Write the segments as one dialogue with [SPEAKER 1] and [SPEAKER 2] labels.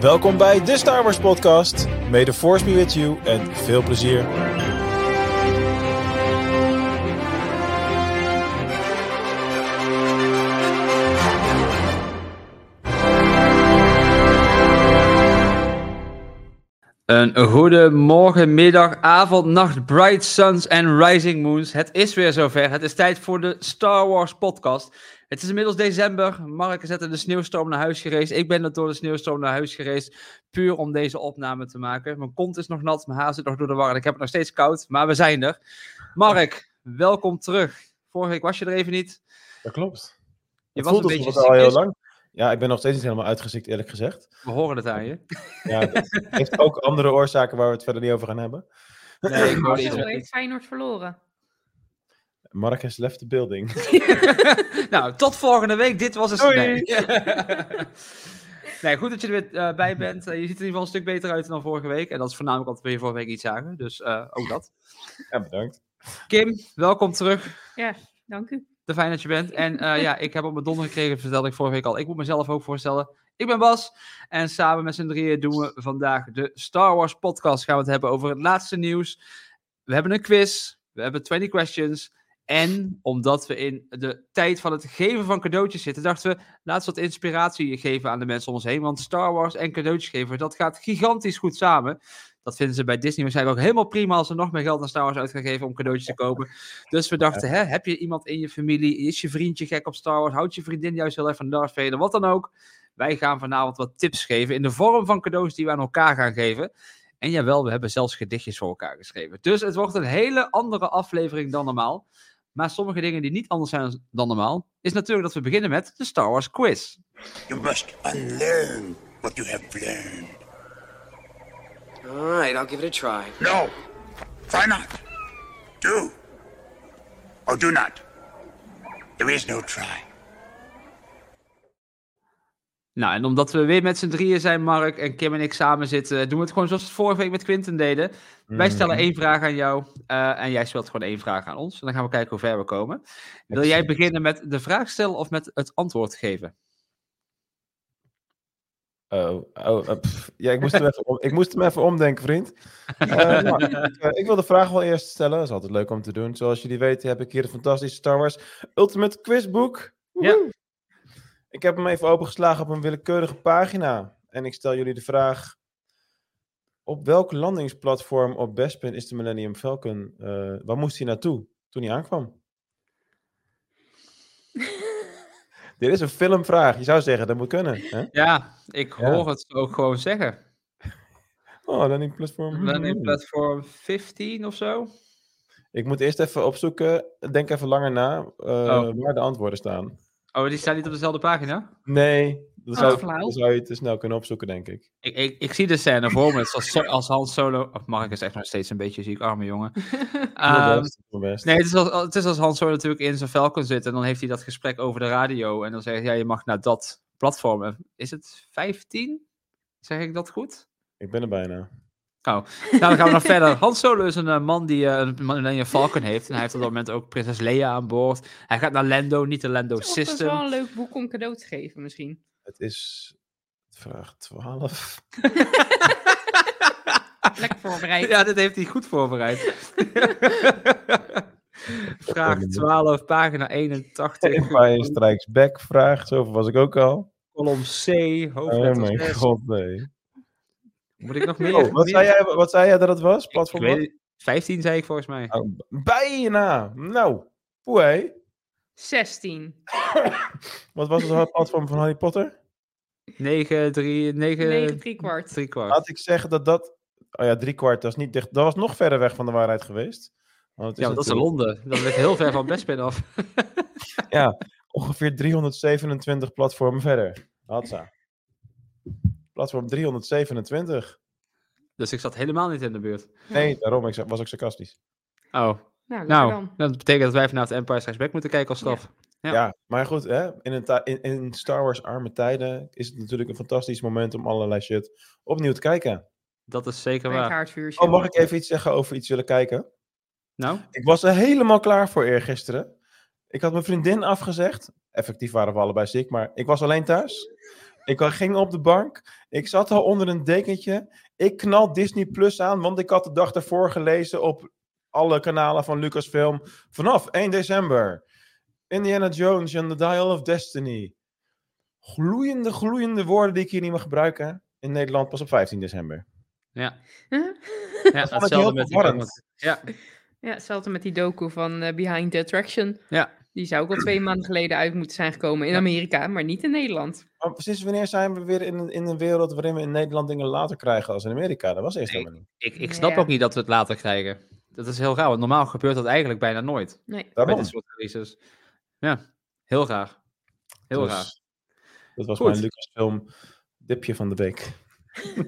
[SPEAKER 1] Welkom bij de Star Wars Podcast. May the force be with you en veel plezier.
[SPEAKER 2] Een goede morgen, middag, avond, nacht, bright suns en rising moons. Het is weer zover. Het is tijd voor de Star Wars podcast. Het is inmiddels december. Mark is net in de sneeuwstorm naar huis gereisd. Ik ben net door de sneeuwstorm naar huis gereisd. Puur om deze opname te maken. Mijn kont is nog nat, mijn haar zit nog door de war. En ik heb het nog steeds koud, maar we zijn er. Mark, welkom terug. Vorige week was je er even niet.
[SPEAKER 1] Dat klopt.
[SPEAKER 2] Je
[SPEAKER 1] Het
[SPEAKER 2] was een
[SPEAKER 1] voelt
[SPEAKER 2] beetje
[SPEAKER 1] alsof het al heel
[SPEAKER 2] ziekjes.
[SPEAKER 1] lang. Ja, ik ben nog steeds niet helemaal uitgezikt, eerlijk gezegd.
[SPEAKER 2] We horen het aan je.
[SPEAKER 1] Ja, dat heeft ook andere oorzaken waar we het verder niet over gaan hebben.
[SPEAKER 2] Nee, ik hoorde
[SPEAKER 3] Marcel
[SPEAKER 2] iets met-
[SPEAKER 3] heeft Feyenoord verloren.
[SPEAKER 1] Mark has left the building.
[SPEAKER 2] nou, tot volgende week. Dit was het.
[SPEAKER 1] Doei.
[SPEAKER 2] Nee. nee, goed dat je er weer eh, bij bent. Eh, je ziet er in ieder geval een stuk beter uit dan vorige week. En dat is voornamelijk omdat we je vorige week iets zagen. Dus eh, ook dat.
[SPEAKER 1] Ja, bedankt.
[SPEAKER 2] Kim, welkom terug.
[SPEAKER 3] Ja, dank u.
[SPEAKER 2] Te fijn dat je bent. En eh, ja, ik heb op mijn donder gekregen, vertelde ik vorige week al. Ik moet mezelf ook voorstellen. Ik ben Bas. En samen met z'n drieën doen we vandaag de Star Wars podcast. Gaan we het hebben over het laatste nieuws. We hebben een quiz. We hebben 20 questions. En omdat we in de tijd van het geven van cadeautjes zitten, dachten we, laten we wat inspiratie geven aan de mensen om ons heen. Want Star Wars en cadeautjes geven, dat gaat gigantisch goed samen. Dat vinden ze bij Disney waarschijnlijk ook helemaal prima als ze nog meer geld aan Star Wars uit gaan geven om cadeautjes te kopen. Dus we dachten, hè, heb je iemand in je familie? Is je vriendje gek op Star Wars? Houdt je vriendin juist heel erg van Darth Vader? Wat dan ook. Wij gaan vanavond wat tips geven in de vorm van cadeaus die we aan elkaar gaan geven. En jawel, we hebben zelfs gedichtjes voor elkaar geschreven. Dus het wordt een hele andere aflevering dan normaal. Maar sommige dingen die niet anders zijn dan normaal, is natuurlijk dat we beginnen met de Star Wars quiz.
[SPEAKER 4] You must unlearn what you have learned.
[SPEAKER 5] All right, I'll give it a try.
[SPEAKER 4] No. Try not. Do. Or do not. There is no try.
[SPEAKER 2] Nou, en omdat we weer met z'n drieën zijn, Mark en Kim en ik samen zitten, doen we het gewoon zoals we het vorige week met Quinten deden. Wij
[SPEAKER 1] Mm.
[SPEAKER 2] stellen één vraag aan jou eh, en jij stelt gewoon één vraag aan ons. En dan gaan we kijken hoe ver we komen. Wil jij
[SPEAKER 1] Exact.
[SPEAKER 2] beginnen met de vraag stellen of met het antwoord geven?
[SPEAKER 1] Oh, oh, eh, pff. ja, ik moest, hem even om- ik moest hem even omdenken, vriend. Eh, nou, ik, eh, ik wil de vraag wel eerst stellen. Dat is altijd leuk om te doen. Zoals jullie weten heb ik hier het fantastische Star Wars Ultimate Quizboek.
[SPEAKER 2] Ja.
[SPEAKER 1] Woehoe. Ik heb hem even opengeslagen op een willekeurige pagina. En ik stel jullie de vraag... Op welk landingsplatform op Bespin is de Millennium Falcon... eh, waar moest hij naartoe toen hij aankwam? Dit is een filmvraag. Je zou zeggen, dat moet kunnen. Hè?
[SPEAKER 2] Ja, ik
[SPEAKER 1] Ja.
[SPEAKER 2] hoor het ook gewoon zeggen.
[SPEAKER 1] Oh, landingsplatform.
[SPEAKER 2] Dan in
[SPEAKER 1] hmm.
[SPEAKER 2] platform 15 of zo.
[SPEAKER 1] Ik moet eerst even opzoeken. Denk even langer na eh, waar de antwoorden staan.
[SPEAKER 2] Oh, die staan niet op dezelfde pagina?
[SPEAKER 1] Nee, dan
[SPEAKER 2] Oh,
[SPEAKER 1] zou, ik-
[SPEAKER 3] flauw.
[SPEAKER 1] dan zou je het te snel kunnen opzoeken, denk ik.
[SPEAKER 2] Ik, ik, ik zie de scène voor me. Het is Als, so- als Han Solo... Of Mark is echt nog steeds een beetje ziek, arme jongen.
[SPEAKER 1] Doe
[SPEAKER 2] Ehm,
[SPEAKER 1] best, doe best.
[SPEAKER 2] nee, het is, als, het is als Han Solo natuurlijk in zijn Falcon zit. En dan heeft hij dat gesprek over de radio. En dan zegt hij, ja, je mag naar dat platform. En Is het 15? Zeg ik dat goed?
[SPEAKER 1] Ik ben er bijna.
[SPEAKER 2] Nou, dan gaan we nog verder. Han Solo is een eh, man die eh, een Millennium Falcon heeft. En hij heeft op dat moment ook prinses Leia aan boord. Hij gaat naar Lando, niet de Lando
[SPEAKER 3] Of Dat is wel
[SPEAKER 2] System.
[SPEAKER 3] een leuk boek om cadeau te geven, misschien.
[SPEAKER 1] Het is vraag 12.
[SPEAKER 3] Lekker voorbereid.
[SPEAKER 2] Ja, dit heeft hij goed voorbereid.
[SPEAKER 1] Oh,
[SPEAKER 2] Vraag 12, pagina 81,
[SPEAKER 1] Empire Strikes Back vraag. Zoveel was ik ook al.
[SPEAKER 2] kolom C,
[SPEAKER 1] Oh
[SPEAKER 2] hoofdletter
[SPEAKER 1] mijn
[SPEAKER 2] S.
[SPEAKER 1] god, nee.
[SPEAKER 2] Moet ik nog meer?
[SPEAKER 1] Oh, wat,
[SPEAKER 2] meer-
[SPEAKER 1] zei jij, wat zei jij dat het was? Platform
[SPEAKER 2] Ik weet
[SPEAKER 1] wat?
[SPEAKER 2] het- 15 zei ik volgens mij.
[SPEAKER 1] Oh, b- bijna. Nou, poeh. hé.
[SPEAKER 3] 16.
[SPEAKER 1] Wat was het platform van Harry Potter?
[SPEAKER 2] 9, 3,
[SPEAKER 3] 9,
[SPEAKER 2] 9,
[SPEAKER 3] 3 kwart.
[SPEAKER 2] 3 kwart.
[SPEAKER 1] Laat ik zeggen dat dat... Oh ja, drie kwart, dat is niet dicht. Dat was nog verder weg van de waarheid geweest. Want het
[SPEAKER 2] Ja, want dus dat is
[SPEAKER 1] natuurlijk-
[SPEAKER 2] Londen. Dat ligt heel ver van Bespin af.
[SPEAKER 1] ongeveer 327 platformen verder. Hatsa. Platform 327.
[SPEAKER 2] Dus ik zat helemaal niet in de buurt.
[SPEAKER 1] Nee, daarom ik, sa- was ik sarcastisch.
[SPEAKER 2] Oh,
[SPEAKER 3] Nou, lekker
[SPEAKER 2] Nou,
[SPEAKER 3] dan.
[SPEAKER 2] dat betekent dat wij vanavond Empire Strikes Back moeten kijken als
[SPEAKER 3] Ja.
[SPEAKER 2] staf. Ja.
[SPEAKER 1] Ja, maar goed, hè? In, een ti- in, in Star Wars arme tijden is het natuurlijk een fantastisch moment om allerlei shit opnieuw te kijken.
[SPEAKER 2] Dat is zeker
[SPEAKER 3] Bij het
[SPEAKER 2] waar.
[SPEAKER 3] haardvuurtje.
[SPEAKER 1] Oh, mag ik even iets zeggen over iets willen kijken?
[SPEAKER 2] Nou,
[SPEAKER 1] Ik was er helemaal klaar voor eergisteren. Ik had mijn vriendin afgezegd. Effectief waren we allebei ziek, maar ik was alleen thuis. Ik wa- ging op de bank. Ik zat al onder een dekentje. Ik knal Disney Plus aan, want ik had de dag daarvoor gelezen op alle kanalen van Lucasfilm. Vanaf 1 december. Indiana Jones and the Dial of Destiny. Gloeiende, gloeiende woorden die ik hier niet mag gebruiken. In Nederland pas op 15 december.
[SPEAKER 2] Ja,
[SPEAKER 3] Huh?
[SPEAKER 2] ja
[SPEAKER 1] heel
[SPEAKER 2] hetzelfde met die
[SPEAKER 1] verwarrend.
[SPEAKER 2] Pokémon. Ja,
[SPEAKER 3] Ja, hetzelfde met die docu van eh, Behind the Attraction.
[SPEAKER 2] Ja.
[SPEAKER 3] Die zou ook al twee maanden geleden uit moeten zijn gekomen in
[SPEAKER 2] Ja.
[SPEAKER 3] Amerika, maar niet in Nederland.
[SPEAKER 1] Maar sinds wanneer zijn we weer in een, in een wereld waarin we in Nederland dingen later krijgen als in Amerika? Dat was eerst
[SPEAKER 2] Nee.
[SPEAKER 1] helemaal niet.
[SPEAKER 2] ik, ik snap
[SPEAKER 3] Ja.
[SPEAKER 2] ook niet dat we het later krijgen. Dat is heel raar, want normaal gebeurt dat eigenlijk bijna nooit.
[SPEAKER 3] Nee.
[SPEAKER 2] Bij
[SPEAKER 1] Daarom.
[SPEAKER 2] dit soort releases. Ja, heel raar. Heel
[SPEAKER 1] Dus
[SPEAKER 2] raar.
[SPEAKER 1] Dat was
[SPEAKER 2] Goed.
[SPEAKER 1] mijn Lucasfilm dipje van de week.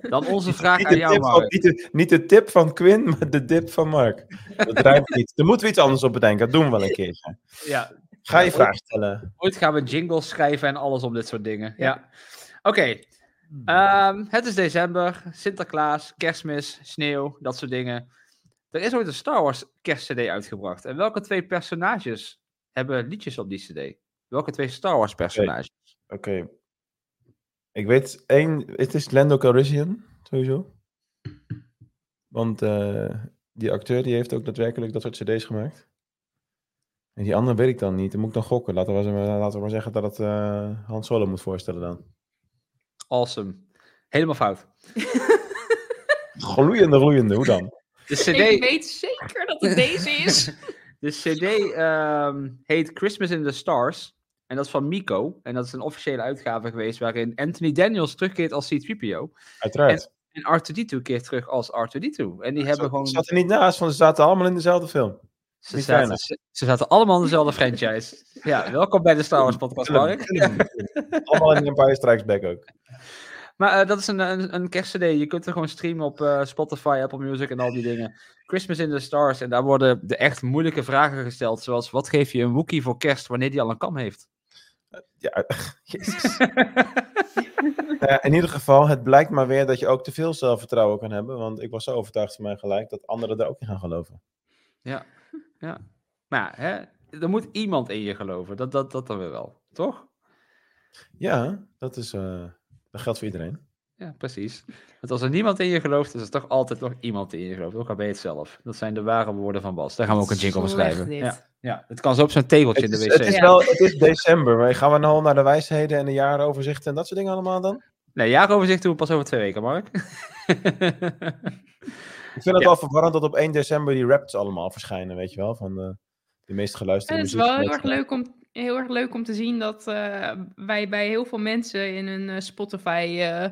[SPEAKER 2] Dan onze vraag
[SPEAKER 1] Niet de,
[SPEAKER 2] aan jou,
[SPEAKER 1] tip van,
[SPEAKER 2] Mark.
[SPEAKER 1] niet, de, niet de tip van Quinn, maar de dip van Mark. Dat rijmt niet. Daar moeten we iets anders op bedenken. Dat doen we wel een keer.
[SPEAKER 2] Ja,
[SPEAKER 1] Ga je
[SPEAKER 2] Ja,
[SPEAKER 1] vraag stellen.
[SPEAKER 2] Ooit gaan we jingles schrijven en alles om dit soort dingen. Ja. Oké.
[SPEAKER 3] Hmm.
[SPEAKER 2] Ehm, het is december, Sinterklaas, kerstmis, sneeuw, dat soort dingen. Er is ooit een Star Wars kerstcd uitgebracht. En welke twee personages hebben liedjes op die cd? Welke twee Star Wars personages?
[SPEAKER 1] Oké. Ik weet één. Het is Lando Calrissian, sowieso. Want eh, die acteur die heeft ook daadwerkelijk dat soort cd's gemaakt. En die andere weet ik dan niet. Dan moet ik dan gokken. Laten we, maar- laten we maar zeggen dat het eh Han Solo moet voorstellen dan.
[SPEAKER 2] Awesome. Helemaal fout.
[SPEAKER 1] Gloeiende, gloeiende. Hoe dan?
[SPEAKER 2] De
[SPEAKER 3] Ik
[SPEAKER 2] cd,
[SPEAKER 3] weet zeker dat het deze is.
[SPEAKER 2] de CD ehm, heet Christmas in the Stars. En dat is van Miko. En dat is een officiële uitgave geweest waarin Anthony Daniels terugkeert als C-3PO.
[SPEAKER 1] Uiteraard.
[SPEAKER 2] En R2-D2 keert terug als R2-D2. En die
[SPEAKER 1] Ze
[SPEAKER 2] hebben gewoon...
[SPEAKER 1] zat er niet naast, want ze zaten allemaal in dezelfde film.
[SPEAKER 2] Ze
[SPEAKER 1] Niet
[SPEAKER 2] zaten,
[SPEAKER 1] weinig.
[SPEAKER 2] ze, ze zaten allemaal in dezelfde franchise. Ja, welkom bij de Star Wars podcast, Mark.
[SPEAKER 1] allemaal in Empire Strikes Back ook.
[SPEAKER 2] Maar eh, dat is een, een, een kerstcd. Je kunt er gewoon streamen op eh, Spotify, Apple Music en al die dingen. Christmas in the Stars. En daar worden de echt moeilijke vragen gesteld. Zoals, wat geef je een Wookiee voor kerst wanneer die al een kam heeft?
[SPEAKER 1] Ja, jezus. Nou ja, in ieder geval, het blijkt maar weer dat je ook te veel zelfvertrouwen kan hebben. Want ik was zo overtuigd van mijn gelijk dat anderen daar ook in gaan geloven.
[SPEAKER 2] Ja, ja. Maar ja, hè, er moet iemand in je geloven. Dat, dat, dat dan weer wel, toch?
[SPEAKER 1] Ja, dat, is, eh, dat geldt voor iedereen.
[SPEAKER 2] Ja, precies. Want als er niemand in je gelooft, is er toch altijd nog iemand die in je gelooft. Ook al ben je het zelf. Dat zijn de ware woorden van Bas. Daar gaan we ook een jingle van
[SPEAKER 3] Slecht
[SPEAKER 2] schrijven.
[SPEAKER 3] dit.
[SPEAKER 2] Ja, ja, het kan zo op zo'n tegeltje
[SPEAKER 1] Het
[SPEAKER 2] in de
[SPEAKER 1] is, eh,
[SPEAKER 2] wc.
[SPEAKER 1] het is
[SPEAKER 3] Ja.
[SPEAKER 1] wel, het is december, maar gaan we nou al naar de wijsheden en de jarenoverzichten en dat soort dingen allemaal dan?
[SPEAKER 2] Nee, jaaroverzicht doen we pas over twee weken, Mark.
[SPEAKER 1] Ik vind het
[SPEAKER 2] Ja.
[SPEAKER 1] wel verwarrend dat op 1 december die raps allemaal verschijnen, weet je wel? Van de, de meest
[SPEAKER 3] Ja,
[SPEAKER 1] geluisterde
[SPEAKER 3] het is
[SPEAKER 1] muziek
[SPEAKER 3] wel
[SPEAKER 1] van
[SPEAKER 3] heel erg
[SPEAKER 1] het-
[SPEAKER 3] leuk om, heel erg leuk om te zien dat eh, wij bij heel veel mensen in hun eh, Spotify eh,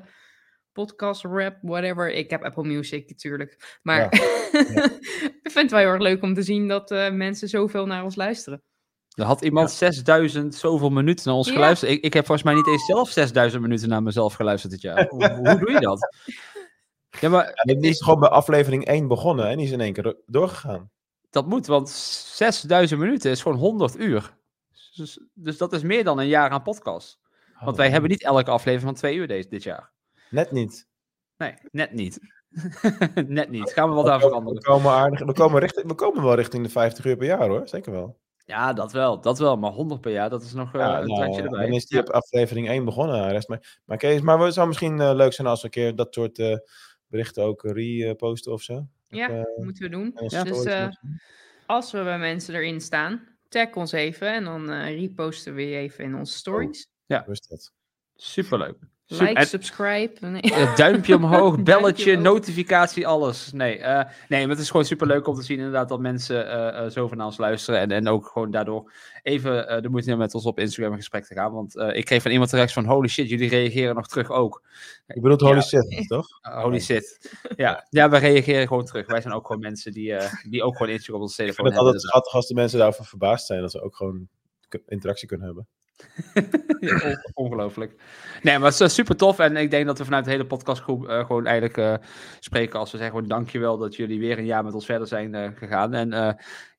[SPEAKER 3] podcast, rap, whatever. Ik heb Apple Music natuurlijk. Maar
[SPEAKER 1] Ja.
[SPEAKER 3] ik vind het wel heel erg leuk om te zien dat eh, mensen zoveel naar ons luisteren.
[SPEAKER 2] Er had iemand 6000 zoveel minuten naar ons
[SPEAKER 3] Ja.
[SPEAKER 2] geluisterd. Ik, ik heb volgens mij niet eens zelf 6000 minuten naar mezelf geluisterd dit jaar. Hoe, hoe doe je dat? Ja, maar
[SPEAKER 1] En die is gewoon bij aflevering 1 begonnen en die is in één keer do- doorgegaan.
[SPEAKER 2] dat moet, want 6000 minuten is gewoon 100 uur. Dus, dus dat is meer dan een jaar aan podcast. Want wij hebben niet elke aflevering van twee uur deze, dit jaar.
[SPEAKER 1] Net niet.
[SPEAKER 2] Nee, net niet. net niet. Gaan we wat aan
[SPEAKER 1] we, komen, we,
[SPEAKER 2] veranderen.
[SPEAKER 1] komen aardig, we, komen richting, we komen wel richting de 50 uur per jaar hoor, zeker wel.
[SPEAKER 2] Ja, dat wel. Dat wel. Maar 100 per jaar, dat is nog eh,
[SPEAKER 1] Ja,
[SPEAKER 2] een
[SPEAKER 1] nou,
[SPEAKER 2] tandje erbij.
[SPEAKER 1] Dan is die
[SPEAKER 2] Ja.
[SPEAKER 1] op aflevering 1 begonnen. Rest maar, maar Kees, maar het zou misschien eh, leuk zijn als we een keer dat soort eh, berichten ook reposten of zo.
[SPEAKER 3] Ja,
[SPEAKER 1] eh,
[SPEAKER 3] moeten we doen.
[SPEAKER 1] En als
[SPEAKER 2] Ja.
[SPEAKER 3] Dus
[SPEAKER 1] stories
[SPEAKER 3] eh,
[SPEAKER 1] misschien.
[SPEAKER 3] als we bij mensen erin staan, tag ons even en dan eh, reposten we je even in onze stories.
[SPEAKER 1] Hoe is dat?
[SPEAKER 2] Superleuk. Super.
[SPEAKER 3] Like,
[SPEAKER 2] En-
[SPEAKER 3] subscribe. Nee.
[SPEAKER 2] Eh, duimpje omhoog, belletje,
[SPEAKER 3] Duimpje omhoog.
[SPEAKER 2] notificatie, alles. Nee, eh, nee, maar het is gewoon superleuk om te zien inderdaad dat mensen eh, eh, zo van naar ons luisteren. En, en ook gewoon daardoor even eh, de moeite nemen met ons op Instagram in gesprek te gaan. Want eh, ik kreeg van iemand terecht van holy shit, jullie reageren nog terug ook.
[SPEAKER 1] Ik bedoel, holy
[SPEAKER 2] Ja.
[SPEAKER 1] shit, toch?
[SPEAKER 2] Eh, holy shit. Ja, ja, we reageren gewoon terug. Wij zijn ook gewoon mensen die, eh, die ook gewoon Instagram op ons
[SPEAKER 1] Ik
[SPEAKER 2] telefoon
[SPEAKER 1] vind het
[SPEAKER 2] hebben.
[SPEAKER 1] altijd
[SPEAKER 2] Dus-
[SPEAKER 1] schattig als de mensen daarover verbaasd zijn. Dat ze ook gewoon k- interactie kunnen hebben.
[SPEAKER 2] Ja, on- Ongelooflijk. Nee, maar het is eh, super tof. En ik denk dat we vanuit de hele podcastgroep eh, gewoon eigenlijk eh, spreken als we zeggen gewoon dankjewel dat jullie weer een jaar met ons verder zijn eh, gegaan. En eh,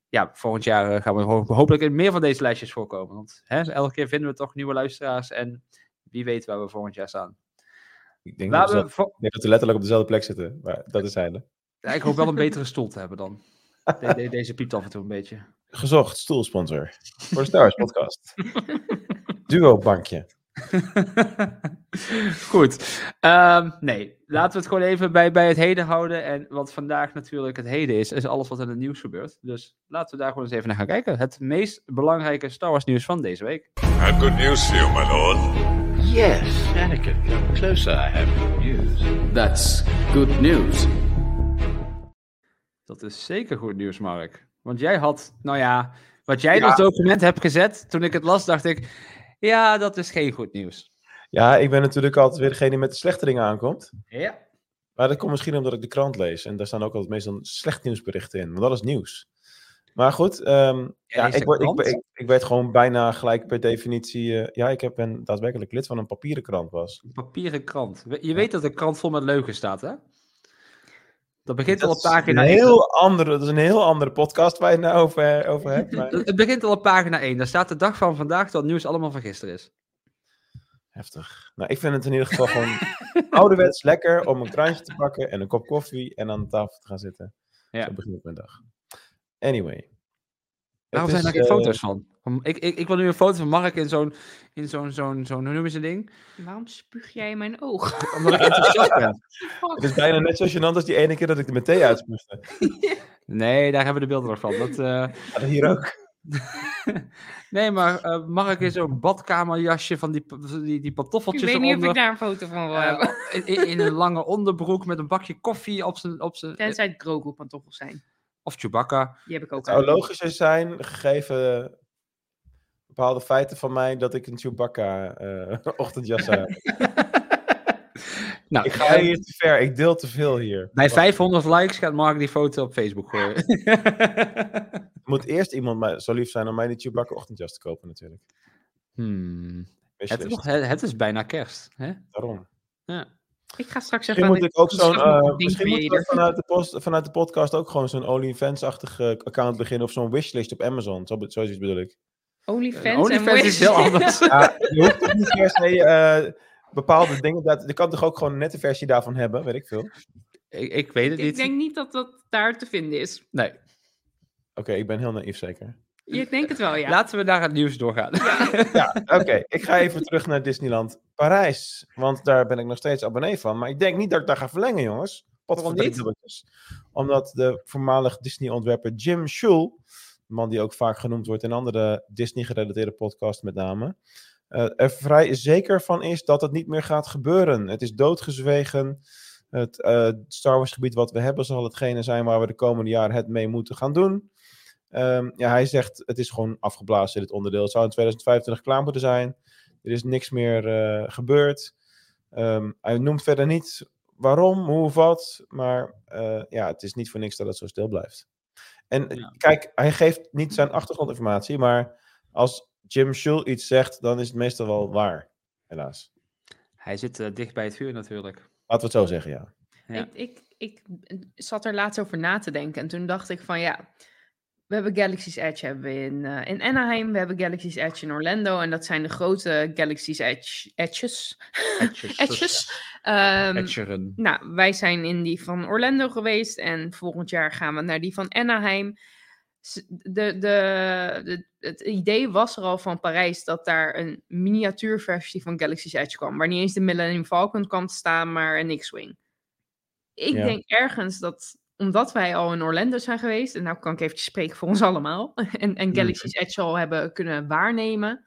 [SPEAKER 2] ja, volgend jaar eh, gaan we ho- hopelijk in meer van deze lijstjes voorkomen. Want hè, elke keer vinden we toch nieuwe luisteraars en wie weet waar we volgend jaar staan.
[SPEAKER 1] Ik denk, dat,
[SPEAKER 2] Laten
[SPEAKER 1] we,
[SPEAKER 2] we vo-
[SPEAKER 1] ik denk dat we letterlijk op dezelfde plek zitten. Maar dat is heilig.
[SPEAKER 2] ja, ik hoop wel een betere stoel te hebben dan. De- de- deze piept af en toe een beetje.
[SPEAKER 1] Gezocht, stoelsponsor. Voor de Star Wars podcast. Duo bankje.
[SPEAKER 2] Goed. Ehm, nee, laten we het gewoon even bij, bij het heden houden. En wat vandaag natuurlijk het heden is, is alles wat in het nieuws gebeurt. Dus laten we daar gewoon eens even naar gaan kijken. Het meest belangrijke Star Wars nieuws van deze week.
[SPEAKER 6] I have good news for you, my lord.
[SPEAKER 7] Yes, Anakin, come closer. I have good news. That's good news.
[SPEAKER 2] Dat is zeker goed nieuws, Mark. Want jij had, nou ja, wat jij in als document hebt gezet, toen ik het las, dacht ik, ja, dat is geen goed nieuws.
[SPEAKER 1] Ja, ik ben natuurlijk altijd weer degene die met de slechte dingen aankomt.
[SPEAKER 2] Ja.
[SPEAKER 1] Maar dat komt misschien omdat ik de krant lees. En daar staan ook altijd meestal slecht nieuwsberichten in. Want dat is nieuws. Maar goed, ehm, ja,
[SPEAKER 2] leest
[SPEAKER 1] ik,
[SPEAKER 2] de
[SPEAKER 1] word, ik,
[SPEAKER 2] krant?
[SPEAKER 1] ik, ik werd gewoon bijna gelijk per definitie... eh, ja, ik heb ben daadwerkelijk lid van een papieren krant was.
[SPEAKER 2] Een papieren krant. We- Je weet dat de krant vol met leugen staat, hè? Dat begint al
[SPEAKER 1] Dat
[SPEAKER 2] op
[SPEAKER 1] is
[SPEAKER 2] pagina
[SPEAKER 1] een
[SPEAKER 2] 1.
[SPEAKER 1] heel andere, dat is een heel andere podcast waar je het nou over, over hebt. maar-
[SPEAKER 2] Het begint al op pagina 1. Daar staat de dag van vandaag dat nieuws allemaal van gisteren is.
[SPEAKER 1] Heftig. Nou, ik vind het in ieder geval gewoon ouderwets lekker om een krantje te pakken en een kop koffie en aan de tafel te gaan zitten.
[SPEAKER 2] Ja.
[SPEAKER 1] Zo begin ik mijn dag. Anyway.
[SPEAKER 2] Waarom
[SPEAKER 1] Het
[SPEAKER 2] zijn daar
[SPEAKER 1] is,
[SPEAKER 2] geen
[SPEAKER 1] eh,
[SPEAKER 2] foto's van? Om- Ik, ik, ik wil nu een foto van Mark in zo'n, in zo'n, zo'n, zo'n hoe noemen ze ding?
[SPEAKER 3] Waarom spuug jij in mijn oog?
[SPEAKER 2] Omdat ik enthousiast ben.
[SPEAKER 1] Het is bijna net zo gênant als die ene keer dat ik de thee uitsmoeste.
[SPEAKER 2] Nee, daar hebben we de beelden nog van. Dat, eh,
[SPEAKER 1] Ja, hier ook.
[SPEAKER 2] Nee, maar eh, Mark is zo'n badkamerjasje van die, p- die, die
[SPEAKER 3] Ik
[SPEAKER 2] pantoffeltjes
[SPEAKER 3] weet niet of ik
[SPEAKER 2] eronder.
[SPEAKER 3] daar een foto van wil
[SPEAKER 2] eh,
[SPEAKER 3] hebben.
[SPEAKER 2] in, in- in een lange onderbroek met een bakje koffie op zijn... Op zijn eh,
[SPEAKER 3] Tenzij het Grogu pantoffels zijn.
[SPEAKER 2] of Chewbacca.
[SPEAKER 3] Die heb ik
[SPEAKER 1] Het
[SPEAKER 3] ook
[SPEAKER 1] zou
[SPEAKER 3] aan.
[SPEAKER 1] logischer zijn, gegeven bepaalde feiten van mij, dat ik een Chewbacca-ochtendjas heb.
[SPEAKER 2] Nou,
[SPEAKER 1] Ik ga
[SPEAKER 2] eh,
[SPEAKER 1] hier te ver, ik deel te veel hier.
[SPEAKER 2] bij
[SPEAKER 1] Wacht,
[SPEAKER 2] 500 likes gaat Mark die foto op Facebook gooien.
[SPEAKER 1] er moet eerst iemand mij, zo lief zijn om mij die Chewbacca-ochtendjas te kopen natuurlijk.
[SPEAKER 2] Hmm, Het, is
[SPEAKER 1] Wishlist,
[SPEAKER 2] nog- het- het is bijna kerst, hè?
[SPEAKER 1] Daarom.
[SPEAKER 2] Ja.
[SPEAKER 3] Ik ga straks even...
[SPEAKER 1] Misschien moet ik ook
[SPEAKER 3] een
[SPEAKER 1] zo'n. eh,
[SPEAKER 3] slagroomding
[SPEAKER 1] misschien moeten we
[SPEAKER 3] creëren.
[SPEAKER 1] vanuit de, post, vanuit de podcast ook gewoon zo'n OnlyFans-achtig eh, account beginnen. Of zo'n wishlist op Amazon. Zo, be- zoiets bedoel ik.
[SPEAKER 2] Eh,
[SPEAKER 3] Onlyfans, en
[SPEAKER 2] OnlyFans is heel
[SPEAKER 3] Wish.
[SPEAKER 2] anders.
[SPEAKER 1] Ja, je hoeft toch niet per se eh, bepaalde dingen. Dat, je kan toch ook gewoon een nette versie daarvan hebben, weet ik veel. Oké,
[SPEAKER 2] ik, ik weet het
[SPEAKER 3] Ik
[SPEAKER 2] niet.
[SPEAKER 3] denk niet dat dat daar te vinden is.
[SPEAKER 2] Nee.
[SPEAKER 1] ik ben heel naïef zeker.
[SPEAKER 3] Ik denk het wel, ja.
[SPEAKER 2] Laten we naar het nieuws doorgaan.
[SPEAKER 1] Ja, oké. Ik ga even terug naar Disneyland Parijs. Want daar ben ik nog steeds abonnee van. Maar ik denk niet dat ik daar ga verlengen, jongens. Wat
[SPEAKER 2] Waarom
[SPEAKER 1] voor
[SPEAKER 2] niet?
[SPEAKER 1] driekdubbeltjes. Omdat de voormalig Disney-ontwerper Jim Schul, de man die ook vaak genoemd wordt in andere Disney-gerelateerde podcasts met name, eh, er vrij zeker van is dat het niet meer gaat gebeuren. Het is doodgezwegen. Het eh, Star Wars-gebied wat we hebben zal hetgene zijn waar we de komende jaren het mee moeten gaan doen. Ehm, ja, hij zegt, het is gewoon afgeblazen, dit onderdeel. Het zou in 2025 klaar moeten zijn. Er is niks meer eh, gebeurd. Ehm, hij noemt verder niet waarom, hoe of wat. Maar eh, ja, het is niet voor niks dat het zo stil blijft. En
[SPEAKER 2] Ja.
[SPEAKER 1] kijk, hij geeft niet zijn achtergrondinformatie, maar als Jim Schul iets zegt, dan is het meestal wel waar. Helaas.
[SPEAKER 2] Hij zit eh, dicht bij het vuur natuurlijk.
[SPEAKER 1] Laten we het zo zeggen, ja.
[SPEAKER 2] Ja.
[SPEAKER 3] Ik, ik, ik zat er laatst over na te denken. En toen dacht ik van ja, we hebben Galaxy's Edge hebben we in, eh, in Anaheim. We hebben Galaxy's Edge in Orlando. En dat zijn de grote Galaxy's Edge, Edges. Edges. Ehm,
[SPEAKER 2] Etcheren.
[SPEAKER 3] nou, wij zijn in die van Orlando geweest. En volgend jaar gaan we naar die van Anaheim. S- De, de, de- het idee was er al van Parijs dat daar een miniatuurversie van Galaxy's Edge kwam. Waar niet eens de Millennium Falcon kan te staan, maar een X-Wing. Ik
[SPEAKER 1] Ja.
[SPEAKER 3] denk ergens dat, omdat wij al in Orlando zijn geweest. En nou kan ik eventjes spreken voor ons allemaal. En, en Galaxy's Edge al hebben kunnen waarnemen.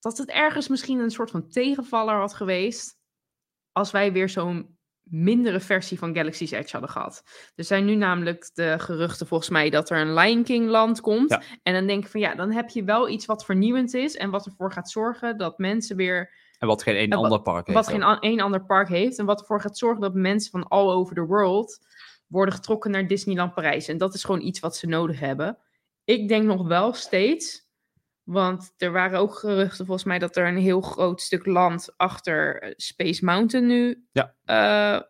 [SPEAKER 3] Dat het ergens misschien een soort van tegenvaller had geweest. Als wij weer zo'n mindere versie van Galaxy's Edge hadden gehad. Er zijn nu namelijk de geruchten volgens mij dat er een Lion King land komt.
[SPEAKER 2] Ja.
[SPEAKER 3] En dan denk ik van ja, dan heb je wel iets wat vernieuwend is en wat ervoor gaat zorgen dat mensen weer,
[SPEAKER 2] En wat geen een
[SPEAKER 3] En wat-
[SPEAKER 2] ander park heeft.
[SPEAKER 3] wat geen an- een ander park heeft en wat ervoor gaat zorgen dat mensen van all over the world worden getrokken naar Disneyland Parijs. En dat is gewoon iets wat ze nodig hebben. Ik denk nog wel steeds, want er waren ook geruchten volgens mij dat er een heel groot stuk land achter eh, Space Mountain nu eh,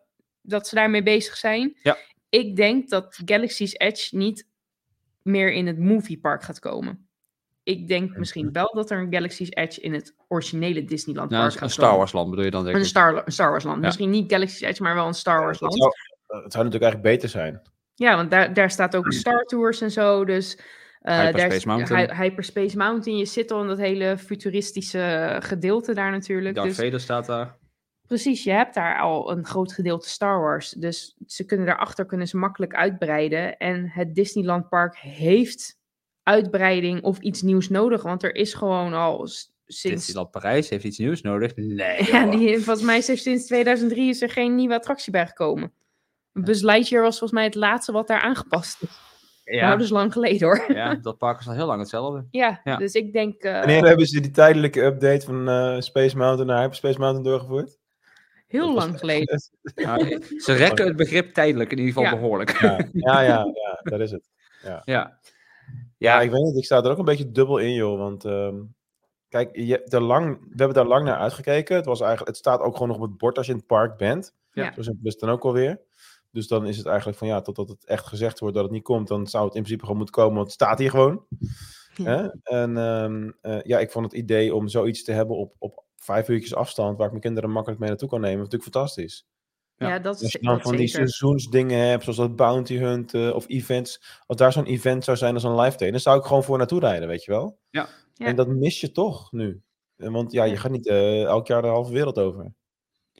[SPEAKER 3] dat ze daarmee bezig zijn.
[SPEAKER 2] Ja.
[SPEAKER 3] Ik denk dat Galaxy's Edge niet meer in het moviepark gaat komen. Ik denk misschien wel dat er een Galaxy's Edge in het originele Disneyland
[SPEAKER 2] Nou,
[SPEAKER 3] park
[SPEAKER 2] een-
[SPEAKER 3] gaat
[SPEAKER 2] een Star
[SPEAKER 3] komen.
[SPEAKER 2] Wars land bedoel je dan denk
[SPEAKER 3] Een
[SPEAKER 2] ik.
[SPEAKER 3] Star, een Star Wars land.
[SPEAKER 2] Ja.
[SPEAKER 3] Misschien niet Galaxy's Edge, maar wel een Star Wars
[SPEAKER 1] Het
[SPEAKER 3] land.
[SPEAKER 1] zou, Eh, het zou natuurlijk eigenlijk beter zijn.
[SPEAKER 3] Ja, want daar, daar staat ook Star Tours en zo. Dus eh, daar
[SPEAKER 2] Hmm. Hyperspace
[SPEAKER 3] is,
[SPEAKER 2] Mountain.
[SPEAKER 3] Hy- Hyperspace Mountain. Je zit al in dat hele futuristische gedeelte daar natuurlijk.
[SPEAKER 2] Darth
[SPEAKER 3] Dus
[SPEAKER 2] Vader staat daar.
[SPEAKER 3] Precies, je hebt daar al een groot gedeelte Star Wars. Dus ze kunnen daarachter kunnen ze makkelijk uitbreiden. En het Disneyland Park heeft uitbreiding of iets nieuws nodig. Want er is gewoon al s- sinds...
[SPEAKER 2] Disneyland Parijs heeft iets nieuws nodig. Nee,
[SPEAKER 3] Ja,
[SPEAKER 2] joh.
[SPEAKER 3] die, volgens mij is er sinds 2003 is er geen nieuwe attractie bijgekomen. Buzz Lightyear was volgens mij het laatste wat daar aangepast is. Nou,
[SPEAKER 2] ja,
[SPEAKER 3] dat is lang geleden hoor.
[SPEAKER 2] ja, dat park is al heel lang hetzelfde.
[SPEAKER 3] Ja,
[SPEAKER 2] Ja.
[SPEAKER 3] dus ik denk... eh,
[SPEAKER 1] Wanneer hebben ze die tijdelijke update van eh, Space Mountain naar Hyperspace Mountain doorgevoerd?
[SPEAKER 3] heel
[SPEAKER 1] dat was-
[SPEAKER 3] lang geleden.
[SPEAKER 2] Nou, ze rekken het begrip tijdelijk in ieder geval
[SPEAKER 3] Ja.
[SPEAKER 2] behoorlijk.
[SPEAKER 1] Ja, ja, ja, ja, dat is het.
[SPEAKER 2] Ja.
[SPEAKER 1] Ja,
[SPEAKER 2] Ja,
[SPEAKER 1] ik weet niet. Ik sta er ook een beetje dubbel in, joh. Want ehm, kijk, je, hebt er lang, we hebben daar lang naar uitgekeken. Het, was eigenlijk, het staat ook gewoon nog op het bord als je in het park bent.
[SPEAKER 2] Ja.
[SPEAKER 1] Zo simpel is het dan ook alweer. Dus dan is het eigenlijk van ja, totdat het echt gezegd wordt dat het niet komt, dan zou het in principe gewoon moeten komen, want het staat hier gewoon. Hè? En ehm, eh, ja, ik vond het idee om zoiets te hebben op, op vijf uurtjes afstand, waar ik mijn kinderen makkelijk mee naartoe kan nemen, natuurlijk fantastisch.
[SPEAKER 2] Ja.
[SPEAKER 3] Ja, dat
[SPEAKER 1] Als
[SPEAKER 3] is dus-
[SPEAKER 1] je dan
[SPEAKER 3] dat
[SPEAKER 1] van die
[SPEAKER 3] zeker.
[SPEAKER 1] seizoensdingen hebt, zoals dat bounty hunt eh, of events. Als daar zo'n event zou zijn als een live day, dan zou ik gewoon voor naartoe rijden, weet je wel?
[SPEAKER 2] Ja.
[SPEAKER 3] Ja.
[SPEAKER 1] En dat mis je toch nu. Eh, Want ja, je
[SPEAKER 3] Ja.
[SPEAKER 1] gaat niet eh, elk jaar de halve wereld over.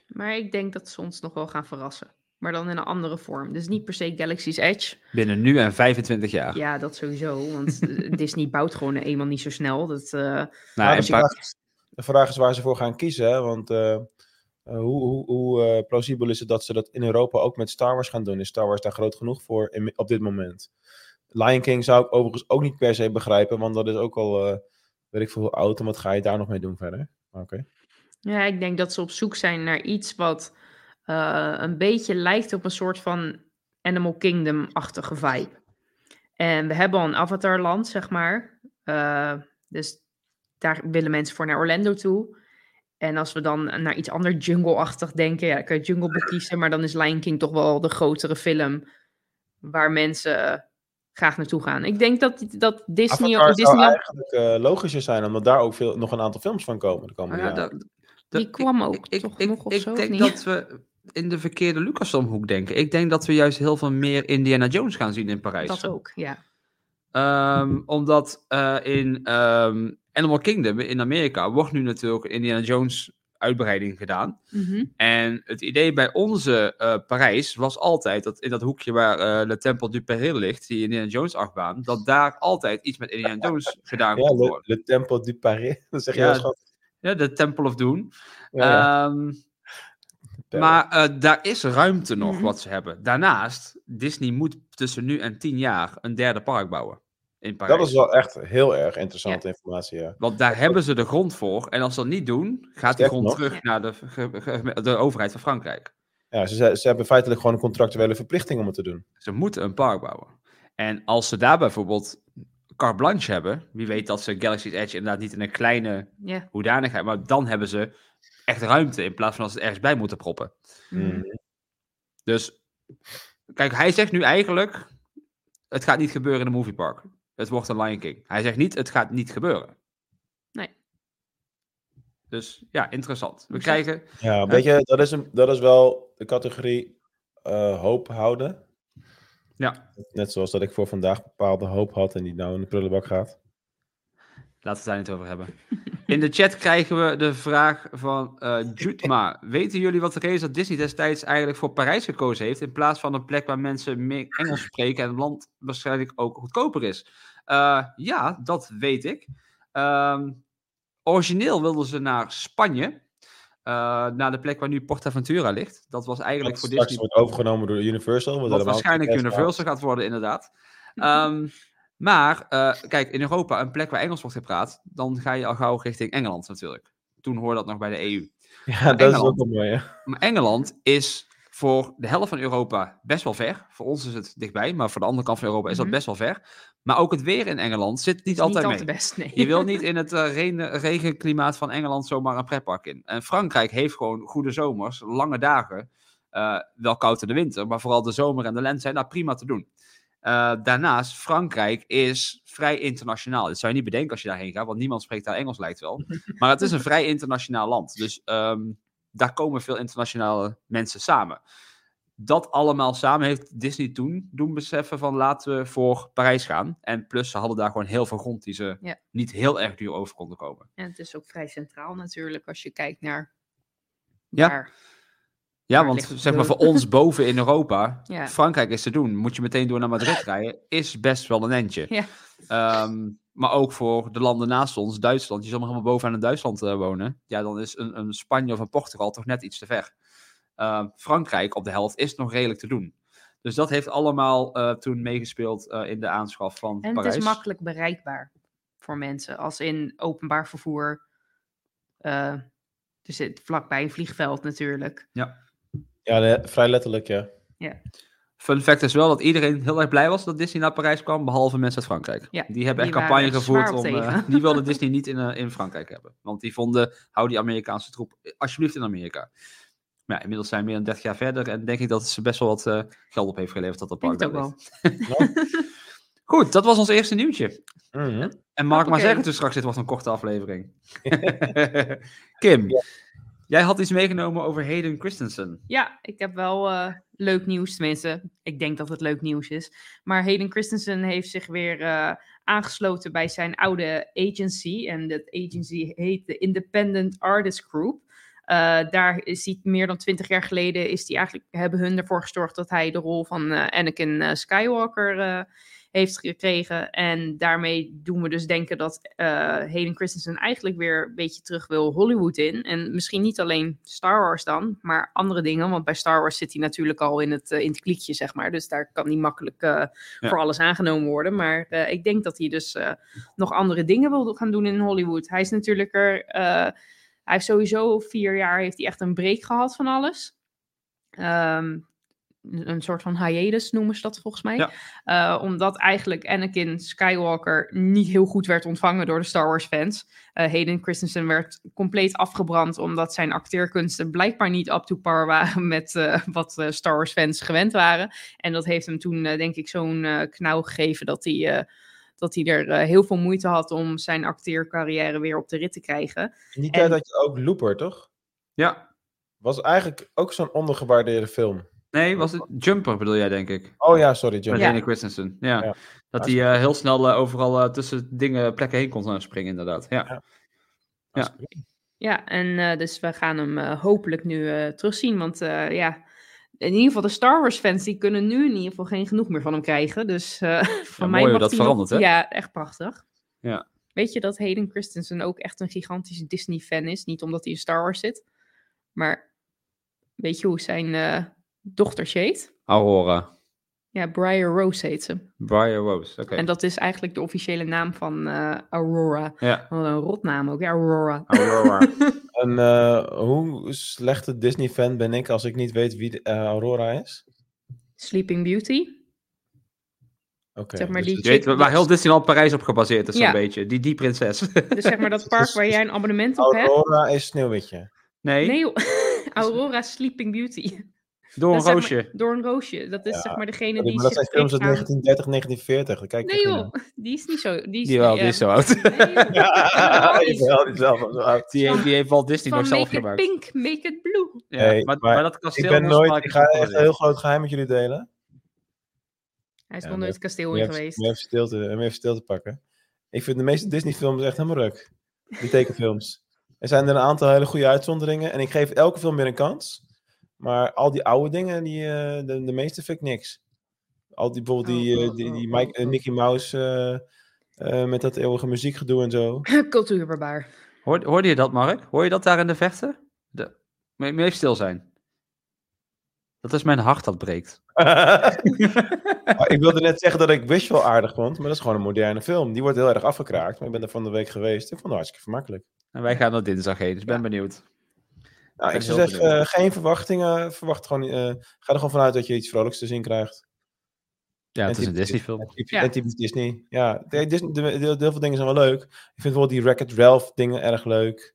[SPEAKER 3] Maar ik denk dat ze ons nog wel gaan verrassen. Maar dan in een andere vorm. Dus niet per se Galaxy's Edge.
[SPEAKER 2] binnen nu en 25 jaar.
[SPEAKER 3] Ja, dat sowieso. Want eh, Disney bouwt gewoon eenmaal niet zo snel. Dat, eh,
[SPEAKER 2] Nou,
[SPEAKER 1] Maar
[SPEAKER 2] en
[SPEAKER 1] de,
[SPEAKER 2] park-
[SPEAKER 1] vraag, de vraag is waar ze voor gaan kiezen. Hè? Want eh, eh, hoe, hoe, hoe eh, plausibel is het dat ze dat in Europa ook met Star Wars gaan doen? Is Star Wars daar groot genoeg voor in- op dit moment? Lion King zou ik overigens ook niet per se begrijpen, want dat is ook al, eh, weet ik veel, hoe oud. En wat ga je daar nog mee doen verder? Maar Oké.
[SPEAKER 3] ja, ik denk dat ze op zoek zijn naar iets wat eh, een beetje lijkt op een soort van Animal Kingdom-achtige vibe. En we hebben al een Avatarland, zeg maar. Eh, dus daar willen mensen voor naar Orlando toe. En als we dan naar iets ander jungle-achtig denken, ja, dan kun je Jungle Book kiezen, maar dan is Lion King toch wel de grotere film waar mensen eh, graag naartoe gaan. Ik denk dat, dat Disney
[SPEAKER 1] Avatar zou
[SPEAKER 3] of Disneyland
[SPEAKER 1] eigenlijk eh, logischer zijn, omdat daar ook veel, nog een aantal films van komen de komende
[SPEAKER 2] Nou ja,
[SPEAKER 1] jaren.
[SPEAKER 2] dat- dat-
[SPEAKER 3] Die
[SPEAKER 2] ik-
[SPEAKER 3] kwam ook
[SPEAKER 2] ik,
[SPEAKER 3] toch
[SPEAKER 2] ik,
[SPEAKER 3] nog of
[SPEAKER 2] ik
[SPEAKER 3] zo, of
[SPEAKER 2] denk
[SPEAKER 3] niet?
[SPEAKER 2] dat we in de verkeerde Lucasfilmhoek denken. Ik denk dat we juist heel veel meer Indiana Jones gaan zien in Parijs.
[SPEAKER 3] Dat ook, ja.
[SPEAKER 2] Ehm, omdat eh, in ehm, Animal Kingdom in Amerika wordt nu natuurlijk een Indiana Jones uitbreiding gedaan.
[SPEAKER 3] Mhm,
[SPEAKER 2] En het idee bij onze eh, Parijs was altijd dat in dat hoekje waar eh de Tempel du Péril ligt, die Indiana Jones achtbaan, dat daar altijd iets met Indiana Jones gedaan
[SPEAKER 1] Ja,
[SPEAKER 2] kon
[SPEAKER 1] Le,
[SPEAKER 2] worden.
[SPEAKER 1] Le Temple du Paris. Dat zeg je
[SPEAKER 2] Ja,
[SPEAKER 1] wel schat.
[SPEAKER 2] Ja, de Temple of Doom.
[SPEAKER 1] Ja, ja.
[SPEAKER 2] Ehm,
[SPEAKER 1] Ja.
[SPEAKER 2] Maar eh, daar is ruimte nog
[SPEAKER 3] Mhm.
[SPEAKER 2] wat ze hebben. Daarnaast, Disney moet tussen nu en tien jaar een derde park bouwen in Parijs.
[SPEAKER 1] dat is wel echt heel erg interessante informatie, ja.
[SPEAKER 2] Want daar hebben ze de grond voor. En als ze dat niet doen, gaat die
[SPEAKER 1] Sterker
[SPEAKER 2] grond
[SPEAKER 1] nog-
[SPEAKER 2] terug
[SPEAKER 3] Ja.
[SPEAKER 2] naar de, ge- ge- de overheid van Frankrijk.
[SPEAKER 1] ja ze, ze- ze hebben feitelijk gewoon een contractuele verplichting om het te doen.
[SPEAKER 2] Ze moeten een park bouwen. En als ze daar bijvoorbeeld carte blanche hebben, wie weet dat ze Galaxy's Edge inderdaad niet in een kleine
[SPEAKER 3] Ja.
[SPEAKER 2] hoedanigheid, maar dan hebben ze echt ruimte in plaats van als ze het ergens bij moeten proppen.
[SPEAKER 3] Mm.
[SPEAKER 2] Mm.
[SPEAKER 1] Mhm.
[SPEAKER 2] Dus, kijk, hij zegt nu eigenlijk: het gaat niet gebeuren in een moviepark. Het wordt een Lion King. Hij zegt niet: het gaat niet gebeuren.
[SPEAKER 3] Nee.
[SPEAKER 2] Dus ja, interessant. We
[SPEAKER 3] Exact.
[SPEAKER 2] krijgen.
[SPEAKER 1] Ja, weet je, dat is, een, dat is wel de categorie eh, hoop houden.
[SPEAKER 2] Ja,
[SPEAKER 1] Net zoals dat ik voor vandaag bepaalde hoop had en die nou in de prullenbak gaat.
[SPEAKER 2] laten we het daar niet over hebben. In de chat krijgen we de vraag van eh Jutma. Weten jullie wat de reden is dat Disney destijds eigenlijk voor Parijs gekozen heeft? In plaats van een plek waar mensen meer Engels spreken en het land waarschijnlijk ook goedkoper is. Eh, ja, dat weet ik. Ehm, origineel wilden ze naar Spanje. eh, naar de plek waar nu PortAventura ligt. Dat was eigenlijk
[SPEAKER 1] Dat
[SPEAKER 2] voor
[SPEAKER 1] straks
[SPEAKER 2] Disney
[SPEAKER 1] wordt overgenomen door Universal. Wat,
[SPEAKER 2] wat
[SPEAKER 1] helemaal
[SPEAKER 2] waarschijnlijk
[SPEAKER 1] niet best gaat.
[SPEAKER 2] Universal gaat worden, inderdaad. Ehm, maar, eh, kijk, in Europa, een plek waar Engels wordt gepraat, dan ga je al gauw richting Engeland natuurlijk. Toen hoorde dat nog bij de EU.
[SPEAKER 1] Ja, dat is
[SPEAKER 2] Engeland.
[SPEAKER 1] ook wel mooi, hè.
[SPEAKER 2] Maar Engeland is voor de helft van Europa best wel ver. Voor ons is het dichtbij, maar voor de andere kant van Europa is dat
[SPEAKER 3] Mhm.
[SPEAKER 2] best wel ver. Maar ook het weer in Engeland zit niet altijd
[SPEAKER 3] niet
[SPEAKER 2] mee.
[SPEAKER 3] al te best, nee.
[SPEAKER 2] Je wil niet in het eh, regen- regenklimaat van Engeland zomaar een pretpark in. En Frankrijk heeft gewoon goede zomers, lange dagen. Eh, wel koud in de winter, maar vooral de zomer en de lente zijn daar prima te doen. Eh, daarnaast, Frankrijk is vrij internationaal. Dat zou je niet bedenken als je daarheen gaat, want niemand spreekt daar Engels, lijkt wel. Maar het is een vrij internationaal land. Dus ehm, daar komen veel internationale mensen samen. Dat allemaal samen heeft Disney toen doen beseffen van laten we voor Parijs gaan. En plus, ze hadden daar gewoon heel veel grond die ze
[SPEAKER 3] Ja.
[SPEAKER 2] niet heel erg duur over konden komen.
[SPEAKER 3] En het is ook vrij centraal natuurlijk als je kijkt naar
[SPEAKER 2] Ja.
[SPEAKER 3] Maar
[SPEAKER 2] Ja,
[SPEAKER 3] Daar
[SPEAKER 2] want
[SPEAKER 3] ligt het
[SPEAKER 2] zeg maar voor
[SPEAKER 3] probleem.
[SPEAKER 2] ons boven in Europa,
[SPEAKER 3] Ja.
[SPEAKER 2] Frankrijk is te doen. Moet je meteen door naar Madrid rijden, is best wel een entje.
[SPEAKER 3] Ja.
[SPEAKER 2] Ehm, maar ook voor de landen naast ons, Duitsland. Je zal maar helemaal bovenaan in Duitsland eh, wonen. Ja, dan is een, een Spanje of een Portugal toch net iets te ver. Ehm, Frankrijk op de helft is nog redelijk te doen. Dus dat heeft allemaal eh, toen meegespeeld eh, in de aanschaf van
[SPEAKER 3] En
[SPEAKER 2] Parijs.
[SPEAKER 3] het is makkelijk bereikbaar voor mensen, als in openbaar vervoer. Eh, dus het, vlakbij een vliegveld natuurlijk.
[SPEAKER 1] Ja, le- vrij letterlijk, ja.
[SPEAKER 2] Fun fact is wel dat iedereen heel erg blij was dat Disney naar Parijs kwam, behalve mensen uit Frankrijk.
[SPEAKER 3] Ja,
[SPEAKER 2] die hebben
[SPEAKER 3] die
[SPEAKER 2] echt
[SPEAKER 3] waren
[SPEAKER 2] campagne
[SPEAKER 3] echt
[SPEAKER 2] gevoerd
[SPEAKER 3] zwaar
[SPEAKER 2] om.
[SPEAKER 3] op
[SPEAKER 2] eh,
[SPEAKER 3] tegen.
[SPEAKER 2] die wilden Disney niet in, eh, in Frankrijk hebben. Want die vonden, hou die Amerikaanse troep alsjeblieft in Amerika. Maar ja, inmiddels zijn we meer dan 30 jaar verder en denk ik dat ze best wel wat eh, geld op heeft geleverd dat dat
[SPEAKER 3] Ik Denk
[SPEAKER 2] park
[SPEAKER 3] het ook
[SPEAKER 2] dat
[SPEAKER 3] wel.
[SPEAKER 2] deed. Goed, dat was ons eerste nieuwtje.
[SPEAKER 3] Mm-hmm.
[SPEAKER 1] Mhm.
[SPEAKER 2] En Mark maar
[SPEAKER 3] Hoppakee.
[SPEAKER 2] zeggen dus straks, dit wordt een korte aflevering. Kim, jij had iets meegenomen over Hayden Christensen.
[SPEAKER 3] Ja, ik heb wel eh, leuk nieuws, tenminste. Ik denk dat het leuk nieuws is. Maar Hayden Christensen heeft zich weer eh, aangesloten bij zijn oude agency. En dat agency heet de Independent Artist Group. Eh, daar is hij meer dan twintig jaar geleden, is die eigenlijk, hebben hun ervoor gezorgd dat hij de rol van eh, Anakin eh, Skywalker eh, heeft gekregen. En daarmee doen we dus denken dat eh Hayden Christensen eigenlijk weer een beetje terug wil Hollywood in. En misschien niet alleen Star Wars dan, maar andere dingen. Want bij Star Wars zit hij natuurlijk al in het, eh, in het kliekje, zeg maar. Dus daar kan hij makkelijk eh, voor alles aangenomen worden. Maar eh, ik denk dat hij dus eh, nog andere dingen wil gaan doen in Hollywood. Hij is natuurlijk er... eh, hij heeft sowieso vier jaar heeft hij echt een break gehad van alles. Ehm, een een soort van hiatus noemen ze dat volgens mij.
[SPEAKER 2] Ja.
[SPEAKER 3] Eh, omdat eigenlijk Anakin Skywalker niet heel goed werd ontvangen door de Star Wars fans. Eh Hayden Christensen werd compleet afgebrand omdat zijn acteerkunsten blijkbaar niet up to par waren met eh, wat eh, Star Wars fans gewend waren. En dat heeft hem toen eh, denk ik zo'n eh, knauw gegeven dat hij, eh, dat hij er eh, heel veel moeite had om zijn acteercarrière weer op de rit te krijgen.
[SPEAKER 1] In die
[SPEAKER 3] En-
[SPEAKER 1] tijd had je ook Looper, toch?
[SPEAKER 2] Ja,
[SPEAKER 1] Was eigenlijk ook zo'n ondergewaardeerde film.
[SPEAKER 2] nee, was het Jumper bedoel jij denk ik?
[SPEAKER 1] Oh ja, sorry, John.
[SPEAKER 2] Met
[SPEAKER 3] Ja.
[SPEAKER 2] Hayden Christensen, ja.
[SPEAKER 1] Ja.
[SPEAKER 2] Dat hij eh, heel snel eh, overal eh, tussen dingen, plekken heen kon eh, springen, inderdaad. Ja.
[SPEAKER 3] Ja, en eh, dus we gaan hem eh, hopelijk nu eh, terugzien. Want eh, ja, in ieder geval de Star Wars fans die kunnen nu in ieder geval geen genoeg meer van hem krijgen. Dus eh van
[SPEAKER 2] mooi
[SPEAKER 3] mij
[SPEAKER 2] hoe
[SPEAKER 3] mag
[SPEAKER 2] dat
[SPEAKER 3] hij nog-
[SPEAKER 2] verandert, hè?
[SPEAKER 3] Ja, echt prachtig.
[SPEAKER 2] Ja.
[SPEAKER 3] Weet je dat Hayden Christensen ook echt een gigantische Disney-fan is? Niet omdat hij in Star Wars zit, maar weet je hoe zijn eh dochtertje heet?
[SPEAKER 2] Aurora.
[SPEAKER 3] Ja, Briar Rose heet ze.
[SPEAKER 2] Briar Rose. Oké.
[SPEAKER 3] En dat is eigenlijk de officiële naam van eh, Aurora.
[SPEAKER 2] Ja.
[SPEAKER 3] Wat een rotnaam ook, ja, Aurora.
[SPEAKER 2] Aurora.
[SPEAKER 1] En eh, hoe slechte Disney-fan ben ik als ik niet weet wie de- eh, Aurora is?
[SPEAKER 3] Sleeping Beauty.
[SPEAKER 1] Oké.
[SPEAKER 3] Zeg maar
[SPEAKER 1] dus
[SPEAKER 3] die-
[SPEAKER 1] het-
[SPEAKER 2] Je weet waar heel Disneyland Parijs op gebaseerd is, zo'n
[SPEAKER 3] Ja.
[SPEAKER 2] beetje. Die, die prinses.
[SPEAKER 3] Dus zeg maar dat park waar jij een abonnement op hebt.
[SPEAKER 1] Aurora is Sneeuwwitje.
[SPEAKER 2] nee,
[SPEAKER 3] Nee, joh. Aurora Sleeping Beauty.
[SPEAKER 2] door een
[SPEAKER 3] Dat is
[SPEAKER 2] roosje.
[SPEAKER 3] Zeg maar, door een roosje. Dat is zeg maar degene
[SPEAKER 1] Sorry,
[SPEAKER 3] die.
[SPEAKER 1] maar dat
[SPEAKER 3] zich
[SPEAKER 1] zijn films uit
[SPEAKER 3] trekt aan-
[SPEAKER 1] 1930, 1940. Daar kijk ik
[SPEAKER 3] Nee
[SPEAKER 1] echt niet
[SPEAKER 3] joh, die is niet zo. Die is,
[SPEAKER 2] Die, wel, die
[SPEAKER 3] eh,
[SPEAKER 2] is zo oud.
[SPEAKER 3] nee, joh.
[SPEAKER 1] naar.
[SPEAKER 3] Die is
[SPEAKER 1] Jawel, die is wel van zo oud.
[SPEAKER 2] Die heeft, die heeft Walt Disney
[SPEAKER 3] Van
[SPEAKER 2] nog zelf
[SPEAKER 3] make it
[SPEAKER 2] gemaakt.
[SPEAKER 3] pink, make it blue.
[SPEAKER 2] Ja,
[SPEAKER 1] Nee,
[SPEAKER 2] maar,
[SPEAKER 1] maar
[SPEAKER 2] maar dat kasteel
[SPEAKER 1] Ik ben
[SPEAKER 2] moest
[SPEAKER 1] nooit,
[SPEAKER 2] maken
[SPEAKER 1] ik ga echt
[SPEAKER 2] van
[SPEAKER 1] een heel
[SPEAKER 2] Parijs.
[SPEAKER 1] groot geheim met jullie delen.
[SPEAKER 3] Hij is
[SPEAKER 1] Ja,
[SPEAKER 3] nog nooit
[SPEAKER 1] maar-
[SPEAKER 3] het kasteel
[SPEAKER 1] Om
[SPEAKER 3] in
[SPEAKER 1] even,
[SPEAKER 3] geweest.
[SPEAKER 1] om even stil te, om even stil te pakken. Ik vind de meeste Disney-films echt helemaal ruk. Die tekenfilms. Er zijn er een aantal hele goede uitzonderingen. En ik geef elke film weer een kans. Maar al die oude dingen, die, eh, de, de meeste vind ik niks. Al die, bijvoorbeeld die,
[SPEAKER 3] Oh,
[SPEAKER 1] eh,
[SPEAKER 3] oh,
[SPEAKER 1] die, die
[SPEAKER 3] oh,
[SPEAKER 1] Mike- eh,
[SPEAKER 3] oh.
[SPEAKER 1] Mickey Mouse eh, eh, met dat eeuwige muziekgedoe en zo.
[SPEAKER 3] Cultuurbarbaar.
[SPEAKER 2] Hoor- Hoorde je dat, Mark? Hoor je dat daar in de vechten? De... Moet je- moet je even stil zijn. Dat is mijn hart dat breekt.
[SPEAKER 1] Maar ik wilde net zeggen dat ik Wish wel aardig vond, maar dat is gewoon een moderne film. Die wordt heel erg afgekraakt, maar ik ben er van de week geweest. Ik vond het hartstikke vermakkelijk.
[SPEAKER 2] En wij gaan er dinsdag heen, dus ik ben benieuwd.
[SPEAKER 1] Nou,
[SPEAKER 2] ben
[SPEAKER 1] ik zou
[SPEAKER 2] heel
[SPEAKER 1] zeggen, eh, geen verwachtingen. Verwacht gewoon, eh, ga er gewoon vanuit dat je iets vrolijks te zien krijgt.
[SPEAKER 2] Ja, het
[SPEAKER 1] En
[SPEAKER 2] is een
[SPEAKER 1] typisch-
[SPEAKER 2] Disney-film.
[SPEAKER 1] En typisch,
[SPEAKER 3] Ja.
[SPEAKER 1] en typisch Disney. Ja, de- Disney, de- de- heel veel dingen zijn wel leuk. Ik vind wel die Wreck-It Ralph dingen erg leuk.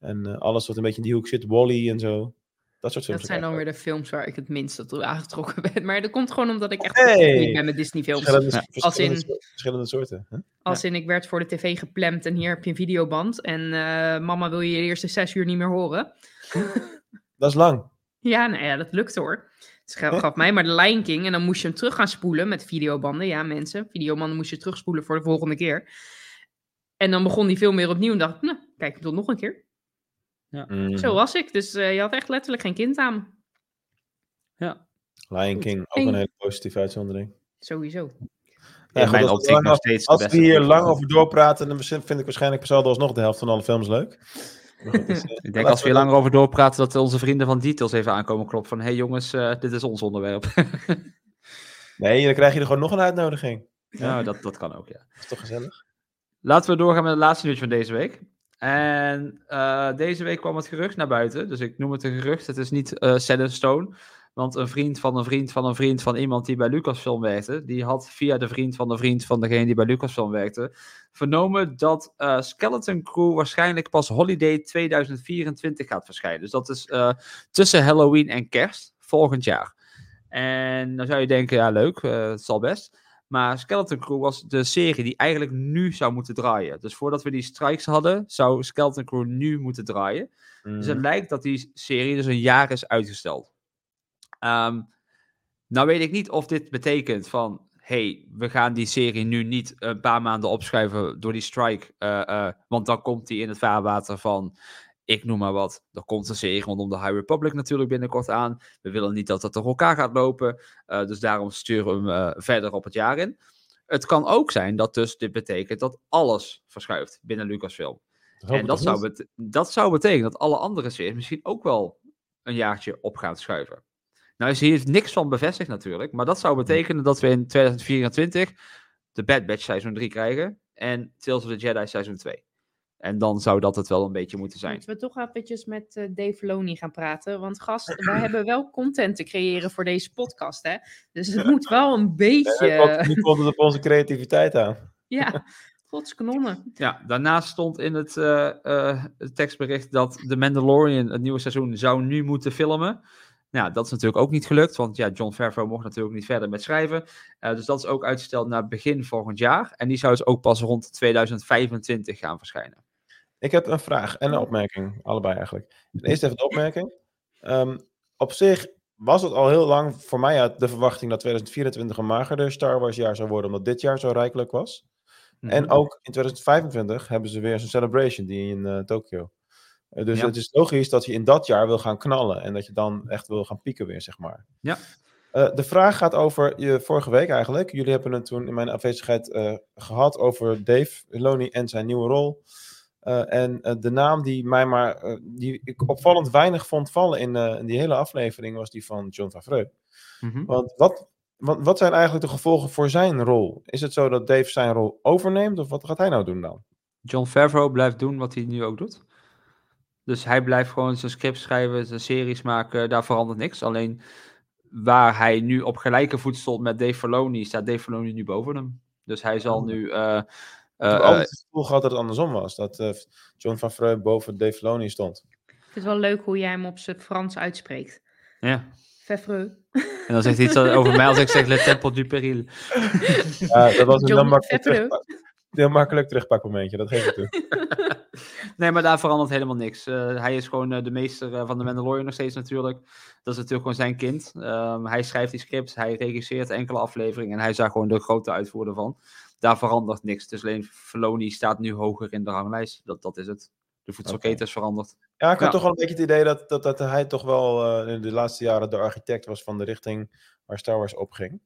[SPEAKER 1] En eh, alles wat een beetje in die hoek zit, Wally en zo. Dat soort films.
[SPEAKER 3] Dat zijn dan
[SPEAKER 1] ook
[SPEAKER 3] weer de films waar ik het minst toe aangetrokken ben. Maar dat komt gewoon omdat ik echt
[SPEAKER 1] Hey!
[SPEAKER 3] opgegroeid ben met
[SPEAKER 1] leuk.
[SPEAKER 3] Disney-films.
[SPEAKER 1] verschillende, verschillende,
[SPEAKER 3] Als in-
[SPEAKER 1] soorten- verschillende soorten. hè?
[SPEAKER 3] Als in ik werd voor de tv geplemd en hier heb je een videoband. En eh, mama wil je de eerste zes uur niet meer horen.
[SPEAKER 1] Dat is lang.
[SPEAKER 3] Ja, nou ja, dat lukt hoor. Het gaf gaf mij maar de Lion King en dan moest je hem terug gaan spoelen met videobanden. Ja, mensen, videobanden moest je terugspoelen voor de volgende keer. En dan begon die film weer opnieuw en dacht ik, nou, kijk ik dan nog een keer.
[SPEAKER 1] Mm,
[SPEAKER 3] Zo was ik. Dus eh, je had echt letterlijk geen kind aan me.
[SPEAKER 1] Lion King, ook een hele positieve uitzondering. Nou
[SPEAKER 3] Sowieso.
[SPEAKER 1] Ja, goed,
[SPEAKER 8] in mijn
[SPEAKER 1] als we
[SPEAKER 8] optiek
[SPEAKER 1] lang
[SPEAKER 8] nog
[SPEAKER 1] af-
[SPEAKER 8] steeds de
[SPEAKER 1] Als we
[SPEAKER 8] beste
[SPEAKER 1] hier
[SPEAKER 8] film.
[SPEAKER 1] lang over doorpraten, dan vind ik waarschijnlijk zelf alsnog de helft van alle films leuk. Maar goed, dus, eh,
[SPEAKER 2] Ik denk
[SPEAKER 1] laten
[SPEAKER 2] als we
[SPEAKER 1] we
[SPEAKER 2] hier langer over doorpraten, dat onze vrienden van Details even aankomen kloppen. Van, hé hey jongens, eh, dit is ons onderwerp.
[SPEAKER 1] Nee, dan krijg je er gewoon nog een uitnodiging.
[SPEAKER 2] nou, dat, dat kan ook, ja.
[SPEAKER 1] Dat is toch gezellig?
[SPEAKER 2] Laten we doorgaan met het laatste nieuwtje van deze week. En eh, deze week kwam het gerucht naar buiten. Dus ik noem het een gerucht. Het is niet eh set in stone. Want een vriend van een vriend van een vriend van iemand die bij Lucasfilm werkte, die had via de vriend van de vriend van degene die bij Lucasfilm werkte, vernomen dat eh, Skeleton Crew waarschijnlijk pas Holiday 2024 gaat verschijnen. Dus dat is eh, tussen Halloween en kerst volgend jaar. En dan zou je denken, ja leuk, eh, het zal best. Maar Skeleton Crew was de serie die eigenlijk nu zou moeten draaien. Dus voordat we die strikes hadden, zou Skeleton Crew nu moeten draaien.
[SPEAKER 1] Mhm.
[SPEAKER 2] Dus het lijkt dat die serie dus een jaar is uitgesteld. Ehm, nou weet ik niet of dit betekent van... hey, we gaan die serie nu niet een paar maanden opschuiven door die strike. eh, eh, want dan komt die in het vaarwater van... Ik noem maar wat. Er komt een serie rondom de High Republic natuurlijk binnenkort aan. We willen niet dat dat door elkaar gaat lopen. eh, dus daarom sturen we hem eh, verder op het jaar in. Het kan ook zijn dat dus dit betekent dat alles verschuift binnen Lucasfilm. En dat zou, bet- dat zou betekenen dat alle andere series misschien ook wel een jaartje op gaan schuiven. Nou is hier niks van bevestigd natuurlijk, maar dat zou betekenen dat we in 2024 de Bad Batch seizoen 3 krijgen en Tales of the Jedi seizoen 2. En dan zou dat het wel een beetje moeten zijn.
[SPEAKER 3] Moeten we toch eventjes met eh, Dave Loney gaan praten. Want gast, wij hebben wel content te creëren voor deze podcast, hè. Dus het moet wel een beetje...
[SPEAKER 1] Nu komt het op onze creativiteit aan.
[SPEAKER 3] ja, godskanonnen.
[SPEAKER 2] Ja, daarnaast stond in het eh, eh, het tekstbericht dat The Mandalorian het nieuwe seizoen zou nu moeten filmen. Nou, dat is natuurlijk ook niet gelukt, want ja, John Favreau mocht natuurlijk niet verder met schrijven. Eh, dus dat is ook uitgesteld naar begin volgend jaar. En die zou dus ook pas rond 2025 gaan verschijnen.
[SPEAKER 1] Ik heb een vraag en
[SPEAKER 2] Oh.
[SPEAKER 1] een opmerking, allebei eigenlijk.
[SPEAKER 2] Mhm.
[SPEAKER 1] Eerst even de opmerking. Ehm, op zich was het al heel lang voor mij uit de verwachting dat 2024 een magerder Star Wars jaar zou worden, omdat dit jaar zo rijkelijk was.
[SPEAKER 2] Mhm.
[SPEAKER 1] En ook in 2025 hebben ze weer zo'n celebration die in eh Tokio. Eh, dus
[SPEAKER 2] Ja.
[SPEAKER 1] het is logisch dat je in dat jaar wil gaan knallen en dat je dan echt wil gaan pieken weer, zeg maar.
[SPEAKER 2] Ja.
[SPEAKER 1] Eh, de vraag gaat over je vorige week eigenlijk. Jullie hebben het toen in mijn afwezigheid eh, gehad over Dave Loney en zijn nieuwe rol. Eh, en eh, de naam die mij maar eh, die ik opvallend weinig vond vallen in, eh, in die hele aflevering was die van John Favreau.
[SPEAKER 2] Mhm.
[SPEAKER 1] Want wat, wat, wat zijn eigenlijk de gevolgen voor zijn rol? Is het zo dat Dave zijn rol overneemt of wat gaat hij nou doen dan?
[SPEAKER 2] John Favreau blijft doen wat hij nu ook doet. Dus hij blijft gewoon zijn script schrijven, zijn series maken, daar verandert niks. Alleen waar hij nu op gelijke voet stond met Dave Filoni, staat Dave Filoni nu boven hem. Dus hij zal nu... eh, eh,
[SPEAKER 1] Ik heb
[SPEAKER 2] eh,
[SPEAKER 1] altijd het gevoel gehad dat het andersom was. Dat eh, John Favreau boven Dave Filoni stond.
[SPEAKER 3] Ik vind het wel leuk hoe jij hem op zijn Frans uitspreekt.
[SPEAKER 2] ja.
[SPEAKER 3] Fevreux.
[SPEAKER 2] En dan zegt hij iets over mij als ik zeg Le Temple du Peril.
[SPEAKER 1] Ja, dat was een heel
[SPEAKER 3] John
[SPEAKER 1] makkelijk,
[SPEAKER 3] Favreau.
[SPEAKER 1] terugpak, heel makkelijk terugpakmomentje, dat geef ik toe.
[SPEAKER 2] Nee, maar daar verandert helemaal niks. Eh, hij is gewoon eh, de meester eh, van de Mandalorian nog steeds natuurlijk. Dat is natuurlijk gewoon zijn kind. Ehm, hij schrijft die scripts, hij regisseert enkele afleveringen en hij is daar gewoon de grote uitvoerder van. Daar verandert niks. Dus alleen Filoni staat nu hoger in de ranglijst. Dat, dat is het. De voedselketen
[SPEAKER 1] Oké.
[SPEAKER 2] is veranderd.
[SPEAKER 1] Ja, ik had
[SPEAKER 2] Ja.
[SPEAKER 1] toch wel een beetje het idee dat, dat, dat hij toch wel eh, in de laatste jaren de architect was van de richting waar Star Wars opging.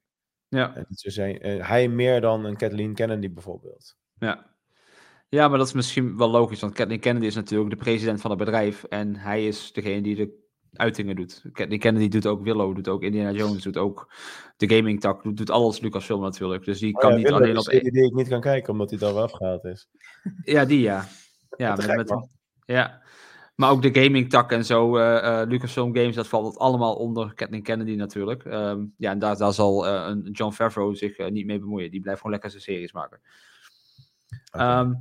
[SPEAKER 2] Ja.
[SPEAKER 1] En niet zozeer- eh, hij meer dan een Kathleen Kennedy bijvoorbeeld.
[SPEAKER 2] Ja. ja, maar dat is misschien wel logisch. Want Kathleen Kennedy is natuurlijk de president van het bedrijf. En hij is degene die de uitingen doet. Kathleen Kennedy doet ook Willow, doet ook Indiana Jones, doet ook de gaming tak, doet, doet alles Lucasfilm natuurlijk. Dus die
[SPEAKER 1] Maar
[SPEAKER 2] kan
[SPEAKER 1] Oh ja,
[SPEAKER 2] niet
[SPEAKER 1] Willow
[SPEAKER 2] alleen
[SPEAKER 1] is
[SPEAKER 2] op
[SPEAKER 1] een
[SPEAKER 2] één.
[SPEAKER 1] serie die ik niet kan kijken omdat hij dan wel afgehaald is.
[SPEAKER 2] Ja, die ja. Ja,
[SPEAKER 1] Wat te
[SPEAKER 2] met,
[SPEAKER 1] gek,
[SPEAKER 2] met-
[SPEAKER 1] man.
[SPEAKER 2] ja. Maar ook de gaming tak en zo, eh, eh, Lucasfilm Games, dat valt allemaal onder Kathleen Kennedy natuurlijk. Ehm, ja, en daar, daar zal eh, een John Favreau zich eh, niet mee bemoeien. Die blijft gewoon lekker zijn series maken.
[SPEAKER 1] Oké.
[SPEAKER 2] Ehm,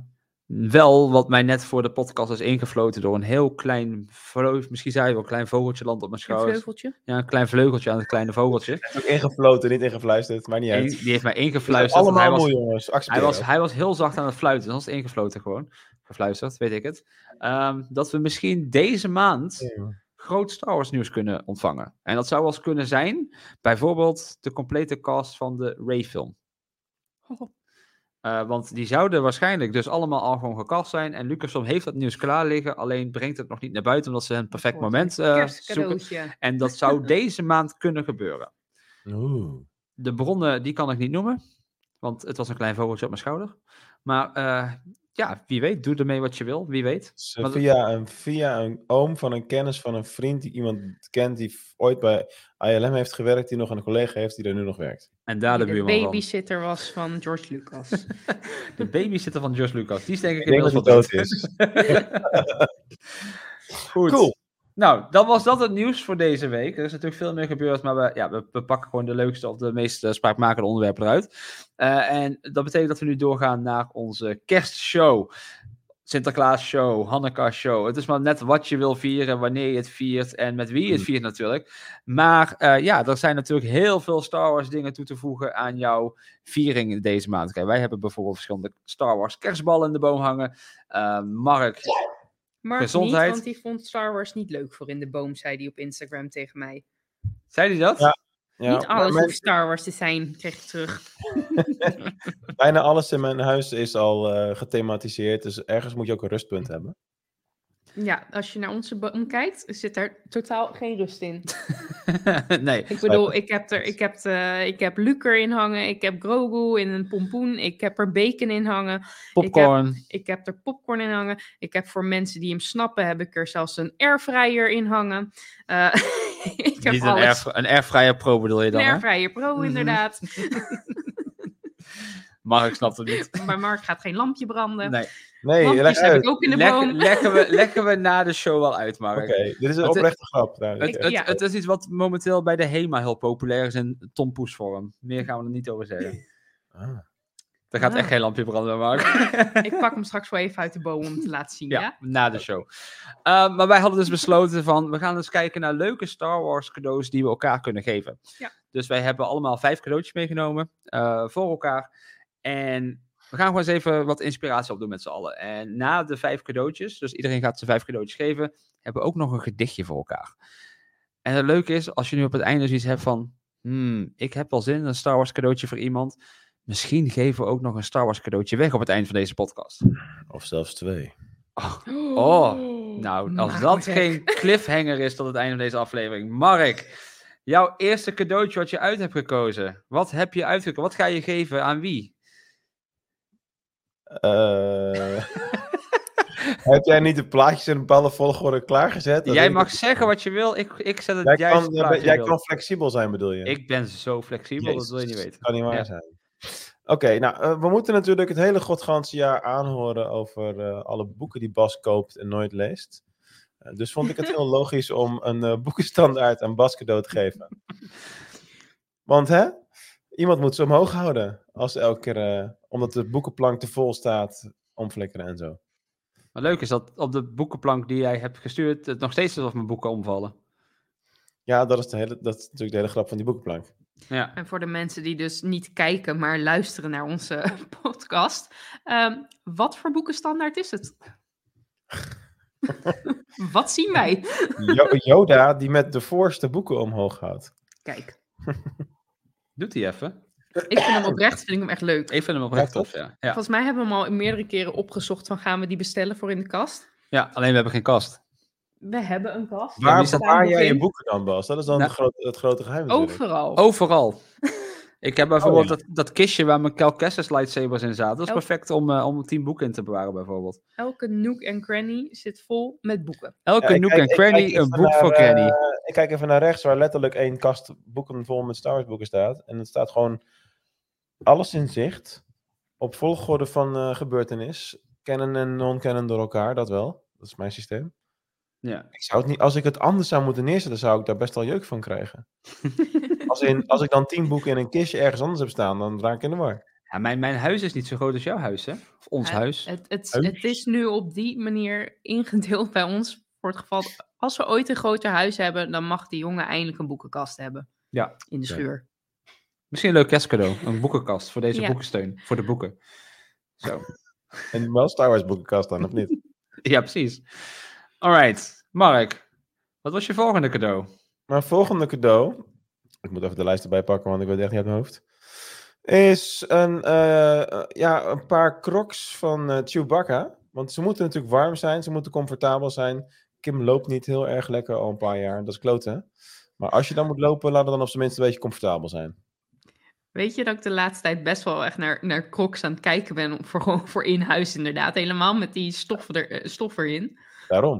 [SPEAKER 2] wel, wat mij net voor de podcast is ingefloten door een heel klein, vleug- misschien zei je wel, een klein vogeltje land op mijn
[SPEAKER 3] Een
[SPEAKER 2] schouders.
[SPEAKER 3] vleugeltje.
[SPEAKER 2] Ja, een klein vleugeltje aan het kleine vogeltje.
[SPEAKER 1] Ook ingefloten, niet ingefluisterd, maar niet
[SPEAKER 2] En
[SPEAKER 1] uit.
[SPEAKER 2] die heeft mij
[SPEAKER 1] Het is
[SPEAKER 2] ingefluisterd. want
[SPEAKER 1] allemaal
[SPEAKER 2] hij was,
[SPEAKER 1] moe, jongens.
[SPEAKER 2] hij,
[SPEAKER 1] Accepteer
[SPEAKER 2] was,
[SPEAKER 1] het.
[SPEAKER 2] hij was heel zacht aan het fluiten, dus dat is ingefloten gewoon. Gefluisterd, weet ik het. Ehm, dat we misschien deze maand groot Star Wars nieuws kunnen ontvangen. En dat zou wel eens kunnen zijn, bijvoorbeeld de complete cast van de Ray-film. Eh, want die zouden waarschijnlijk dus allemaal al gewoon gekast zijn. En Lucasfilm heeft dat nieuws klaar liggen. Alleen brengt het nog niet naar buiten omdat ze een perfect
[SPEAKER 3] wordt
[SPEAKER 2] moment eh, zoeken.
[SPEAKER 3] Kerstcadeautje.
[SPEAKER 2] En dat zou deze maand kunnen gebeuren.
[SPEAKER 1] Oeh.
[SPEAKER 2] De bronnen, die kan ik niet noemen. Want het was een klein vogeltje op mijn schouder. Maar eh, ja, wie weet. Doe ermee wat je wil. Wie weet.
[SPEAKER 1] Ze
[SPEAKER 2] Maar dat-
[SPEAKER 1] Dus, eh, via, een, via een oom van een kennis van een vriend die iemand kent die f- ooit bij ILM heeft gewerkt, die nog een collega heeft die er nu nog werkt.
[SPEAKER 2] En daar de
[SPEAKER 3] Die de
[SPEAKER 2] buurman van.
[SPEAKER 3] babysitter was van George Lucas.
[SPEAKER 2] De babysitter van George Lucas. Die is denk ik
[SPEAKER 1] Ik denk dat
[SPEAKER 2] inmiddels
[SPEAKER 1] hij
[SPEAKER 2] wel dood.
[SPEAKER 1] dood is.
[SPEAKER 2] Goed.
[SPEAKER 1] Cool.
[SPEAKER 2] Nou, dan was dat het nieuws voor deze week. Er is natuurlijk veel meer gebeurd, maar we, ja, we, we pakken gewoon de leukste of de meest eh, spraakmakende onderwerpen eruit. Eh, en dat betekent dat we nu doorgaan naar onze kerstshow. Sinterklaas-show, Hanukkah-show. Het is maar net wat je wil vieren, wanneer je het viert en met wie je
[SPEAKER 3] Mm.
[SPEAKER 2] het viert natuurlijk. Maar eh, ja, er zijn natuurlijk heel veel Star Wars dingen toe te voegen aan jouw viering deze maand. Kijk, wij hebben bijvoorbeeld verschillende Star Wars kerstballen in de boom hangen. Eh, Mark
[SPEAKER 3] Maar
[SPEAKER 2] Gezondheid.
[SPEAKER 3] niet, want die vond Star Wars niet leuk voor in de boom, zei hij op Instagram tegen mij.
[SPEAKER 2] Zei hij dat?
[SPEAKER 1] Ja. Ja,
[SPEAKER 3] niet alles
[SPEAKER 1] maar
[SPEAKER 3] hoeft Star Wars te zijn, kreeg ik terug.
[SPEAKER 1] bijna alles in mijn huis is al eh, gethematiseerd, dus ergens moet je ook een rustpunt hebben.
[SPEAKER 3] Ja, als je naar onze boom kijkt, zit daar totaal geen rust in.
[SPEAKER 2] nee.
[SPEAKER 3] Ik bedoel, ik heb, er, ik, heb eh ik heb Luke erin hangen, ik heb Grogu in een pompoen, ik heb er bacon in hangen,
[SPEAKER 2] Popcorn.
[SPEAKER 3] ik heb er popcorn in hangen, ik heb voor mensen die hem snappen, heb ik er zelfs een airfryer in hangen. Eh, ik heb
[SPEAKER 2] Niet een,
[SPEAKER 3] alles.
[SPEAKER 2] airf een airfryer pro bedoel je
[SPEAKER 3] Een
[SPEAKER 2] dan, hè?
[SPEAKER 3] airfryer pro
[SPEAKER 2] Mhm.
[SPEAKER 3] inderdaad,
[SPEAKER 2] Maar ik snap het niet.
[SPEAKER 3] maar Mark gaat geen lampje branden.
[SPEAKER 2] Nee.
[SPEAKER 1] Nee, leg
[SPEAKER 3] Lampjes heb
[SPEAKER 1] uit.
[SPEAKER 3] ik ook in de
[SPEAKER 2] Leggen,
[SPEAKER 3] boom.
[SPEAKER 2] leggen, we, leggen we na de show wel uit, Mark.
[SPEAKER 1] Oké, dit is een
[SPEAKER 2] Want, eh,
[SPEAKER 1] oprechte grap. trouwens.
[SPEAKER 2] Het,
[SPEAKER 1] Ja.
[SPEAKER 2] het,
[SPEAKER 3] Ja.
[SPEAKER 2] het is iets wat momenteel bij de HEMA heel populair is in Tom Poes vorm. Meer gaan we er niet over zeggen.
[SPEAKER 1] Ah.
[SPEAKER 2] Er gaat echt
[SPEAKER 3] Ah.
[SPEAKER 2] geen lampje branden, Mark.
[SPEAKER 3] Ik pak hem straks wel even uit de boom om te laten zien.
[SPEAKER 2] Ja,
[SPEAKER 3] Ja.
[SPEAKER 2] na de show. Eh, maar wij hadden dus besloten van, we gaan eens kijken naar leuke Star Wars cadeaus die we elkaar kunnen geven.
[SPEAKER 3] Ja.
[SPEAKER 2] Dus wij hebben allemaal vijf cadeautjes meegenomen eh, voor elkaar. En we gaan gewoon eens even wat inspiratie opdoen met z'n allen. En na de vijf cadeautjes, dus iedereen gaat zijn vijf cadeautjes geven, hebben we ook nog een gedichtje voor elkaar. En het leuke is, als je nu op het einde zoiets hebt van, hmm, ik heb wel zin in een Star Wars cadeautje voor iemand. Misschien geven we ook nog een Star Wars cadeautje weg op het eind van deze podcast.
[SPEAKER 1] Of zelfs twee.
[SPEAKER 2] Oh, Oh,
[SPEAKER 3] Mm,
[SPEAKER 2] nou, als dat geen cliffhanger is tot het einde van deze aflevering. Mark, jouw eerste cadeautje wat je uit hebt gekozen. Wat heb je uitgekozen? Wat ga je geven aan wie?
[SPEAKER 1] Eh, heb jij niet de plaatjes in een bepaalde volgorde klaargezet? Dat
[SPEAKER 2] jij
[SPEAKER 1] weet ik
[SPEAKER 2] mag
[SPEAKER 1] niet.
[SPEAKER 2] zeggen wat je wil. Ik, ik zet het
[SPEAKER 1] Jij,
[SPEAKER 2] juist
[SPEAKER 1] kan, eh,
[SPEAKER 2] klaar wat
[SPEAKER 1] jij,
[SPEAKER 2] je
[SPEAKER 1] jij
[SPEAKER 2] wil.
[SPEAKER 1] kan flexibel zijn, bedoel je?
[SPEAKER 2] Ik ben zo flexibel, dat wil je niet
[SPEAKER 1] Jezus,
[SPEAKER 2] weten.
[SPEAKER 1] kan niet waar
[SPEAKER 2] Ja.
[SPEAKER 1] zijn. Oké, nou, eh, we moeten natuurlijk het hele godganse jaar aanhoren over eh, alle boeken die Bas koopt en nooit leest. Eh, dus vond ik het heel logisch om een eh, boekenstandaard aan Bas cadeau te geven. Want hè, iemand moet ze omhoog houden als ze elke keer, eh, omdat de boekenplank te vol staat, omflikkeren en zo.
[SPEAKER 2] Maar leuk is dat op de boekenplank die jij hebt gestuurd, het nog steeds is of mijn boeken omvallen.
[SPEAKER 1] Ja, dat is, de hele, dat is natuurlijk de hele grap van die boekenplank.
[SPEAKER 2] Ja.
[SPEAKER 3] En voor de mensen die dus niet kijken, maar luisteren naar onze podcast. ehm, wat voor boekenstandaard is het? wat zien wij?
[SPEAKER 1] Jo- Yoda die met de voorste boeken omhoog houdt.
[SPEAKER 3] Kijk,
[SPEAKER 2] Doet hij even.
[SPEAKER 3] ik vind hem oprecht, vind ik hem echt leuk.
[SPEAKER 2] Ik vind hem
[SPEAKER 1] Ja,
[SPEAKER 2] oprecht tof, ja. Ja.
[SPEAKER 3] Volgens mij hebben we hem al meerdere keren opgezocht van gaan we die bestellen voor in de kast.
[SPEAKER 2] ja, alleen we hebben geen kast.
[SPEAKER 3] We hebben een kast.
[SPEAKER 2] Ja,
[SPEAKER 1] Waar
[SPEAKER 2] die staat
[SPEAKER 1] bewaar jij je
[SPEAKER 3] boeken?
[SPEAKER 1] boeken dan, Bas? Dat is dan
[SPEAKER 2] Nou,
[SPEAKER 1] het, grote, het grote geheim natuurlijk.
[SPEAKER 3] Overal.
[SPEAKER 2] Overal. Ik heb bijvoorbeeld
[SPEAKER 1] ja.
[SPEAKER 2] dat, dat kistje waar mijn Cal Kestis lightsabers in zaten. Dat is
[SPEAKER 3] Oh.
[SPEAKER 2] perfect om, eh, om tien boeken in te bewaren, bijvoorbeeld.
[SPEAKER 3] Elke nook en cranny zit vol met boeken.
[SPEAKER 2] Elke
[SPEAKER 1] Ja, ik
[SPEAKER 2] Nook
[SPEAKER 1] kijk-
[SPEAKER 2] en
[SPEAKER 1] ik
[SPEAKER 2] Cranny,
[SPEAKER 1] kijk
[SPEAKER 2] een
[SPEAKER 1] even
[SPEAKER 2] boek
[SPEAKER 1] naar,
[SPEAKER 2] voor
[SPEAKER 1] eh,
[SPEAKER 2] Cranny.
[SPEAKER 1] Ik kijk even naar rechts, waar letterlijk één kast boeken vol met Star Wars boeken staat. En het staat gewoon alles in zicht. Op volgorde van eh, gebeurtenis. Kennen en non-kennen door elkaar, dat wel. Dat is mijn systeem.
[SPEAKER 2] Ja.
[SPEAKER 1] Ik zou het niet, als ik het anders zou moeten neerzetten, zou ik daar best wel jeuk van krijgen. als, in, als ik dan tien boeken in een kistje ergens anders heb staan, dan raak ik in de war.
[SPEAKER 2] Ja, mijn, mijn huis is niet zo groot als jouw huis, hè? Of ons
[SPEAKER 3] Eh,
[SPEAKER 2] huis.
[SPEAKER 3] Het, het,
[SPEAKER 1] Huis.
[SPEAKER 3] het is nu op die manier ingedeeld bij ons. Voor het geval, als we ooit een groter huis hebben, dan mag die jongen eindelijk een boekenkast hebben.
[SPEAKER 2] Ja.
[SPEAKER 3] In de
[SPEAKER 1] Ja.
[SPEAKER 3] schuur.
[SPEAKER 2] Misschien een leuk kerstcadeau. Een boekenkast voor deze
[SPEAKER 3] Ja.
[SPEAKER 2] boekensteun. Voor de boeken. Zo.
[SPEAKER 1] En wel Star Wars boekenkast dan, of niet?
[SPEAKER 2] ja, precies. Alright. Mark, wat was je volgende cadeau?
[SPEAKER 1] Mijn volgende cadeau. Ik moet even de lijst erbij pakken, want ik weet het echt niet uit mijn hoofd. Is een, eh, eh, ja, een paar crocs van eh, Chewbacca. Want ze moeten natuurlijk warm zijn, ze moeten comfortabel zijn. Kim loopt niet heel erg lekker al een paar jaar, dat is kloten. Maar als je dan moet lopen, laat het dan op zijn minst een beetje comfortabel zijn.
[SPEAKER 3] Weet je dat ik de laatste tijd best wel echt naar, naar crocs aan het kijken ben om voor, gewoon voor in huis inderdaad. Helemaal met die stof, er, eh, stof erin.
[SPEAKER 1] Daarom.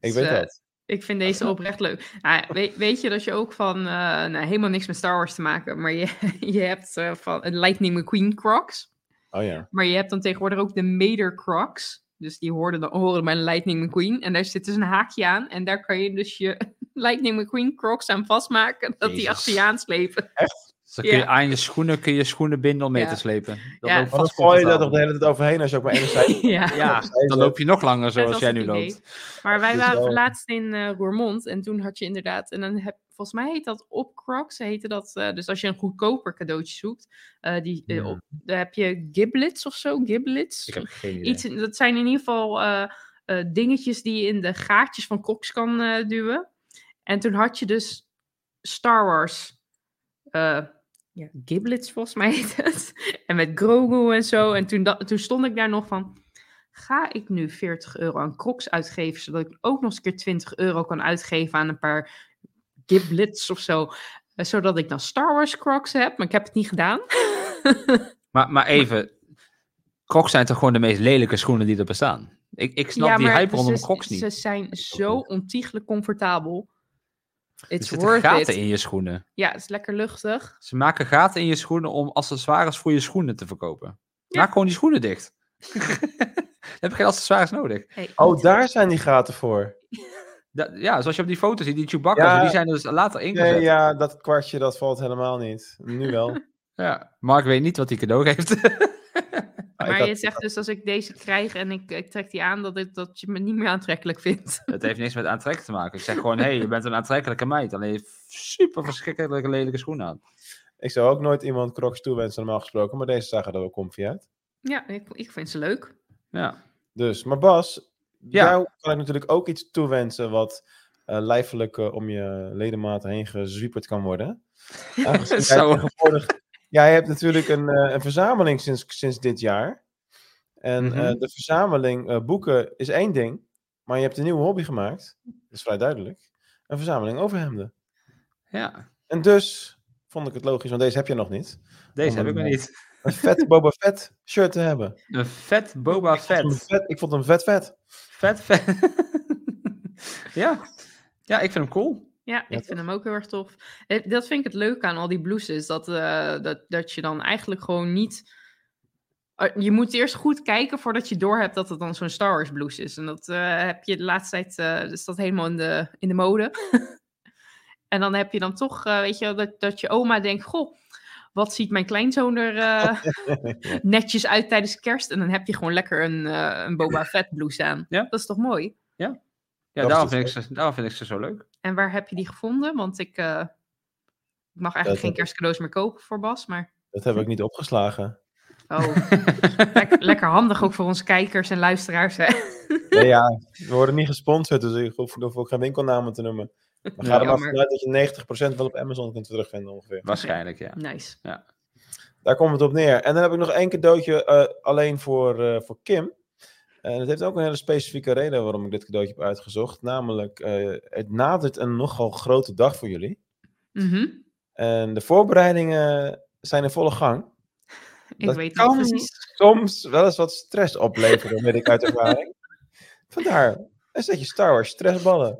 [SPEAKER 1] Ik
[SPEAKER 3] Dus,
[SPEAKER 1] weet
[SPEAKER 3] eh,
[SPEAKER 1] dat.
[SPEAKER 3] Ik vind deze oprecht leuk. Nou ja, weet, weet je dat je ook van, eh, nou, helemaal niks met Star Wars te maken, maar je, je hebt eh, van een Lightning McQueen crocs.
[SPEAKER 1] Oh ja.
[SPEAKER 3] Maar je hebt dan tegenwoordig ook de Mater crocs. Dus die hoorden, dan, horen bij Lightning McQueen. En daar zit dus een haakje aan. En daar kan je dus je Lightning McQueen crocs aan vastmaken. Dat die
[SPEAKER 2] Jezus.
[SPEAKER 3] achter je aanslepen.
[SPEAKER 2] Dus dan kun je
[SPEAKER 3] Ja.
[SPEAKER 2] aan je schoenen, kun je schoenen binden om mee
[SPEAKER 3] Ja.
[SPEAKER 2] te slepen. Dan
[SPEAKER 3] Ja.
[SPEAKER 1] Want
[SPEAKER 2] loopt
[SPEAKER 1] dan
[SPEAKER 2] vast
[SPEAKER 1] gooi je daar toch
[SPEAKER 2] comfortabel.
[SPEAKER 1] de hele tijd overheen als je ook maar één zijde...
[SPEAKER 3] ja.
[SPEAKER 2] Ja, dan loop je nog langer
[SPEAKER 3] Dat
[SPEAKER 2] zoals
[SPEAKER 3] was
[SPEAKER 2] jij
[SPEAKER 3] het
[SPEAKER 2] nu
[SPEAKER 3] idee.
[SPEAKER 2] loopt.
[SPEAKER 3] Maar wij
[SPEAKER 1] Dus
[SPEAKER 3] waren
[SPEAKER 1] wel-
[SPEAKER 3] laatst in eh Roermond en toen had je inderdaad, en dan heb, volgens mij heet dat op Crocs, heette dat, eh, dus als je een goedkoper cadeautje zoekt, eh, die, eh,
[SPEAKER 1] Ja.
[SPEAKER 3] op, daar heb je giblets of zo, giblets.
[SPEAKER 2] Ik heb geen idee.
[SPEAKER 3] Iets, in- dat zijn in ieder geval eh, eh, dingetjes die je in de gaatjes van Crocs kan eh, duwen. En toen had je dus Star Wars eh, ja, giblets volgens mij heet het. En met Grogu en zo. En toen, da- toen stond ik daar nog van... Ga ik nu 40 euro aan crocs uitgeven... zodat ik ook nog eens een keer 20 euro kan uitgeven aan een paar giblets of zo... eh, zodat ik dan Star Wars crocs heb. Maar ik heb het niet gedaan.
[SPEAKER 2] Maar, maar even, crocs zijn toch gewoon de meest lelijke schoenen die er bestaan? Ik, ik snap die hype rondom
[SPEAKER 3] ze,
[SPEAKER 2] crocs
[SPEAKER 3] Ze
[SPEAKER 2] niet.
[SPEAKER 3] zijn zo ontiegelijk comfortabel.
[SPEAKER 2] Er
[SPEAKER 3] It's
[SPEAKER 2] zitten
[SPEAKER 3] worth
[SPEAKER 2] gaten
[SPEAKER 3] it.
[SPEAKER 2] in je schoenen.
[SPEAKER 3] Ja, het is lekker luchtig.
[SPEAKER 2] Ze maken gaten in je schoenen om accessoires voor je schoenen te verkopen.
[SPEAKER 3] Ja.
[SPEAKER 2] Maak gewoon die schoenen dicht. Dan heb je geen accessoires nodig.
[SPEAKER 3] Hey,
[SPEAKER 1] Oh, daar zijn die gaten voor.
[SPEAKER 2] Da- ja, zoals je op die foto ziet, die Chewbacca's,
[SPEAKER 1] Ja.
[SPEAKER 2] die zijn er dus later ingezet.
[SPEAKER 1] Nee, ja, dat kwartje, dat valt helemaal niet. Nu wel.
[SPEAKER 2] Ja, Mark weet niet wat hij cadeau geeft.
[SPEAKER 1] Ah, ik
[SPEAKER 3] Maar
[SPEAKER 1] had-
[SPEAKER 3] je zegt dus als ik deze krijg en ik, ik trek die aan, dat, ik, dat je me niet meer aantrekkelijk vindt.
[SPEAKER 2] Het heeft niks met aantrekkelijk te maken. Ik zeg gewoon, hé, hey, je bent een aantrekkelijke meid. Alleen je hebt super verschrikkelijke lelijke schoenen aan.
[SPEAKER 1] Ik zou ook nooit iemand crocs toewensen, normaal gesproken. Maar deze zagen er wel comfy uit.
[SPEAKER 3] Ja, ik, ik vind ze leuk.
[SPEAKER 2] Ja.
[SPEAKER 1] Dus, maar Bas,
[SPEAKER 2] Ja.
[SPEAKER 1] jou kan ik natuurlijk ook iets toewensen wat eh, lijfelijk eh, om je ledematen heen gezwieperd kan worden. Aangezien jij
[SPEAKER 2] Zo.
[SPEAKER 1] tegenwoordig- Jij hebt natuurlijk een, eh, een verzameling sinds, sinds dit jaar. En eh,
[SPEAKER 2] Mhm.
[SPEAKER 1] de verzameling eh, boeken is één ding, maar je hebt een nieuwe hobby gemaakt. Dat is vrij duidelijk. Een verzameling overhemden.
[SPEAKER 2] ja.
[SPEAKER 1] En dus vond ik het logisch, want deze heb je nog niet.
[SPEAKER 2] Deze
[SPEAKER 1] Oh,
[SPEAKER 2] heb ik nog
[SPEAKER 1] man.
[SPEAKER 2] niet.
[SPEAKER 1] Een vet Boba Fett shirt te hebben.
[SPEAKER 2] Een vet boba
[SPEAKER 1] Een
[SPEAKER 2] vet.
[SPEAKER 1] vet- ik vond hem vet vet.
[SPEAKER 2] Vet vet. ja. Ja, ik vind hem cool.
[SPEAKER 3] Ja, ik vind hem ook heel erg tof. Eh, Dat vind ik het leuk aan al die blouses. Dat, eh, dat, dat je dan eigenlijk gewoon niet... Eh, Je moet eerst goed kijken voordat je doorhebt dat het dan zo'n Star Wars blouse is. En dat eh, heb je de laatste tijd... eh is dat helemaal in de, in de mode. en dan heb je dan toch, eh, weet je wel, dat, dat je oma denkt... Goh, wat ziet mijn kleinzoon er eh, netjes uit tijdens kerst? En dan heb je gewoon lekker een, eh, een Boba Fett blouse aan.
[SPEAKER 2] Ja.
[SPEAKER 3] Dat is toch mooi?
[SPEAKER 2] Ja,
[SPEAKER 1] Dat
[SPEAKER 2] daarom
[SPEAKER 1] is
[SPEAKER 2] vind, ik ze, daarom vind ik ze zo leuk.
[SPEAKER 3] En waar heb je die gevonden? Want ik, eh, ik mag
[SPEAKER 1] Dat
[SPEAKER 3] eigenlijk geen
[SPEAKER 1] heb ik.
[SPEAKER 3] kerstcadeaus meer kopen voor Bas, maar
[SPEAKER 1] Dat heb ik niet opgeslagen.
[SPEAKER 3] oh, lek- lekker handig ook voor onze kijkers en luisteraars. Hè?
[SPEAKER 1] Nee, ja, we worden niet gesponsord, dus ik hoef, hoef ook geen winkelnamen te noemen. Maar ga
[SPEAKER 2] Ja,
[SPEAKER 1] er maar
[SPEAKER 3] maar-
[SPEAKER 1] vanuit dat je 90% wel op Amazon kunt terugvinden ongeveer.
[SPEAKER 2] Waarschijnlijk, ja.
[SPEAKER 3] Nice.
[SPEAKER 1] Daar komt het op neer. En dan heb ik nog één cadeautje eh, alleen voor, eh, voor Kim. Eh, En het heeft ook een hele specifieke reden waarom ik dit cadeautje heb uitgezocht. Namelijk, eh, het nadert een nogal grote dag voor jullie.
[SPEAKER 3] Mhm.
[SPEAKER 1] En de voorbereidingen zijn in volle gang.
[SPEAKER 3] Ik
[SPEAKER 1] Dat
[SPEAKER 3] weet
[SPEAKER 1] kan
[SPEAKER 3] het precies.
[SPEAKER 1] soms wel eens wat stress opleveren, weet ik uit ervaring. Vandaar een setje Star Wars stressballen.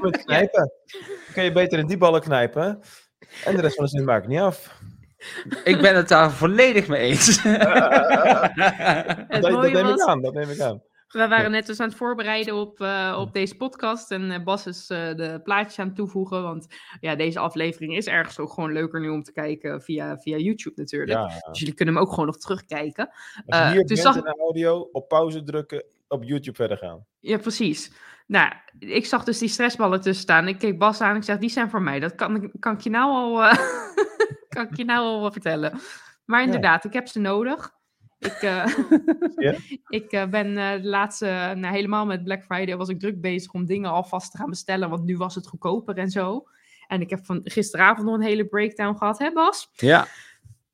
[SPEAKER 1] Met knijpen. Dan kun je beter in die ballen knijpen. En de rest van de zin maakt niet af.
[SPEAKER 2] Ik ben het daar volledig mee eens.
[SPEAKER 3] Het
[SPEAKER 1] dat, dat
[SPEAKER 3] mooie
[SPEAKER 1] neem ik
[SPEAKER 3] was-
[SPEAKER 1] aan, dat neem ik aan.
[SPEAKER 3] We waren net dus aan het voorbereiden op, eh, op deze podcast. En eh, Bas is eh, de plaatjes aan het toevoegen. Want ja, deze aflevering is ergens ook gewoon leuker nu om te kijken via, via YouTube natuurlijk.
[SPEAKER 1] Ja,
[SPEAKER 3] Dus jullie kunnen hem ook gewoon nog terugkijken.
[SPEAKER 1] als je
[SPEAKER 3] Eh,
[SPEAKER 1] hier
[SPEAKER 3] toen
[SPEAKER 1] bent
[SPEAKER 3] zag-
[SPEAKER 1] in de audio, op pauze drukken, op YouTube verder gaan.
[SPEAKER 3] Ja, precies. Nou, ik zag dus die stressballen tussen staan. Ik keek Bas aan en ik zeg, die zijn voor mij. Dat kan, ik- kan ik je nou al, eh, kan ik je nou al eh, vertellen. Maar inderdaad, ik heb ze nodig. Ik, eh,
[SPEAKER 1] Ja?
[SPEAKER 3] ik eh, ben eh, de laatste, nou, helemaal met Black Friday was ik druk bezig om dingen alvast te gaan bestellen. Want nu was het goedkoper en zo. En ik heb van gisteravond nog een hele breakdown gehad, hè Bas?
[SPEAKER 2] ja.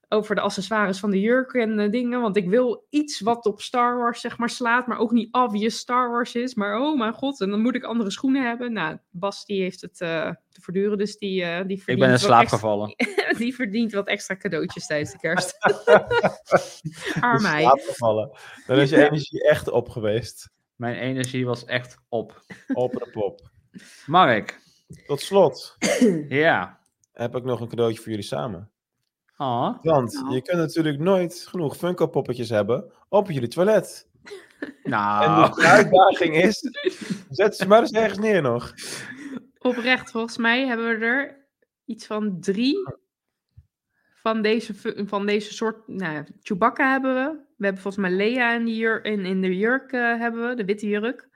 [SPEAKER 3] over de accessoires van de jurk en eh, dingen. Want ik wil iets wat op Star Wars zeg maar slaat, maar ook niet obvious Star Wars is. Maar oh mijn god, en dan moet ik andere schoenen hebben. Nou, Bas die heeft het eh, te verduren, dus die, eh, die
[SPEAKER 2] Ik
[SPEAKER 3] verdient
[SPEAKER 2] ben in
[SPEAKER 3] wat
[SPEAKER 2] slaap
[SPEAKER 3] extra-
[SPEAKER 2] gevallen.
[SPEAKER 3] Die verdient wat extra cadeautjes tijdens de kerst.
[SPEAKER 1] In
[SPEAKER 3] Arm hij.
[SPEAKER 1] slaap gevallen. Dan is je energie echt op geweest.
[SPEAKER 2] Mijn energie was echt op.
[SPEAKER 1] Op de pop.
[SPEAKER 2] Mark,
[SPEAKER 1] Tot slot
[SPEAKER 2] ja.
[SPEAKER 1] heb ik nog een cadeautje voor jullie samen.
[SPEAKER 2] Ah,
[SPEAKER 1] Want
[SPEAKER 3] Nou.
[SPEAKER 1] je kunt natuurlijk nooit genoeg Funko poppetjes hebben op jullie toilet. En
[SPEAKER 2] nou.
[SPEAKER 1] dus de uitdaging is, zet ze maar eens ergens neer nog.
[SPEAKER 3] Oprecht, volgens mij hebben we er iets van drie van deze, fu- van deze soort. Nou, ja, Chewbacca hebben we. We hebben volgens mij Leia in, die jur- in, in de jurk eh, hebben we, de witte jurk.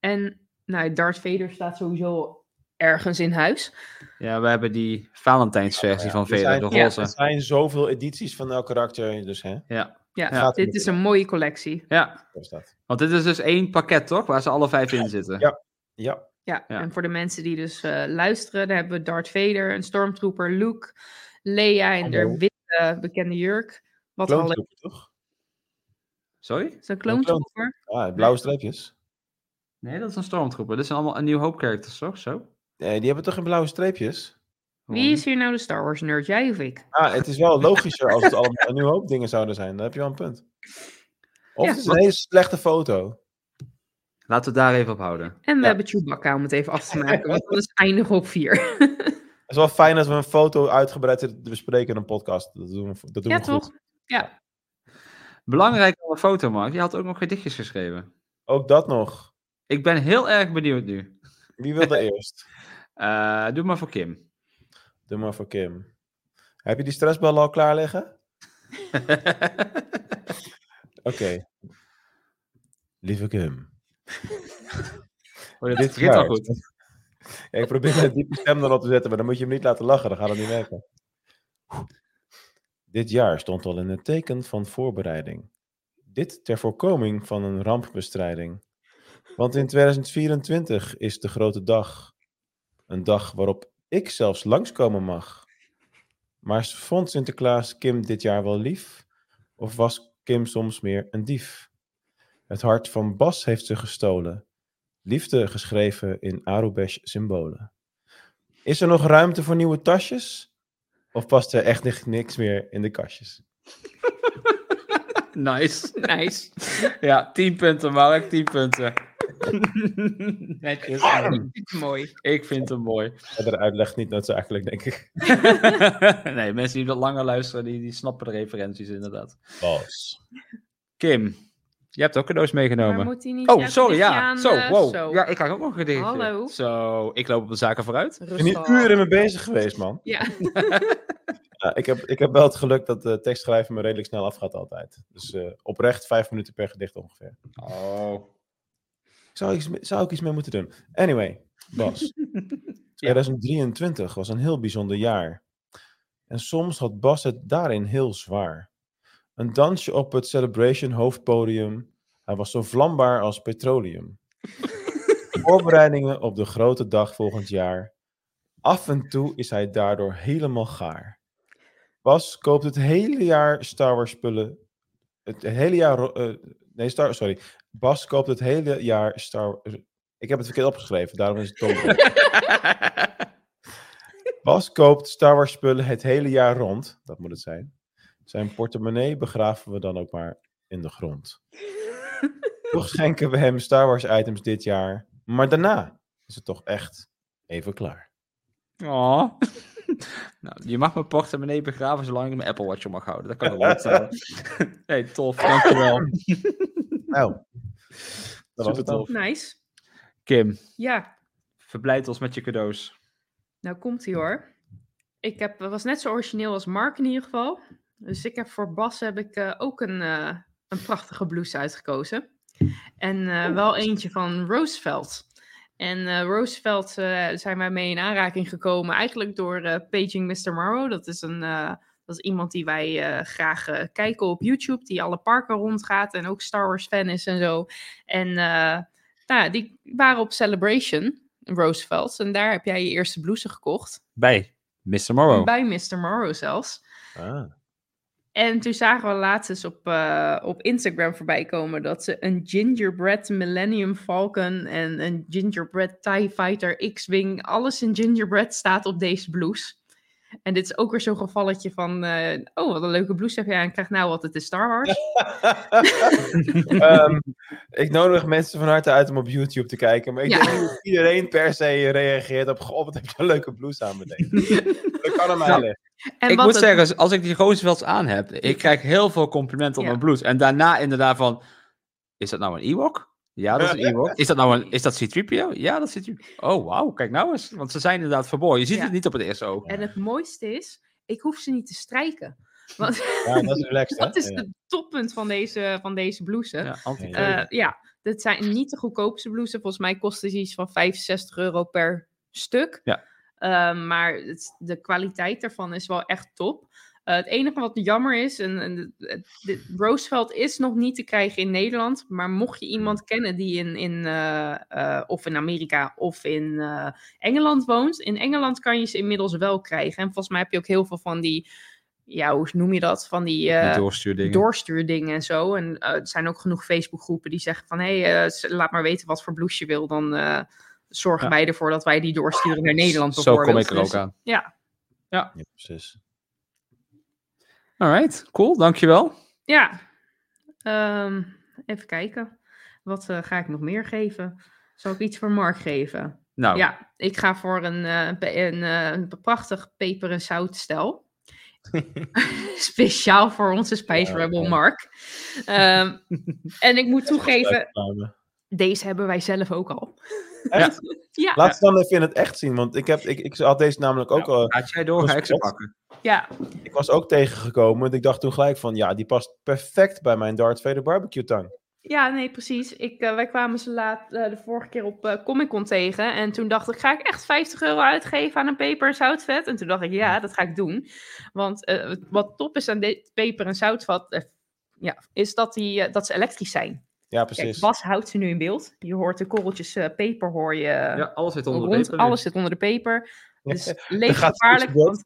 [SPEAKER 3] En nou, Darth Vader staat sowieso ergens in huis.
[SPEAKER 2] Ja, we hebben die Valentijnsversie van
[SPEAKER 1] Er zijn,
[SPEAKER 2] Vader, de
[SPEAKER 3] ja.
[SPEAKER 1] er
[SPEAKER 2] roze.
[SPEAKER 1] zijn zoveel edities van elk karakter, dus hè.
[SPEAKER 2] Ja.
[SPEAKER 3] Ja,
[SPEAKER 1] Ja.
[SPEAKER 3] dit is een mooie collectie.
[SPEAKER 2] ja,
[SPEAKER 1] Zo staat.
[SPEAKER 2] want dit is dus één pakket, toch? Waar ze alle vijf in zitten.
[SPEAKER 1] Ja. Ja,
[SPEAKER 3] Ja,
[SPEAKER 2] Ja.
[SPEAKER 3] en voor de mensen die dus eh, luisteren, daar hebben we Darth Vader, een stormtrooper, Luke, Leia in
[SPEAKER 1] Hallo.
[SPEAKER 3] de witte bekende jurk. Wat al
[SPEAKER 1] kloontroepen toch?
[SPEAKER 2] Sorry?
[SPEAKER 3] is een kloontrooper.
[SPEAKER 1] Ah, blauwe streepjes.
[SPEAKER 2] Nee, dat is een stormtrooper. Dit zijn allemaal een nieuw hoop characters, toch? Zo?
[SPEAKER 1] Nee, die hebben toch geen blauwe streepjes?
[SPEAKER 3] Wie is hier nou de Star Wars nerd? Jij of ik?
[SPEAKER 1] Ah, het is wel logischer als het allemaal een nieuw hoop dingen zouden zijn. Dan heb je wel een punt. Of
[SPEAKER 3] Ja.
[SPEAKER 1] het is een hele slechte foto.
[SPEAKER 2] Laten we het daar even op houden.
[SPEAKER 3] En we
[SPEAKER 1] Ja.
[SPEAKER 3] hebben Chewbacca om het even af te maken, want dat is eindigen op vier.
[SPEAKER 1] Het is wel fijn dat we een foto uitgebreid bespreken in een podcast. Dat doen we, dat doen
[SPEAKER 3] ja,
[SPEAKER 1] we goed.
[SPEAKER 3] toch? Ja.
[SPEAKER 2] Belangrijk aan de foto, Mark. Je had ook nog gedichtjes geschreven.
[SPEAKER 1] Ook dat nog.
[SPEAKER 2] Ik ben heel erg benieuwd nu.
[SPEAKER 1] Wie wilde eerst?
[SPEAKER 2] Eh, doe maar voor Kim.
[SPEAKER 1] Doe maar voor Kim. Heb je die stressballen al klaar liggen? Oké. Lieve Kim.
[SPEAKER 2] Oh, dit
[SPEAKER 1] Dit
[SPEAKER 2] begint al
[SPEAKER 1] jaar.
[SPEAKER 2] goed.
[SPEAKER 1] Ja, ik probeer mijn diepe stem erop te zetten, maar dan moet je hem niet laten lachen, dan gaat het niet werken. Dit jaar stond al in het teken van voorbereiding. Dit ter voorkoming van een rampbestrijding. Want in 2024 is de grote dag. Een dag waarop ik zelfs langskomen mag. Maar vond Sinterklaas Kim dit jaar wel lief? Of was Kim soms meer een dief? Het hart van Bas heeft ze gestolen. Liefde geschreven in Arubesh symbolen. Is er nog ruimte voor nieuwe tasjes? Of past er echt ni- niks meer in de kastjes?
[SPEAKER 2] Nice.
[SPEAKER 3] Nice.
[SPEAKER 2] Ja, 10 punten, Mark. 10 punten. Netjes.
[SPEAKER 3] Mooi.
[SPEAKER 2] Ik vind hem mooi.
[SPEAKER 1] Verder uitleg niet noodzakelijk, denk ik.
[SPEAKER 2] nee, mensen die dat langer luisteren, die, die snappen de referenties inderdaad.
[SPEAKER 1] Bas.
[SPEAKER 2] Kim, je hebt ook cadeaus
[SPEAKER 3] Maar
[SPEAKER 2] meegenomen.
[SPEAKER 3] moet hij niet...
[SPEAKER 2] Oh,
[SPEAKER 3] ja,
[SPEAKER 2] sorry,
[SPEAKER 3] ligt hij
[SPEAKER 2] ja.
[SPEAKER 3] aan,
[SPEAKER 2] Zo,
[SPEAKER 3] eh,
[SPEAKER 2] wow.
[SPEAKER 3] zo.
[SPEAKER 2] Ja, ik had ook nog een gedichtje.
[SPEAKER 3] Hallo.
[SPEAKER 2] Zo, ik loop op de zaken vooruit.
[SPEAKER 1] Ik ben hier
[SPEAKER 3] Rustig.
[SPEAKER 1] uren mee bezig geweest, man.
[SPEAKER 3] Ja.
[SPEAKER 1] Ja, ik, heb, ik heb wel het geluk dat de tekstschrijver me redelijk snel afgaat altijd. Dus eh, oprecht vijf minuten per gedicht ongeveer.
[SPEAKER 2] Oh.
[SPEAKER 1] Zou ik, iets- zou ik iets mee moeten doen? Anyway, Bas. 2023 was een heel bijzonder jaar. En soms had Bas het daarin heel zwaar. Een dansje op het Celebration hoofdpodium. Hij was zo vlambaar als petroleum. Voorbereidingen op de grote dag volgend jaar. Af en toe is hij daardoor helemaal gaar. Bas koopt het hele jaar Star Wars spullen. Het hele jaar. ro- eh, nee, Star, sorry. Bas koopt het hele jaar Star eh, Ik heb het verkeerd opgeschreven, daarom is het dom. Bas koopt Star Wars spullen het hele jaar rond. Dat moet het zijn. Zijn portemonnee begraven we dan ook maar in de grond. Toch schenken we hem Star Wars items dit jaar. Maar daarna is het toch echt even klaar.
[SPEAKER 2] Oh. nou, je mag mijn portemonnee begraven zolang ik mijn Apple Watch op mag houden. Dat kan ik wel vertellen. nee, tof. Dankjewel.
[SPEAKER 1] Nou, dat was het
[SPEAKER 2] Supertof.
[SPEAKER 1] dan.
[SPEAKER 3] Nice.
[SPEAKER 2] Kim,
[SPEAKER 3] Ja,
[SPEAKER 2] verblijd ons met je cadeaus.
[SPEAKER 3] nou komt hij hoor. Ik heb, was net zo origineel als Mark in ieder geval. Dus ik heb voor Bas heb ik, eh, ook een, eh, een prachtige blouse uitgekozen. En eh, wel eentje van Roosevelt. En eh, Roosevelt eh, zijn wij mee in aanraking gekomen. Eigenlijk door eh, Paging Mr. Morrow. Dat is, een, eh, dat is iemand die wij eh, graag eh, kijken op YouTube. Die alle parken rondgaat en ook Star Wars fan is en zo. En eh, nou, ja, die waren op Celebration, Roosevelt. En daar heb jij je eerste blouse gekocht.
[SPEAKER 2] Oh. Bij Mr. Morrow.
[SPEAKER 3] Bij Mr. Morrow zelfs.
[SPEAKER 1] Ah,
[SPEAKER 3] En toen zagen we laatst eens op, eh, op Instagram voorbij komen dat ze een gingerbread Millennium Falcon en een gingerbread TIE Fighter X-Wing, alles in gingerbread staat op deze blouse. En dit is ook weer zo'n gevalletje van, eh, oh wat een leuke blouse heb jij en krijg nou wat, het is Star Wars.
[SPEAKER 1] Ehm, ik nodig mensen van harte uit om op YouTube te kijken. Maar ik
[SPEAKER 3] Ja.
[SPEAKER 1] denk niet dat iedereen per se reageert op... Goh, wat heb je een leuke blouse aan beneden. dat kan hem
[SPEAKER 2] Ja.
[SPEAKER 1] aan liggen.
[SPEAKER 3] En
[SPEAKER 2] ik
[SPEAKER 3] wat
[SPEAKER 2] moet
[SPEAKER 3] het-
[SPEAKER 2] zeggen, als ik die Roosevelt aan heb, ik krijg heel veel complimenten op
[SPEAKER 3] Ja.
[SPEAKER 2] mijn blouse. En daarna inderdaad van, is dat nou een Ewok? Ja, dat is een Ewok. Is dat nou een, is dat C-3PO? Ja, dat is C-3PO. Oh, wauw, kijk nou eens. Want ze zijn inderdaad verborgen. Je ziet
[SPEAKER 3] Ja.
[SPEAKER 2] het niet op het eerste oog.
[SPEAKER 3] En het mooiste is, ik hoef ze niet te strijken. Want
[SPEAKER 1] Ja, dat is relaxed, hè?
[SPEAKER 3] dat is
[SPEAKER 1] Ja.
[SPEAKER 3] het toppunt van deze, van deze blouse.
[SPEAKER 2] Ja, anti-kleur.
[SPEAKER 3] Eh, ja, dat zijn niet de goedkoopste blouses. Volgens mij kosten ze iets van 65 euro per stuk.
[SPEAKER 2] Ja.
[SPEAKER 3] Eh, maar het- de kwaliteit daarvan is wel echt top. Eh, het enige wat jammer is, en, en de- de- Roosevelt is nog niet te krijgen in Nederland. Maar mocht je iemand kennen die in, in, eh, eh, of in Amerika of in eh, Engeland woont. In Engeland kan je ze inmiddels wel krijgen. En volgens mij heb je ook heel veel van die, ja, hoe noem je dat? Van die eh,
[SPEAKER 2] Die doorstuurdingen.
[SPEAKER 3] doorstuurdingen en zo. En eh, er zijn ook genoeg Facebookgroepen die zeggen van... hé, hey, eh, s- laat maar weten wat voor blouse je wil. Dan eh, zorgen
[SPEAKER 2] Ja.
[SPEAKER 3] wij ervoor dat wij die doorsturen naar Nederland
[SPEAKER 2] Zo kom
[SPEAKER 3] bijvoorbeeld.
[SPEAKER 2] ik er
[SPEAKER 3] Dus-
[SPEAKER 2] ook aan.
[SPEAKER 1] Ja, precies.
[SPEAKER 2] Alright, cool, dankjewel.
[SPEAKER 3] Dus, Ja. Ehm, even kijken. Wat eh, ga ik nog meer geven? Zal ik iets voor Mark geven?
[SPEAKER 2] Nou,
[SPEAKER 3] Ja, ik ga voor een, eh, pe- een, eh, een prachtig peper- en zoutstel. Speciaal voor onze Spice
[SPEAKER 1] Ja,
[SPEAKER 3] Rebel
[SPEAKER 1] ja.
[SPEAKER 3] Mark. Ehm, en ik moet toegeven,
[SPEAKER 1] Reclame.
[SPEAKER 3] deze hebben wij zelf ook al.
[SPEAKER 1] Echt?
[SPEAKER 3] Ja.
[SPEAKER 1] Laat ze dan even in het echt zien. Want ik, heb, ik, ik had deze namelijk ook al...
[SPEAKER 2] Gaat jij door, ga ik ze pakken.
[SPEAKER 3] Ja,
[SPEAKER 1] Ik was ook tegengekomen. want Ik dacht toen gelijk van... Ja, die past perfect bij mijn Darth Vader barbecue tang.
[SPEAKER 3] ja nee, precies. Ik, eh, wij kwamen ze laat, eh, de vorige keer op eh, Comic Con tegen. En toen dacht ik, ga ik echt 50 euro uitgeven aan een peper- en zoutvet? En toen dacht ik, ja, dat ga ik doen. Want eh, wat top is aan dit peper- en zoutvat, eh, ja, is dat, die, eh, dat ze elektrisch zijn.
[SPEAKER 1] Ja,
[SPEAKER 3] Kijk,
[SPEAKER 1] precies.
[SPEAKER 3] Bas houdt ze nu in beeld. Je hoort de korreltjes eh, peper, hoor je eh,
[SPEAKER 2] Ja, alles zit onder de
[SPEAKER 3] rond.
[SPEAKER 2] peper nu.
[SPEAKER 3] Alles zit onder de peper. Dus
[SPEAKER 1] gaat
[SPEAKER 3] levensgevaarlijk,
[SPEAKER 1] tussen
[SPEAKER 3] want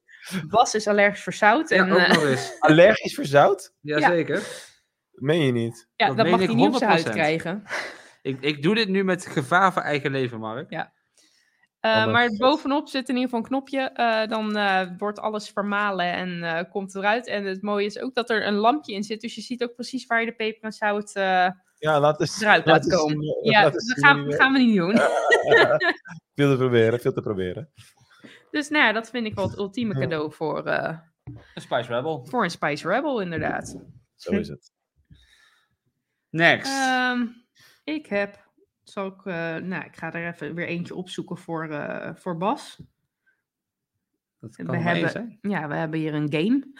[SPEAKER 3] Bas is allergisch voor zout.
[SPEAKER 2] Ja,
[SPEAKER 3] En,
[SPEAKER 2] ook
[SPEAKER 3] eh,
[SPEAKER 2] nog eens.
[SPEAKER 1] Allergisch voor zout?
[SPEAKER 2] Jazeker.
[SPEAKER 1] Meen je niet?
[SPEAKER 3] ja,
[SPEAKER 2] dat
[SPEAKER 3] dat,
[SPEAKER 2] meen
[SPEAKER 3] mag
[SPEAKER 2] ik
[SPEAKER 3] hij niet op zijn huid
[SPEAKER 2] 100%.
[SPEAKER 3] krijgen.
[SPEAKER 2] Ik, ik doe dit nu met gevaar voor eigen leven, Mark.
[SPEAKER 3] Eh,
[SPEAKER 1] Handig.
[SPEAKER 3] maar bovenop zit in ieder geval een knopje. eh, dan eh, wordt alles vermalen en eh, komt eruit. En het mooie is ook dat er een lampje in zit. Dus je ziet ook precies waar je de peper en zout. eh,
[SPEAKER 1] Ja, laat eens...
[SPEAKER 3] Eruit
[SPEAKER 1] laat
[SPEAKER 3] laten
[SPEAKER 1] eens
[SPEAKER 3] komen.
[SPEAKER 1] zien, eh,
[SPEAKER 3] ja,
[SPEAKER 1] laat
[SPEAKER 3] dat
[SPEAKER 1] eens zien
[SPEAKER 3] gaan,
[SPEAKER 1] hoe je-
[SPEAKER 3] gaan we niet doen.
[SPEAKER 1] Veel te proberen, veel te proberen.
[SPEAKER 3] Dus nou ja, dat vind ik wel het ultieme cadeau voor, eh,
[SPEAKER 2] Een Spice Rebel.
[SPEAKER 3] voor een Spice Rebel, inderdaad.
[SPEAKER 1] Zo is het.
[SPEAKER 2] Next.
[SPEAKER 3] Ehm, ik heb. Zal ik, eh, nou, ik ga er even weer eentje opzoeken voor, eh, voor Bas.
[SPEAKER 2] dat
[SPEAKER 3] we
[SPEAKER 2] kan maar
[SPEAKER 3] hebben-
[SPEAKER 2] eens, hè?
[SPEAKER 3] Ja, we hebben hier een game.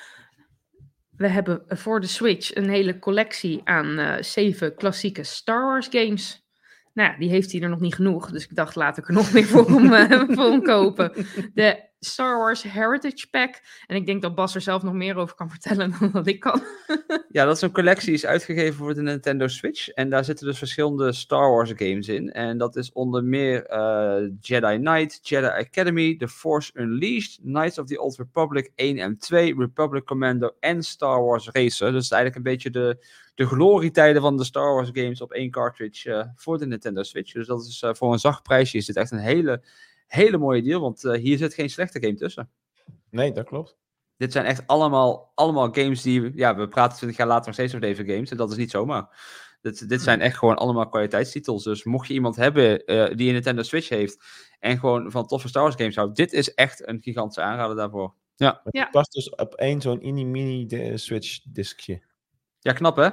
[SPEAKER 3] We hebben voor de Switch een hele collectie aan eh, zeven klassieke Star Wars games. Nou, ja, die heeft hij er nog niet genoeg. Dus ik dacht, laat ik er nog meer voor hem, eh, voor hem kopen. De Star Wars Heritage Pack. En ik denk dat Bas er zelf nog meer over kan vertellen dan dat ik kan.
[SPEAKER 2] Ja, dat is een collectie die is uitgegeven voor de Nintendo Switch. En daar zitten dus verschillende Star Wars games in. En dat is onder meer eh, Jedi Knight, Jedi Academy, The Force Unleashed, Knights of the Old Republic 1 en 2, Republic Commando en Star Wars Racer. Dus eigenlijk een beetje de, de glorietijden van de Star Wars games op één cartridge eh, voor de Nintendo Switch. Dus dat is eh, voor een zacht prijsje is dit echt een hele, hele mooie deal. Want eh, hier zit geen slechte game tussen.
[SPEAKER 1] Nee, dat klopt.
[SPEAKER 2] Dit zijn echt allemaal, allemaal games die... we- Ja, we praten 20 jaar later nog steeds over deze games. En dat is niet zomaar. Dit, dit
[SPEAKER 1] Hmm.
[SPEAKER 2] zijn echt gewoon allemaal kwaliteitstitels. Dus mocht je iemand hebben eh, die een Nintendo Switch heeft... en gewoon van toffe Star Wars games houdt... dit is echt een gigantische aanrader daarvoor.
[SPEAKER 1] Het
[SPEAKER 3] Ja.
[SPEAKER 1] past dus op één zo'n eh, mini-mini-switch-diskje.
[SPEAKER 2] Ja, knap hè?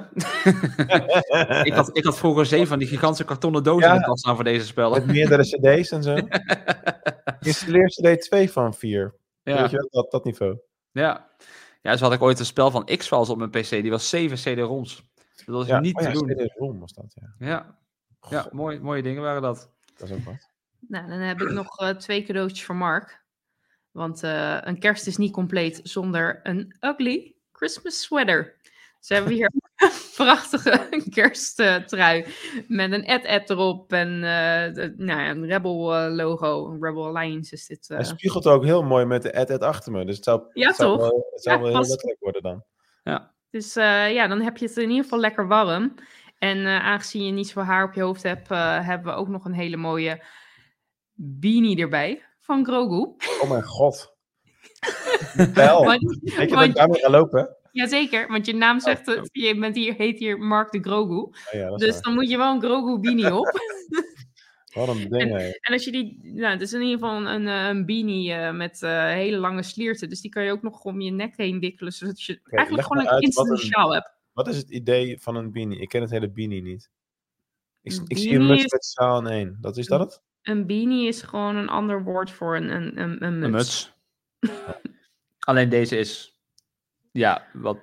[SPEAKER 2] ik, had, ik had vroeger zeven van die gigantische kartonnen dozen
[SPEAKER 1] Ja.
[SPEAKER 2] in de kast staan voor deze spellen.
[SPEAKER 1] Met meerdere cd's en zo. Installeer cd 2 van 4. Weet
[SPEAKER 2] ja.
[SPEAKER 1] je wel, dat, dat niveau.
[SPEAKER 2] ja. Ja, zo had ik ooit een spel van X-Files op mijn PC. Die was zeven CD-ROMs. Dat was
[SPEAKER 1] Ja,
[SPEAKER 2] niet
[SPEAKER 1] oh
[SPEAKER 2] te
[SPEAKER 1] ja,
[SPEAKER 2] doen.
[SPEAKER 1] CD-ROM was dat, ja.
[SPEAKER 2] Ja, ja mooi, mooie dingen waren dat.
[SPEAKER 1] Dat is ook wat.
[SPEAKER 3] Nou, dan heb ik nog eh, twee cadeautjes voor Mark. Want eh, een kerst is niet compleet zonder een ugly Christmas sweater. Dus hebben we hier een prachtige kersttrui met een ad-ad erop en eh, de- nou ja, een Rebel eh, logo, een Rebel Alliance is dit. eh.
[SPEAKER 1] Hij spiegelt ook heel mooi met de ad-ad achter me. Dus het zou,
[SPEAKER 3] Ja,
[SPEAKER 1] het zou
[SPEAKER 3] toch?
[SPEAKER 1] wel, het zou
[SPEAKER 3] Ja,
[SPEAKER 1] wel heel
[SPEAKER 3] past.
[SPEAKER 1] letterlijk worden dan.
[SPEAKER 2] Ja.
[SPEAKER 3] Dus eh, ja, dan heb je het in ieder geval lekker warm. En eh, aangezien je niet zoveel haar op je hoofd hebt, eh, hebben we ook nog een hele mooie beanie erbij van Grogu.
[SPEAKER 1] Oh mijn god. Bel.
[SPEAKER 3] Want-
[SPEAKER 1] Weet je dat ik
[SPEAKER 3] want-
[SPEAKER 1] daarmee ga lopen?
[SPEAKER 3] Jazeker, want je naam zegt het. Je bent hier, heet hier Mark de Grogu.
[SPEAKER 1] Oh ja, Oh, dat is
[SPEAKER 3] Dus dan moet je wel een Grogu beanie op.
[SPEAKER 1] waar. Wat een ding, hè.
[SPEAKER 3] En als je die, nou, het is in ieder geval een, een, eh, een beanie eh, met eh, hele lange slierten. Dus die kan je ook nog om je nek heen wikkelen, zodat je eigenlijk
[SPEAKER 1] leg
[SPEAKER 3] gewoon
[SPEAKER 1] me
[SPEAKER 3] een
[SPEAKER 1] uit wat
[SPEAKER 3] instant
[SPEAKER 1] een
[SPEAKER 3] sjaal hebt.
[SPEAKER 1] Wat is het idee van een beanie? Ik ken het hele beanie niet. Ik, ik zie een
[SPEAKER 3] Beanie
[SPEAKER 1] muts
[SPEAKER 3] is-
[SPEAKER 1] met zaal in één. Dat is dat het?
[SPEAKER 3] Een beanie is gewoon een ander woord voor een, een, een, een muts.
[SPEAKER 2] Een muts. Alleen deze is, ja, wat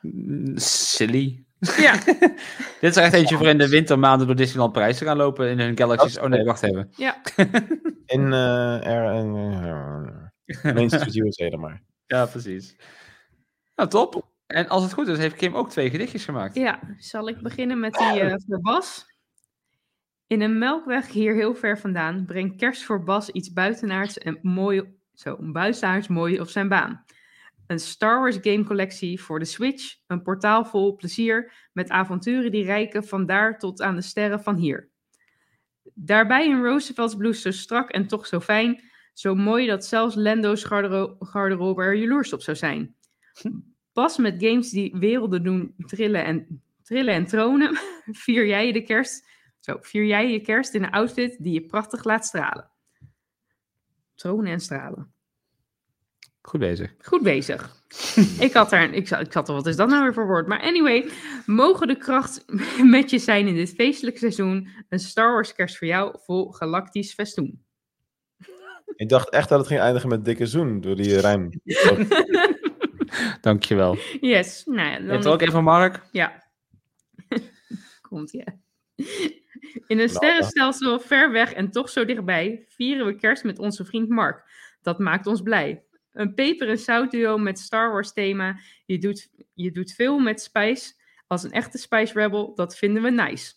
[SPEAKER 2] mm, silly.
[SPEAKER 3] Ja,
[SPEAKER 2] Dit is er echt eentje voor in de wintermaanden door Disneyland Parijs te gaan lopen in hun Galaxy's.
[SPEAKER 1] Dat-
[SPEAKER 2] Oh nee, wacht even.
[SPEAKER 3] ja.
[SPEAKER 1] In eh, er, en, eh, Main Street USA dan maar.
[SPEAKER 2] Ja, precies. Nou, top. En als het goed is, heeft Kim ook twee gedichtjes gemaakt.
[SPEAKER 3] ja, zal ik beginnen met die eh, voor Bas? In een melkweg hier heel ver vandaan brengt kerst voor Bas iets buitenaards en mooi, zo, buitenaards mooi op zijn baan. Een Star Wars game collectie voor de Switch, een portaal vol plezier met avonturen die reiken van daar tot aan de sterren van hier. Daarbij een Roosevelt's blouse zo strak en toch zo fijn, zo mooi dat zelfs Lando's gardero- garderobe er jaloers op zou zijn. Pas met games die werelden doen trillen en, trillen en tronen, vier jij de kerst. Zo, vier jij je kerst in een outfit die je prachtig laat stralen. Tronen en stralen.
[SPEAKER 2] Goed bezig.
[SPEAKER 3] Goed bezig. ik had er, ik zat, ik zat er, wat is dat nou weer voor woord? Maar anyway, mogen de kracht met je zijn in dit feestelijke seizoen. Een Star Wars kerst voor jou vol galactisch festoen.
[SPEAKER 1] Ik dacht echt dat het ging eindigen met dikke zoen door die eh, ruim. Dat-
[SPEAKER 2] Dankjewel.
[SPEAKER 3] Yes, nou ja,
[SPEAKER 2] Heeft
[SPEAKER 3] dan
[SPEAKER 2] er ook even Mark?
[SPEAKER 3] Ja. Komt, ja. In een
[SPEAKER 1] Nou,
[SPEAKER 3] sterrenstelsel ver weg en toch zo dichtbij vieren we kerst met onze vriend Mark. Dat maakt ons blij. Een peper- en zoutduo met Star Wars thema. Je doet, je doet veel met spijs. Als een echte Spice Rebel, dat vinden we nice.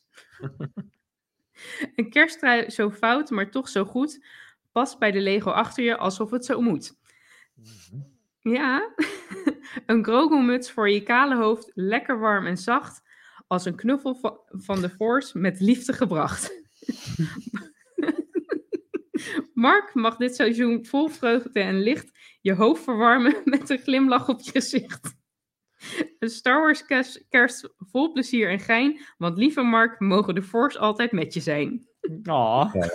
[SPEAKER 3] een kersttrui zo fout, maar toch zo goed. Past bij de Lego achter je alsof het zo moet. Ja, een Grogu-muts voor je kale hoofd, lekker warm en zacht, als een knuffel va- van de Force met liefde gebracht. Mark mag dit seizoen vol vreugde en licht je hoofd verwarmen met een glimlach op je gezicht. Een Star Wars kerst, kerst vol plezier en gein, want lieve Mark, mogen de Force altijd met je zijn.
[SPEAKER 2] Oh.
[SPEAKER 1] Ja. ik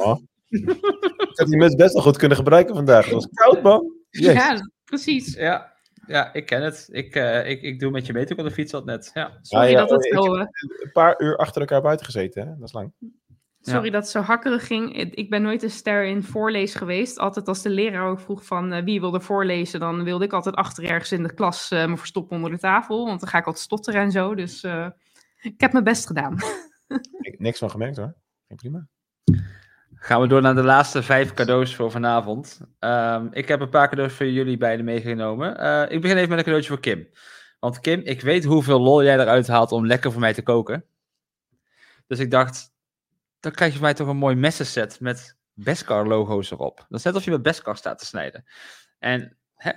[SPEAKER 1] had die muts best wel goed kunnen gebruiken vandaag. Het was koud, man. Jezus.
[SPEAKER 3] Ja, precies.
[SPEAKER 2] Ja. ja, ik ken het. Ik, eh, ik, ik doe met je mee toen ik op de fiets zat net. Ja.
[SPEAKER 1] Ja,
[SPEAKER 3] Sorry
[SPEAKER 1] ja,
[SPEAKER 3] dat het
[SPEAKER 1] ik-
[SPEAKER 3] zo, eh,
[SPEAKER 1] Een paar uur achter elkaar buiten gezeten, hè? Dat is lang.
[SPEAKER 3] Sorry dat het zo hakkerig ging. Ik- Ik ben nooit een ster in voorlees geweest. Altijd als de leraar ook vroeg van eh, wie wilde voorlezen, dan wilde ik altijd achter ergens in de klas eh, me verstoppen onder de tafel. Want dan ga ik altijd stotteren en zo. Dus eh, ik heb mijn best gedaan.
[SPEAKER 1] Ik, niks van gemerkt, hoor. Ging prima.
[SPEAKER 2] Gaan we door naar de laatste vijf cadeaus voor vanavond. Ehm, ik heb een paar cadeaus voor jullie beiden meegenomen. Eh, ik begin even met een cadeautje voor Kim. Want Kim, ik weet hoeveel lol jij eruit haalt om lekker voor mij te koken. Dus ik dacht, dan krijg je van mij toch een mooi messenset met Beskar logo's erop. Dat is net of je met Beskar staat te snijden. En hè,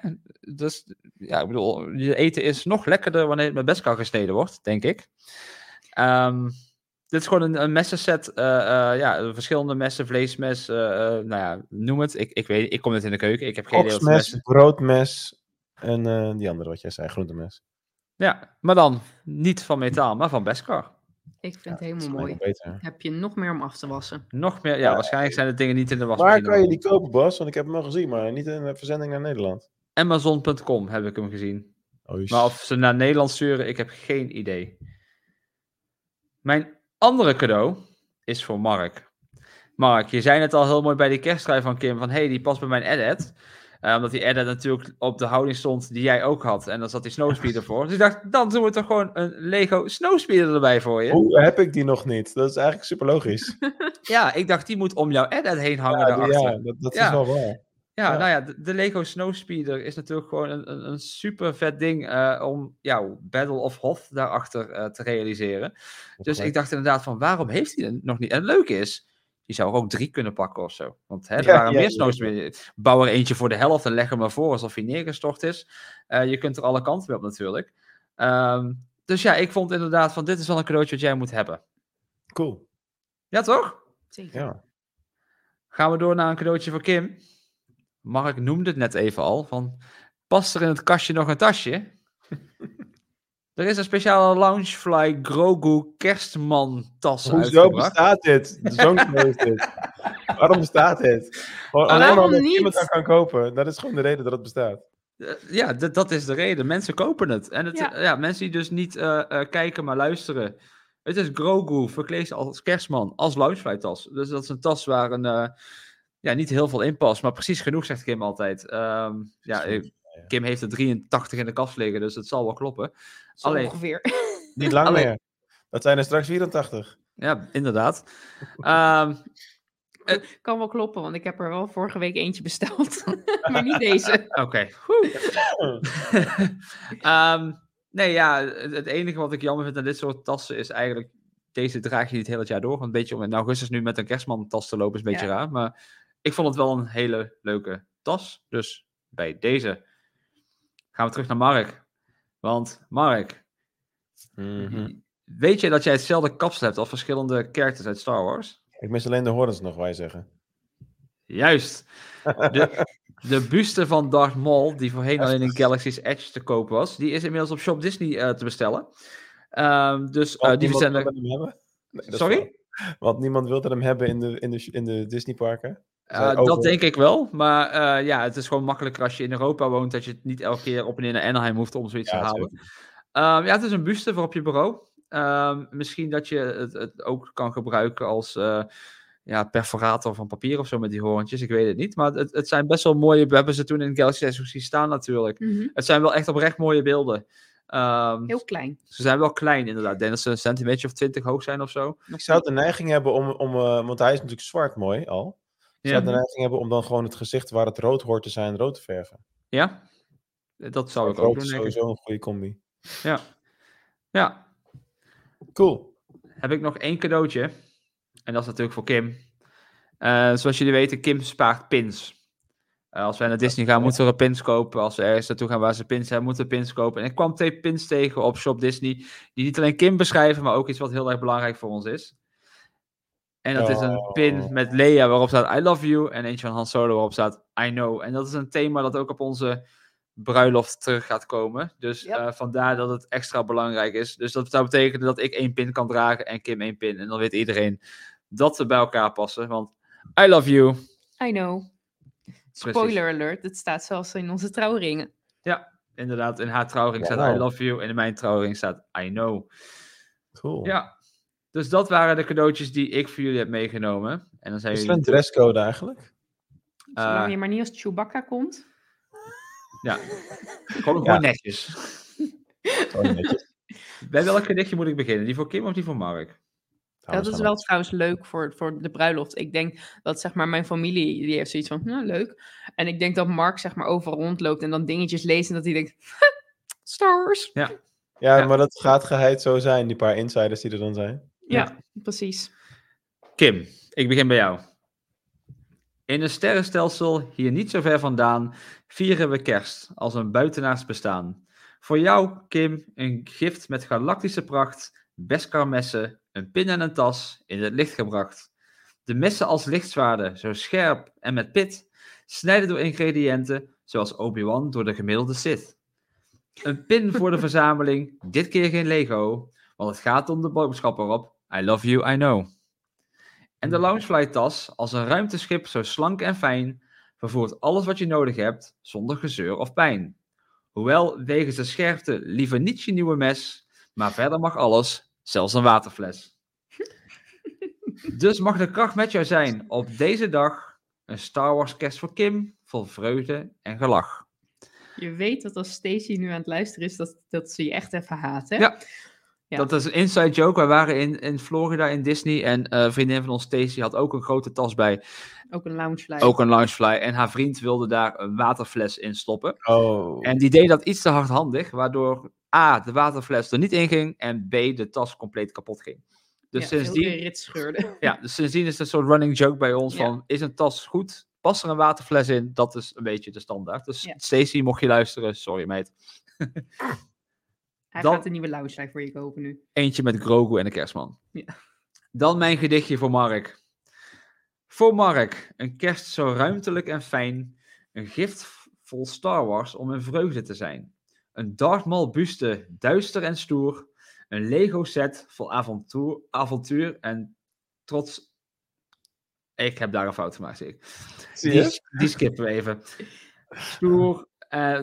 [SPEAKER 2] dus, ja, ik bedoel, je eten is nog lekkerder wanneer het met Beskar gesneden wordt, denk ik. Ehm dit is gewoon een, een messenset. eh eh, ja, verschillende messen, vleesmes, eh, eh, nou ja, noem het. Ik, ik weet, ik kom net in de keuken. Ik heb geen idee wat voor
[SPEAKER 1] Koksmes,
[SPEAKER 2] messen.
[SPEAKER 1] broodmes en eh, die andere wat jij zei, groentemes.
[SPEAKER 2] Ja, maar dan niet van metaal, maar van Beskar.
[SPEAKER 3] Ik vind het
[SPEAKER 1] Dat is
[SPEAKER 3] helemaal
[SPEAKER 1] alleen
[SPEAKER 3] mooi.
[SPEAKER 1] maar Beter.
[SPEAKER 3] Heb je nog meer om af te wassen?
[SPEAKER 2] Nog meer, ja, waarschijnlijk zijn de dingen niet in de was.
[SPEAKER 1] Waar kan je die kopen, Bas? Want ik heb hem al gezien, maar niet in de verzending naar Nederland.
[SPEAKER 2] Amazon.com heb ik hem gezien.
[SPEAKER 1] Oh, jezus.
[SPEAKER 2] Maar of ze naar Nederland sturen, ik heb geen idee. Mijn andere cadeau is voor Mark. Mark, je zei net al heel mooi bij die kersttrui van Kim, van hey, die past bij mijn edit. Eh, omdat die edit natuurlijk op de houding stond die jij ook had. En dan zat die Snowspeeder voor. Dus ik dacht, dan doen we toch gewoon een Lego Snowspeeder erbij voor je.
[SPEAKER 1] Hoe heb ik die nog niet? Dat is eigenlijk super logisch.
[SPEAKER 2] Ja, ik dacht, die moet om jouw edit heen hangen
[SPEAKER 1] Ja, die-
[SPEAKER 2] daarachter.
[SPEAKER 1] ja, dat, dat
[SPEAKER 2] Ja.
[SPEAKER 1] is wel waar.
[SPEAKER 2] Ja,
[SPEAKER 1] Ja.
[SPEAKER 2] nou ja, de, de Lego Snowspeeder is natuurlijk gewoon een, een, een super vet ding eh, om jouw Battle of Hoth daarachter eh, te realiseren. Dus
[SPEAKER 1] gelijk.
[SPEAKER 2] ik dacht inderdaad van, waarom heeft hij het nog niet? En het leuke is, je zou er ook drie kunnen pakken of zo. Want hè, er
[SPEAKER 1] Ja,
[SPEAKER 2] waren
[SPEAKER 1] ja,
[SPEAKER 2] meer
[SPEAKER 1] ja.
[SPEAKER 2] Snowspeeder. Bouw er eentje voor de helft en leg hem maar voor alsof hij neergestort is. Eh, je kunt er alle kanten mee op natuurlijk. Ehm, dus ja, ik vond inderdaad van dit is wel een cadeautje wat jij moet hebben.
[SPEAKER 1] Cool.
[SPEAKER 2] Ja, toch?
[SPEAKER 3] Zeker.
[SPEAKER 1] Ja.
[SPEAKER 2] Gaan we door naar een cadeautje voor Kim. Mark noemde het net even al, van past er in het kastje nog een tasje? er is een speciale Loungefly Grogu kerstman tas
[SPEAKER 1] Hoezo
[SPEAKER 2] uitgebracht.
[SPEAKER 1] bestaat dit? Zo'n cadeau is dit. Waarom bestaat dit? Gewoon
[SPEAKER 2] Waarom
[SPEAKER 1] alleen maar omdat
[SPEAKER 3] niet?
[SPEAKER 1] iemand aan kan kopen. Dat is gewoon de reden dat het bestaat.
[SPEAKER 2] Eh, Ja, dat- dat is de reden. Mensen kopen het. En het,
[SPEAKER 3] Ja.
[SPEAKER 2] ja. mensen die dus niet eh, eh, kijken, maar luisteren. Het is Grogu verkleed als kerstman, als loungefly-tas. Dus dat is een tas waar een, eh, ja, niet heel veel in past, maar precies genoeg, zegt Kim altijd. Ehm, ja, eh, Kim heeft er 83 in de kast liggen, dus het zal wel kloppen.
[SPEAKER 3] Zo
[SPEAKER 2] Allee.
[SPEAKER 3] ongeveer.
[SPEAKER 1] Niet lang
[SPEAKER 2] Alleen-
[SPEAKER 1] meer. Dat zijn er straks 84.
[SPEAKER 2] Ja, inderdaad. Ehm,
[SPEAKER 3] Kan wel kloppen, want ik heb er wel vorige week eentje besteld. maar niet deze.
[SPEAKER 2] Oké. Woe. Ehm, nee, ja, het, het enige wat ik jammer vind aan dit soort tassen is eigenlijk... Deze draag je niet heel het jaar door. want Een beetje om in augustus nu met een kerstman-tas te lopen is een beetje raar. Maar ik vond het wel een hele leuke tas. Dus bij deze gaan we terug naar Mark. Want Mark, Mhm.
[SPEAKER 1] Mhm.
[SPEAKER 2] weet je dat jij hetzelfde kapsel hebt als verschillende characters uit Star Wars?
[SPEAKER 1] Ik mis alleen de horens nog, wij
[SPEAKER 2] Eh,
[SPEAKER 1] zeggen.
[SPEAKER 2] Juist. De, de buste van Darth Maul, die voorheen alleen in Galaxy's Edge te koop was, die is inmiddels op Shop Disney eh, te bestellen. Ehm, dus eh,
[SPEAKER 1] Want
[SPEAKER 2] die
[SPEAKER 1] niemand
[SPEAKER 2] verzenden...
[SPEAKER 1] wilde hem hebben. Nee, dat is
[SPEAKER 2] Sorry?
[SPEAKER 1] waar. Want niemand wilde hem hebben in de, in de, in de Disneyparken.
[SPEAKER 2] Eh,
[SPEAKER 1] Zij over-
[SPEAKER 2] dat denk ik wel, maar eh, ja, het is gewoon makkelijker als je in Europa woont, dat je het niet elke keer op en neer naar Anaheim hoeft om zoiets
[SPEAKER 1] Ja,
[SPEAKER 2] te halen. Ehm, ja, het is een buste voor op je bureau. Ehm, misschien dat je het, het ook kan gebruiken als eh, ja, perforator van papier of zo met die hoorntjes, ik weet het niet. Maar het, het zijn best wel mooie, we hebben ze toen in Galaxy's Edge ook zien staan natuurlijk.
[SPEAKER 3] Mhm.
[SPEAKER 2] Het zijn wel echt oprecht mooie beelden. Ehm,
[SPEAKER 3] Heel klein.
[SPEAKER 2] ze zijn wel klein, inderdaad. Ik denk dat ze een centimeter of twintig hoog zijn of zo.
[SPEAKER 1] Ik zou de neiging hebben om, om eh, want hij is natuurlijk zwart mooi al. Ik zou
[SPEAKER 2] Ja.
[SPEAKER 1] de neiging hebben om dan gewoon het gezicht waar het rood hoort te zijn, rood te verven.
[SPEAKER 2] Ja, dat zou ik ook
[SPEAKER 1] rood
[SPEAKER 2] doen,
[SPEAKER 1] is
[SPEAKER 2] denk ik.
[SPEAKER 1] sowieso een goede combi.
[SPEAKER 2] Ja,
[SPEAKER 1] Cool.
[SPEAKER 2] heb ik nog één cadeautje. En dat is natuurlijk voor Kim. Eh, zoals jullie weten, Kim spaart pins. Eh, als wij naar Disney gaan, moeten we er pins kopen. Als we ergens naartoe gaan waar ze pins hebben, moeten we pins kopen. En ik kwam twee pins tegen op Shop Disney. Die niet alleen Kim beschrijven, maar ook iets wat heel erg belangrijk voor ons is. En dat is een pin
[SPEAKER 1] Oh.
[SPEAKER 2] met Leia waarop staat I love you. En eentje van Han Solo waarop staat I know. En dat is een thema dat ook op onze bruiloft terug gaat komen. Dus
[SPEAKER 3] Yep.
[SPEAKER 2] eh, vandaar dat het extra belangrijk is. Dus dat zou betekenen dat ik één pin kan dragen en Kim één pin. En dan weet iedereen dat we bij elkaar passen. Want I love you.
[SPEAKER 3] I know. Spoiler alert, het staat zelfs in onze trouwringen.
[SPEAKER 2] Inderdaad, in haar trouwring staat I
[SPEAKER 1] Wauw.
[SPEAKER 2] love you. En in mijn trouwring staat I know.
[SPEAKER 1] Cool.
[SPEAKER 2] Ja. Dus dat waren de cadeautjes die ik voor jullie heb meegenomen. En dan zijn
[SPEAKER 1] Is er
[SPEAKER 2] jullie...
[SPEAKER 1] een dresscode eigenlijk?
[SPEAKER 3] Zolang
[SPEAKER 2] Eh.
[SPEAKER 3] je maar niet als Chewbacca komt.
[SPEAKER 2] Ja, gewoon,
[SPEAKER 1] Ja.
[SPEAKER 2] gewoon netjes.
[SPEAKER 1] Oh, netjes.
[SPEAKER 2] Bij welk gedichtje moet ik beginnen? Die voor Kim of die voor Mark?
[SPEAKER 1] Dames
[SPEAKER 3] dat is
[SPEAKER 1] en
[SPEAKER 3] wel trouwens leuk voor, voor de bruiloft. Ik denk dat zeg maar mijn familie, die heeft zoiets van, nou leuk. En ik denk dat Mark zeg maar overal rondloopt en dan dingetjes leest en dat hij denkt, Star Wars.
[SPEAKER 1] Ja,
[SPEAKER 2] Ja.
[SPEAKER 1] maar dat gaat geheid zo zijn, die paar insiders die er dan zijn.
[SPEAKER 3] Ja, precies.
[SPEAKER 2] Kim, ik begin bij jou. In een sterrenstelsel hier niet zo ver vandaan vieren we kerst als een buitenaards bestaan. Voor jou, Kim, een gift met galactische pracht, beskarmessen, een pin en een tas in het licht gebracht. De messen als lichtzwaarden, zo scherp en met pit, snijden door ingrediënten zoals Obi-Wan door de gemiddelde Sith. Een pin voor de verzameling, dit keer geen Lego, want het gaat om de boodschap erop: I love you, I know. En de Loungefly-tas, als een ruimteschip zo slank en fijn, vervoert alles wat je nodig hebt zonder gezeur of pijn. Hoewel wegens de scherpte liever niet je nieuwe mes, maar verder mag alles, zelfs een waterfles. Dus mag de kracht met jou zijn op deze dag een Star Wars kerst voor Kim vol vreugde en gelach.
[SPEAKER 3] Je weet dat als Stacey nu aan het luisteren is, dat, dat ze je echt even haat, hè?
[SPEAKER 2] Ja.
[SPEAKER 3] Ja.
[SPEAKER 2] Dat is een inside joke. Wij waren in, in Florida in Disney en eh, een vriendin van ons, Stacy, had ook een grote tas bij
[SPEAKER 3] Ook een loungefly.
[SPEAKER 2] Ook een loungefly. En haar vriend wilde daar een waterfles in stoppen.
[SPEAKER 1] Oh.
[SPEAKER 2] En die deed dat iets te hardhandig, waardoor A, de waterfles er niet in ging en B, de tas compleet kapot ging. Dus,
[SPEAKER 3] Ja, heel de
[SPEAKER 2] sindsdien,
[SPEAKER 3] rit scheurde.
[SPEAKER 2] ja, dus sindsdien is het een soort running joke bij ons
[SPEAKER 3] Ja.
[SPEAKER 2] van, is een tas goed? Past er een waterfles in? Dat is een beetje de standaard. Dus
[SPEAKER 3] Ja.
[SPEAKER 2] Stacy, mocht je luisteren, sorry meid.
[SPEAKER 3] Hij
[SPEAKER 2] Dan-
[SPEAKER 3] gaat een nieuwe Lounge voor je kopen nu.
[SPEAKER 2] Eentje met Grogu en de kerstman.
[SPEAKER 3] Ja.
[SPEAKER 2] Dan mijn gedichtje voor Mark. Voor Mark, een kerst zo ruimtelijk en fijn. Een gift v- vol Star Wars om een vreugde te zijn. Een Darth Maul buste, duister en stoer. Een Lego set vol avontuur, avontuur en trots. Ik heb daar een fout gemaakt, zie ik.
[SPEAKER 1] Zie
[SPEAKER 2] Die,
[SPEAKER 1] je?
[SPEAKER 2] s- die skippen we even. Stoer. eh,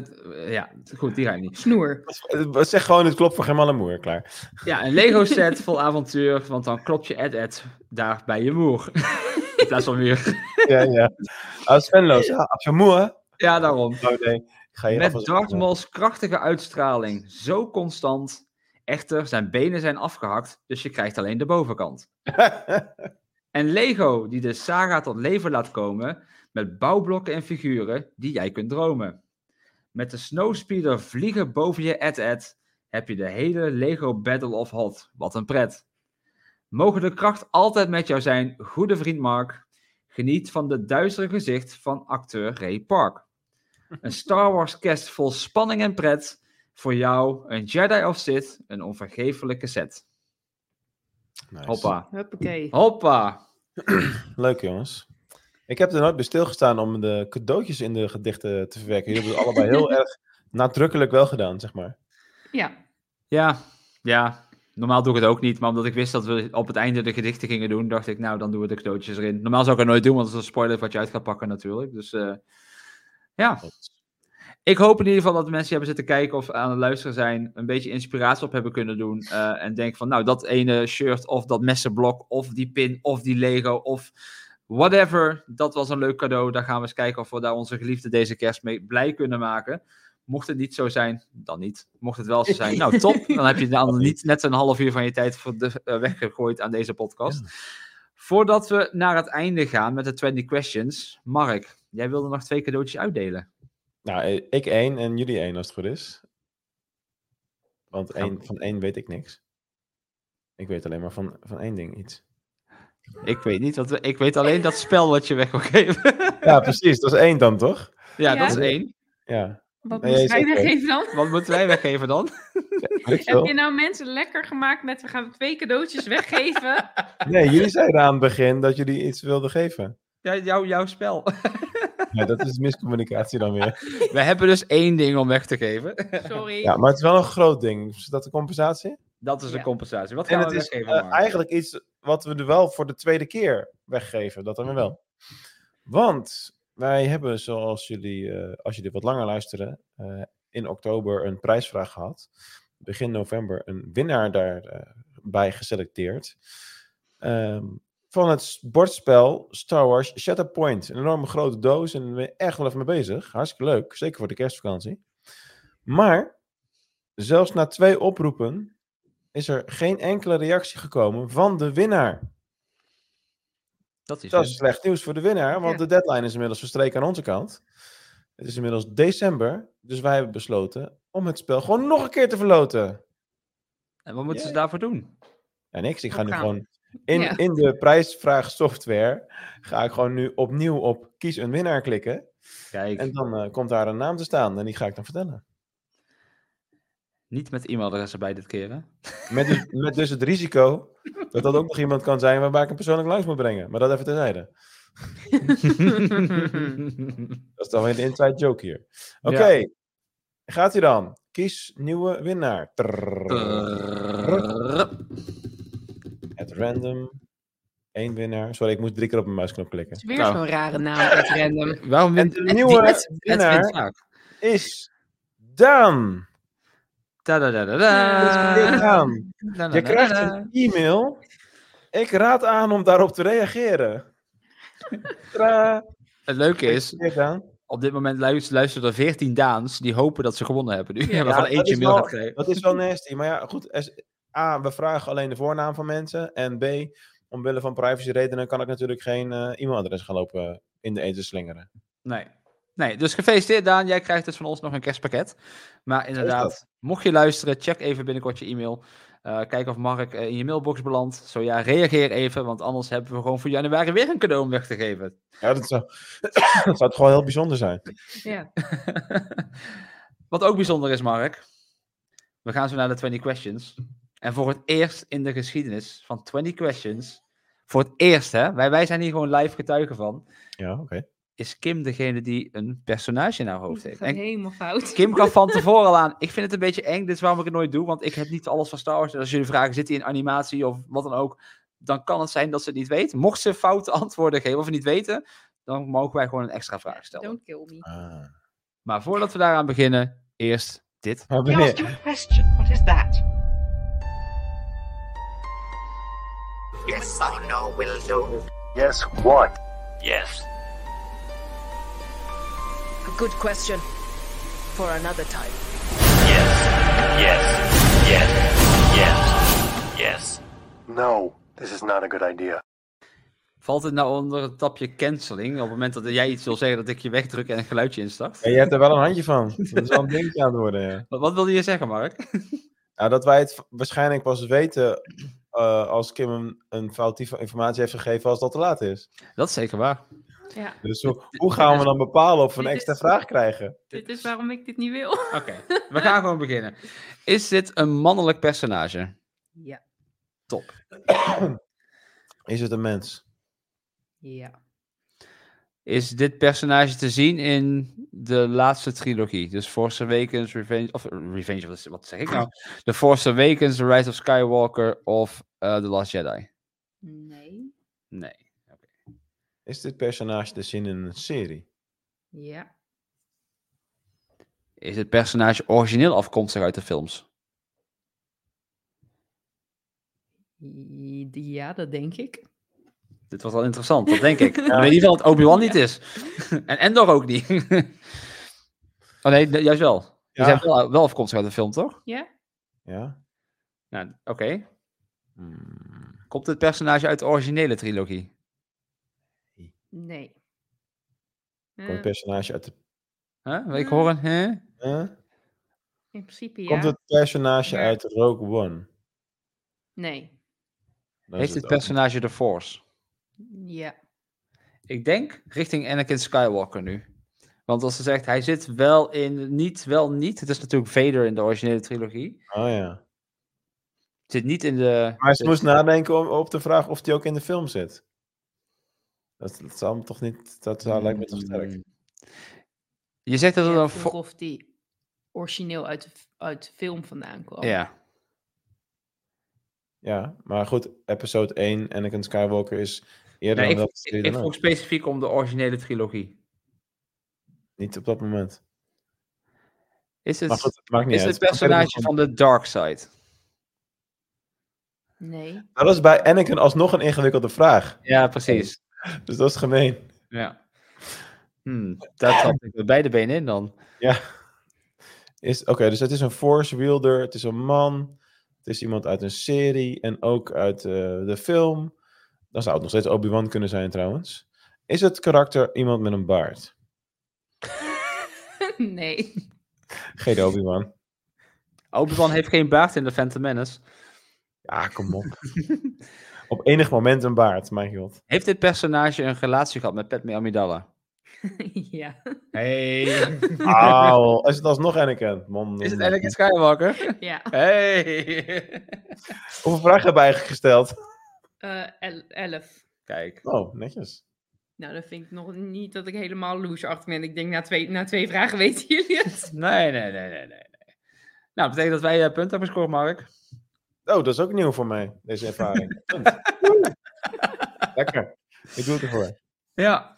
[SPEAKER 2] ja, goed, die ga ik niet.
[SPEAKER 3] Snoer.
[SPEAKER 1] Eh, Zeg gewoon, het klopt voor geen malle moer, klaar.
[SPEAKER 2] Ja, een Lego set vol avontuur, want dan klopt je Ed Ed daar bij je moer. In plaats van muur.
[SPEAKER 1] Ja, ja. Als Svenloos, ja, Oh, als je moe, hè?
[SPEAKER 2] Ja, daarom.
[SPEAKER 1] Oh nee, ik ga Oh, je
[SPEAKER 2] Met Darth Maul's krachtige uitstraling, zo constant. Echter, zijn benen zijn afgehakt, dus je krijgt alleen de bovenkant. En Lego, die de saga tot leven laat komen, met bouwblokken en figuren die jij kunt dromen. Met de Snowspeeder vliegen boven je Ed-Ed, heb je de hele Lego Battle of Hot. Wat een pret. Mogen de kracht altijd met jou zijn, goede vriend Mark. Geniet van de duistere gezicht van acteur Ray Park. Een Star Wars cast vol spanning en pret. Voor jou, een Jedi of Sith, een onvergeeflijke set. Hoppa.
[SPEAKER 3] Huppakee.
[SPEAKER 2] Oh. Hoppa.
[SPEAKER 1] Leuk jongens. Ik heb er nooit bij stilgestaan om de cadeautjes in de gedichten te verwerken. Jullie hebben het allebei heel erg nadrukkelijk wel gedaan, zeg maar.
[SPEAKER 3] Ja.
[SPEAKER 2] Ja, ja. Normaal doe ik het ook niet, maar omdat ik wist dat we op het einde de gedichten gingen doen, dacht ik, nou, dan doen we de cadeautjes erin. Normaal zou ik het nooit doen, want dat is een spoiler wat je uit gaat pakken natuurlijk. Dus eh, ja. Ik hoop in ieder geval dat de mensen die hebben zitten kijken of aan het luisteren zijn, een beetje inspiratie op hebben kunnen doen. eh, en denken van, nou, dat ene shirt of dat messenblok of die pin of die Lego of whatever. Dat was een leuk cadeau. Dan gaan we eens kijken of we daar onze geliefde deze kerst mee blij kunnen maken. Mocht het niet zo zijn, dan niet. Mocht het wel zo zijn, nou top. Dan heb je de ander niet net een half uur van je tijd voor de, eh, weggegooid aan deze podcast. Voordat we naar het einde gaan met de 20 questions. Mark, jij wilde nog twee cadeautjes uitdelen.
[SPEAKER 1] Nou, eh, ik één en jullie één als het goed is. Want
[SPEAKER 2] Gaan we-
[SPEAKER 1] één, van één weet ik niks. Ik weet alleen maar van, van één ding iets.
[SPEAKER 2] Ik weet niet, wat we, ik weet alleen dat spel wat je weg wil geven.
[SPEAKER 1] Ja, precies. Dat is één dan, toch?
[SPEAKER 2] ja,
[SPEAKER 3] Ja.
[SPEAKER 2] dat is één.
[SPEAKER 1] Ja.
[SPEAKER 3] Wat
[SPEAKER 1] Nee,
[SPEAKER 3] moest
[SPEAKER 1] is
[SPEAKER 3] jij
[SPEAKER 1] oké.
[SPEAKER 3] weggeven dan?
[SPEAKER 2] Wat moeten wij weggeven dan?
[SPEAKER 1] weet ik
[SPEAKER 3] Heb je
[SPEAKER 1] veel.
[SPEAKER 3] nou mensen lekker gemaakt met we gaan twee cadeautjes weggeven?
[SPEAKER 1] Nee, jullie zeiden aan het begin dat jullie iets wilden geven.
[SPEAKER 2] Ja, jou, jouw spel.
[SPEAKER 1] Ja, dat is miscommunicatie dan weer.
[SPEAKER 2] We hebben dus één ding om weg te geven.
[SPEAKER 3] Sorry.
[SPEAKER 1] Ja, maar het is wel een groot ding. Is dat de compensatie?
[SPEAKER 2] Dat is de
[SPEAKER 3] Ja.
[SPEAKER 2] compensatie. Wat
[SPEAKER 1] En
[SPEAKER 2] gaan
[SPEAKER 1] het
[SPEAKER 2] we
[SPEAKER 1] is
[SPEAKER 2] weggeven?
[SPEAKER 1] eh,
[SPEAKER 2] Mark?
[SPEAKER 1] eigenlijk iets wat we er wel voor de tweede keer weggeven. Dat dan weer wel. Want wij hebben, zoals jullie, eh, als jullie wat langer luisteren, eh, in oktober een prijsvraag gehad. Begin november een winnaar daarbij geselecteerd. Ehm, van het s- bordspel Star Wars Shatterpoint. Een enorme grote doos en daar ben je echt wel even mee bezig. Hartstikke leuk, zeker voor de kerstvakantie. Maar zelfs na twee oproepen is er geen enkele reactie gekomen van de winnaar.
[SPEAKER 2] dat is
[SPEAKER 1] Dat is
[SPEAKER 2] het.
[SPEAKER 1] slecht nieuws voor de winnaar, want de
[SPEAKER 3] Ja.
[SPEAKER 1] deadline is inmiddels verstreken aan onze kant. Het is inmiddels december, dus wij hebben besloten om het spel gewoon nog een keer te verloten.
[SPEAKER 2] En wat moeten
[SPEAKER 1] Ja.
[SPEAKER 2] ze daarvoor doen?
[SPEAKER 1] Ja, niks. Ik ga
[SPEAKER 3] Wat
[SPEAKER 1] nu
[SPEAKER 3] gaan
[SPEAKER 1] gewoon in,
[SPEAKER 3] Ja.
[SPEAKER 1] in de prijsvraag software, ga ik gewoon nu opnieuw op kies een winnaar klikken.
[SPEAKER 2] Kijk,
[SPEAKER 1] En dan eh, komt daar een naam te staan en die ga ik dan vertellen.
[SPEAKER 2] niet met e-mailadressen bij dit keer, hè?
[SPEAKER 1] Met, dus- met dus het risico dat dat ook nog iemand kan zijn waarbij ik hem persoonlijk langs moet brengen. Maar dat even terzijde. Dat is dan weer een inside joke hier. Oké, gaat hij dan? Kies nieuwe winnaar. Trrr.
[SPEAKER 2] Eh.
[SPEAKER 1] Het random. Eén winnaar. Sorry, ik moest drie keer op mijn muisknop
[SPEAKER 3] Het
[SPEAKER 1] klikken.
[SPEAKER 3] is weer
[SPEAKER 2] Nou.
[SPEAKER 3] zo'n rare naam, dat random.
[SPEAKER 2] Waarom
[SPEAKER 1] En
[SPEAKER 2] wint
[SPEAKER 1] de
[SPEAKER 2] die-
[SPEAKER 1] nieuwe
[SPEAKER 2] Ed- Ed wint
[SPEAKER 1] winnaar-
[SPEAKER 2] vaak.
[SPEAKER 1] Is Daan.
[SPEAKER 2] Tadadadada.
[SPEAKER 3] Dus
[SPEAKER 1] Daan.
[SPEAKER 2] Dadadada.
[SPEAKER 1] Je krijgt een e-mail. Ik raad aan om daarop te reageren. Tra.
[SPEAKER 2] Het leuke is,
[SPEAKER 1] Gefeliciteerd, Daan.
[SPEAKER 2] op dit moment luisteren, luisteren er 14 Daans die hopen dat ze gewonnen hebben. Nu hebben
[SPEAKER 1] Ja,
[SPEAKER 2] van
[SPEAKER 1] dat
[SPEAKER 2] eentje
[SPEAKER 1] is
[SPEAKER 2] mail
[SPEAKER 1] wel-
[SPEAKER 2] gaat krijgen.
[SPEAKER 1] Dat is wel nasty. Maar ja, goed. er is- A, we vragen alleen de voornaam van mensen. En B, omwille van privacy redenen kan ik natuurlijk geen eh, e-mailadres gaan lopen in de eten slingeren.
[SPEAKER 2] Nee. Nee, dus gefeliciteerd Daan. Jij krijgt dus van ons nog een kerstpakket. Maar inderdaad, mocht je luisteren, check even binnenkort je e-mail. Eh, kijk of Mark eh, in je mailbox belandt. Zo ja, reageer even, want anders hebben we gewoon voor januari weer een cadeau om weg te geven.
[SPEAKER 1] Ja, dat zou, dat zou het gewoon heel bijzonder zijn.
[SPEAKER 3] Ja.
[SPEAKER 2] Wat ook bijzonder is, Mark. We gaan zo naar de 20 questions. En voor het eerst in de geschiedenis van 20 questions, voor het eerst hè, wij, wij zijn hier gewoon live getuigen van,
[SPEAKER 1] Ja, oké.
[SPEAKER 2] is Kim degene die een personage in haar hoofd
[SPEAKER 3] Het
[SPEAKER 2] heeft.
[SPEAKER 3] gaat
[SPEAKER 2] En
[SPEAKER 3] helemaal fout.
[SPEAKER 2] Kim gaf van tevoren al aan. Ik vind het een beetje eng. Dit is waarom ik het nooit doe. Want ik heb niet alles van Star Wars. En als jullie vragen, zit hij in animatie of wat dan ook. Dan kan het zijn dat ze het niet weet. Mocht ze foute antwoorden geven of niet weten. Dan mogen wij gewoon een extra vraag stellen.
[SPEAKER 3] Don't kill me.
[SPEAKER 1] Ah.
[SPEAKER 2] Maar voordat we daaraan beginnen, eerst dit.
[SPEAKER 1] Maar
[SPEAKER 8] He asked you
[SPEAKER 1] wanneer-
[SPEAKER 8] a question. What is that?
[SPEAKER 4] Yes or no will do.
[SPEAKER 9] Yes, what?
[SPEAKER 4] Yes.
[SPEAKER 10] A good question for another time.
[SPEAKER 4] Yes. Yes. Yes. Yes. Yes.
[SPEAKER 9] No, this is not a good idea.
[SPEAKER 2] Valt het nou onder het tapje canceling? Op het moment dat jij iets wil zeggen, dat ik je wegdruk en een geluidje instart.
[SPEAKER 1] Ja, je hebt er wel een handje van. Dat is wel een dingetje aan het worden, ja.
[SPEAKER 2] Wat, wat wilde je zeggen, Mark?
[SPEAKER 1] Nou, dat wij het v- waarschijnlijk pas weten eh, als Kim een, een foutieve informatie heeft gegeven als dat te laat is.
[SPEAKER 2] Dat is zeker waar.
[SPEAKER 3] Ja,
[SPEAKER 1] Dus hoe, hoe gaan we dan bepalen of we een
[SPEAKER 3] Dit
[SPEAKER 1] extra
[SPEAKER 3] is-
[SPEAKER 1] vraag krijgen?
[SPEAKER 3] dit is waarom ik dit niet wil.
[SPEAKER 2] Oké, we gaan gewoon beginnen. Is dit een mannelijk personage?
[SPEAKER 3] Ja.
[SPEAKER 2] Top.
[SPEAKER 1] Is het een mens?
[SPEAKER 3] Ja.
[SPEAKER 2] Is dit personage te zien in de laatste trilogie? Dus Force Awakens, Revenge... Of eh, Revenge, wat is- wat zeg ik nou? The Force Awakens, The Rise of Skywalker of eh, The Last Jedi?
[SPEAKER 3] Nee.
[SPEAKER 2] Nee.
[SPEAKER 1] Is dit personage te zien in een serie?
[SPEAKER 3] Ja.
[SPEAKER 2] Is het personage origineel afkomstig uit de films?
[SPEAKER 3] I- Ja, dat denk ik.
[SPEAKER 2] Dit was wel interessant, dat denk ik. Maar In ieder geval dat Obi-Wan niet is. en Endor ook niet. oh nee, de- juist wel.
[SPEAKER 1] Ja.
[SPEAKER 2] Die zijn wel, wel afkomstig uit de film, toch?
[SPEAKER 3] Ja?
[SPEAKER 1] Ja?
[SPEAKER 2] Nou, oké.
[SPEAKER 1] Hmm,
[SPEAKER 2] Komt het personage uit de originele trilogie?
[SPEAKER 3] Nee.
[SPEAKER 1] Komt het
[SPEAKER 3] Eh,
[SPEAKER 1] personage uit de...
[SPEAKER 2] Huh? Ik hoor een... hè?
[SPEAKER 1] Huh?
[SPEAKER 3] in principe ja.
[SPEAKER 1] Komt het personage
[SPEAKER 3] Maar-
[SPEAKER 1] uit Rogue One?
[SPEAKER 3] Nee.
[SPEAKER 1] Dan is
[SPEAKER 2] Heeft het
[SPEAKER 1] ook-
[SPEAKER 2] personage de Force?
[SPEAKER 3] Ja.
[SPEAKER 2] Ik denk richting Anakin Skywalker nu. Want als ze zegt, hij zit wel in, niet, wel niet. Het is natuurlijk Vader in de originele trilogie.
[SPEAKER 1] Oh ja.
[SPEAKER 2] Zit niet in de...
[SPEAKER 1] Maar ze
[SPEAKER 2] de-
[SPEAKER 1] moest nadenken om, op de vraag of die ook in de film zit. Dat, dat zal me toch niet... Dat zou, lijkt me toch sterk.
[SPEAKER 2] Mm. Je zegt dat het
[SPEAKER 3] Ja,
[SPEAKER 2] een...
[SPEAKER 3] vroeg
[SPEAKER 2] fo-
[SPEAKER 3] of die origineel uit de, f- uit de film vandaan kwam.
[SPEAKER 2] Ja.
[SPEAKER 1] Ja, maar goed, episode 1 Anakin Skywalker is eerder
[SPEAKER 2] Nee,
[SPEAKER 1] dan
[SPEAKER 2] ik,
[SPEAKER 1] welke serie
[SPEAKER 2] ik,
[SPEAKER 1] dan
[SPEAKER 2] ik vroeg
[SPEAKER 1] ook.
[SPEAKER 2] specifiek om de originele trilogie.
[SPEAKER 1] Niet op dat moment.
[SPEAKER 2] Is
[SPEAKER 1] Maar goed,
[SPEAKER 2] het,
[SPEAKER 1] het maakt niet
[SPEAKER 2] is
[SPEAKER 1] uit.
[SPEAKER 2] het personage van de Dark Side?
[SPEAKER 3] Nee.
[SPEAKER 1] Nou, dat is bij Anakin alsnog een ingewikkelde vraag.
[SPEAKER 2] Ja, precies.
[SPEAKER 1] Dus dat is gemeen.
[SPEAKER 2] Ja. Hm, dat had ik met beide benen in dan.
[SPEAKER 1] Is, Oké, dus het is een force wielder, het is een man, het is iemand uit een serie en ook uit eh, de film. Dan zou het nog steeds Obi-Wan kunnen zijn trouwens. Is het karakter iemand met een baard?
[SPEAKER 3] nee.
[SPEAKER 1] Geen Obi-Wan.
[SPEAKER 2] Obi-Wan heeft geen baard in de Phantom Menace.
[SPEAKER 1] Ja, kom op. op enig moment een baard, mijn god.
[SPEAKER 2] Heeft dit personage een relatie gehad met Padme Amidala?
[SPEAKER 3] ja.
[SPEAKER 2] Hey.
[SPEAKER 1] Auw, is het alsnog Anakin? Man,
[SPEAKER 2] Is het
[SPEAKER 1] man,
[SPEAKER 2] Anakin Skywalker?
[SPEAKER 3] Ja.
[SPEAKER 2] Hey.
[SPEAKER 1] man. Hoeveel vragen hebben we eigenlijk gesteld?
[SPEAKER 3] Eh, el- elf.
[SPEAKER 2] Kijk.
[SPEAKER 1] Oh, netjes.
[SPEAKER 3] Nou, dat vind ik nog niet dat ik helemaal loose achter ben. Ik denk, na twee, na twee vragen weten jullie het.
[SPEAKER 2] Nee, nee, nee, nee, nee. nee. Nou, dat betekent dat wij eh, punten hebben gescoord, Mark.
[SPEAKER 1] Oh, dat is ook nieuw voor mij, deze ervaring. Punt. Lekker. Ik doe het ervoor.
[SPEAKER 2] Ja.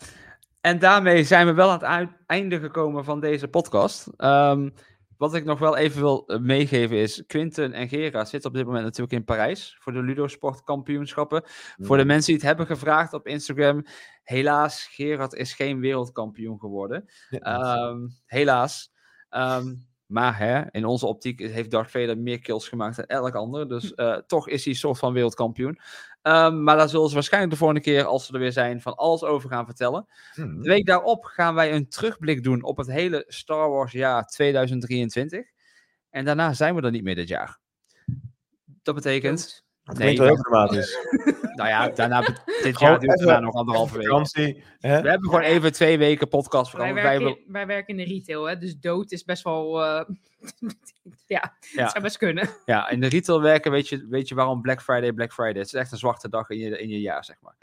[SPEAKER 2] En daarmee zijn we wel aan het ui- einde gekomen van deze podcast. Ehm, wat ik nog wel even wil eh, meegeven is, Quinten en Gera zitten op dit moment natuurlijk in Parijs voor de Ludosport kampioenschappen. Voor de mensen die het hebben gevraagd op Instagram, helaas, Gerard is geen wereldkampioen geworden. Ehm, helaas. Ehm, maar hè, in onze optiek heeft Darth Vader meer kills gemaakt dan elk ander. Dus
[SPEAKER 1] Hm.
[SPEAKER 2] eh, toch is hij een soort van wereldkampioen. Ehm, maar daar zullen ze waarschijnlijk de volgende keer, als ze er weer zijn, van alles over gaan vertellen.
[SPEAKER 1] Hmm.
[SPEAKER 2] De week daarop gaan wij een terugblik doen op het hele Star Wars jaar 2023. En daarna zijn we er niet meer dit jaar. Dat betekent...
[SPEAKER 1] Het
[SPEAKER 2] Nee,
[SPEAKER 1] klinkt wel heel
[SPEAKER 2] dat-
[SPEAKER 1] dramatisch.
[SPEAKER 2] Dat, Nou ja, daarna, dit
[SPEAKER 1] Gewoon
[SPEAKER 2] jaar duurt
[SPEAKER 1] even-
[SPEAKER 2] daarna nog anderhalve week.
[SPEAKER 1] Vakantie. Hè?
[SPEAKER 2] We hebben gewoon even twee weken podcast.
[SPEAKER 3] Wij werken, in- wij werken in de retail, hè, dus dood is best wel. eh, ja,
[SPEAKER 2] Ja.
[SPEAKER 3] het zou best kunnen.
[SPEAKER 2] Ja, in de retail werken weet je, weet je waarom Black Friday Black Friday is. Het is echt een zwarte dag in je, in je jaar, zeg maar.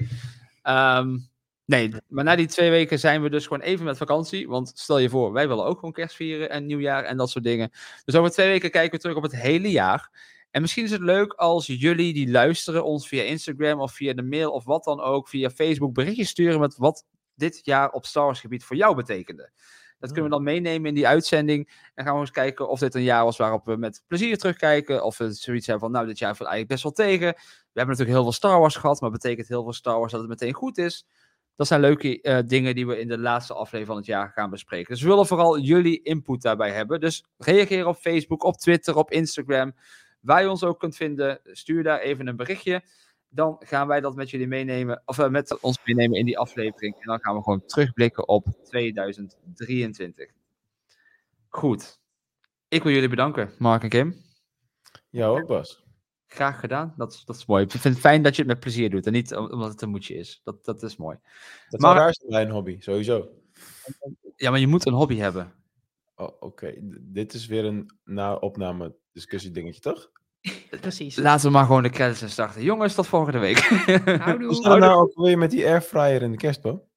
[SPEAKER 2] Ehm, nee, maar na die twee weken zijn we dus gewoon even met vakantie. Want stel je voor, wij willen ook gewoon kerst vieren en nieuwjaar en dat soort dingen. Dus over twee weken kijken we terug op het hele jaar. En misschien is het leuk als jullie die luisteren ons via Instagram of via de mail of wat dan ook, via Facebook berichtjes sturen met wat dit jaar op Star Wars gebied voor jou betekende. Dat kunnen we dan meenemen in die uitzending. En gaan we eens kijken of dit een jaar was waarop we met plezier terugkijken. Of we zoiets hebben van, nou, dit jaar viel eigenlijk best wel tegen. We hebben natuurlijk heel veel Star Wars gehad, maar betekent heel veel Star Wars dat het meteen goed is? Dat zijn leuke eh, dingen die we in de laatste aflevering van het jaar gaan bespreken. Dus we willen vooral jullie input daarbij hebben. Dus reageer op Facebook, op Twitter, op Instagram. Waar je ons ook kunt vinden, stuur daar even een berichtje. Dan gaan wij dat met jullie meenemen, of eh, met ons meenemen in die aflevering. En dan gaan we gewoon terugblikken op 2023. Goed. Ik wil jullie bedanken, Mark en Kim.
[SPEAKER 1] Jou ook, Bas.
[SPEAKER 2] Graag gedaan. Dat, is- dat is mooi. Ik vind het fijn dat je het met plezier doet en niet om- omdat het een moedje is. Dat, dat is mooi.
[SPEAKER 1] Dat
[SPEAKER 2] Maar-
[SPEAKER 1] zou raar zijn bij een hobby, sowieso.
[SPEAKER 2] Ja, maar je moet een hobby hebben.
[SPEAKER 1] Oh, Oké, D- dit is weer een na-opname discussie dingetje, toch?
[SPEAKER 3] Precies.
[SPEAKER 2] Laten we maar gewoon de credits in starten. Jongens, tot volgende week.
[SPEAKER 1] Nou,
[SPEAKER 3] Houdoe.
[SPEAKER 1] Hoe staat het nou ook weer met die airfryer in de kerstboom?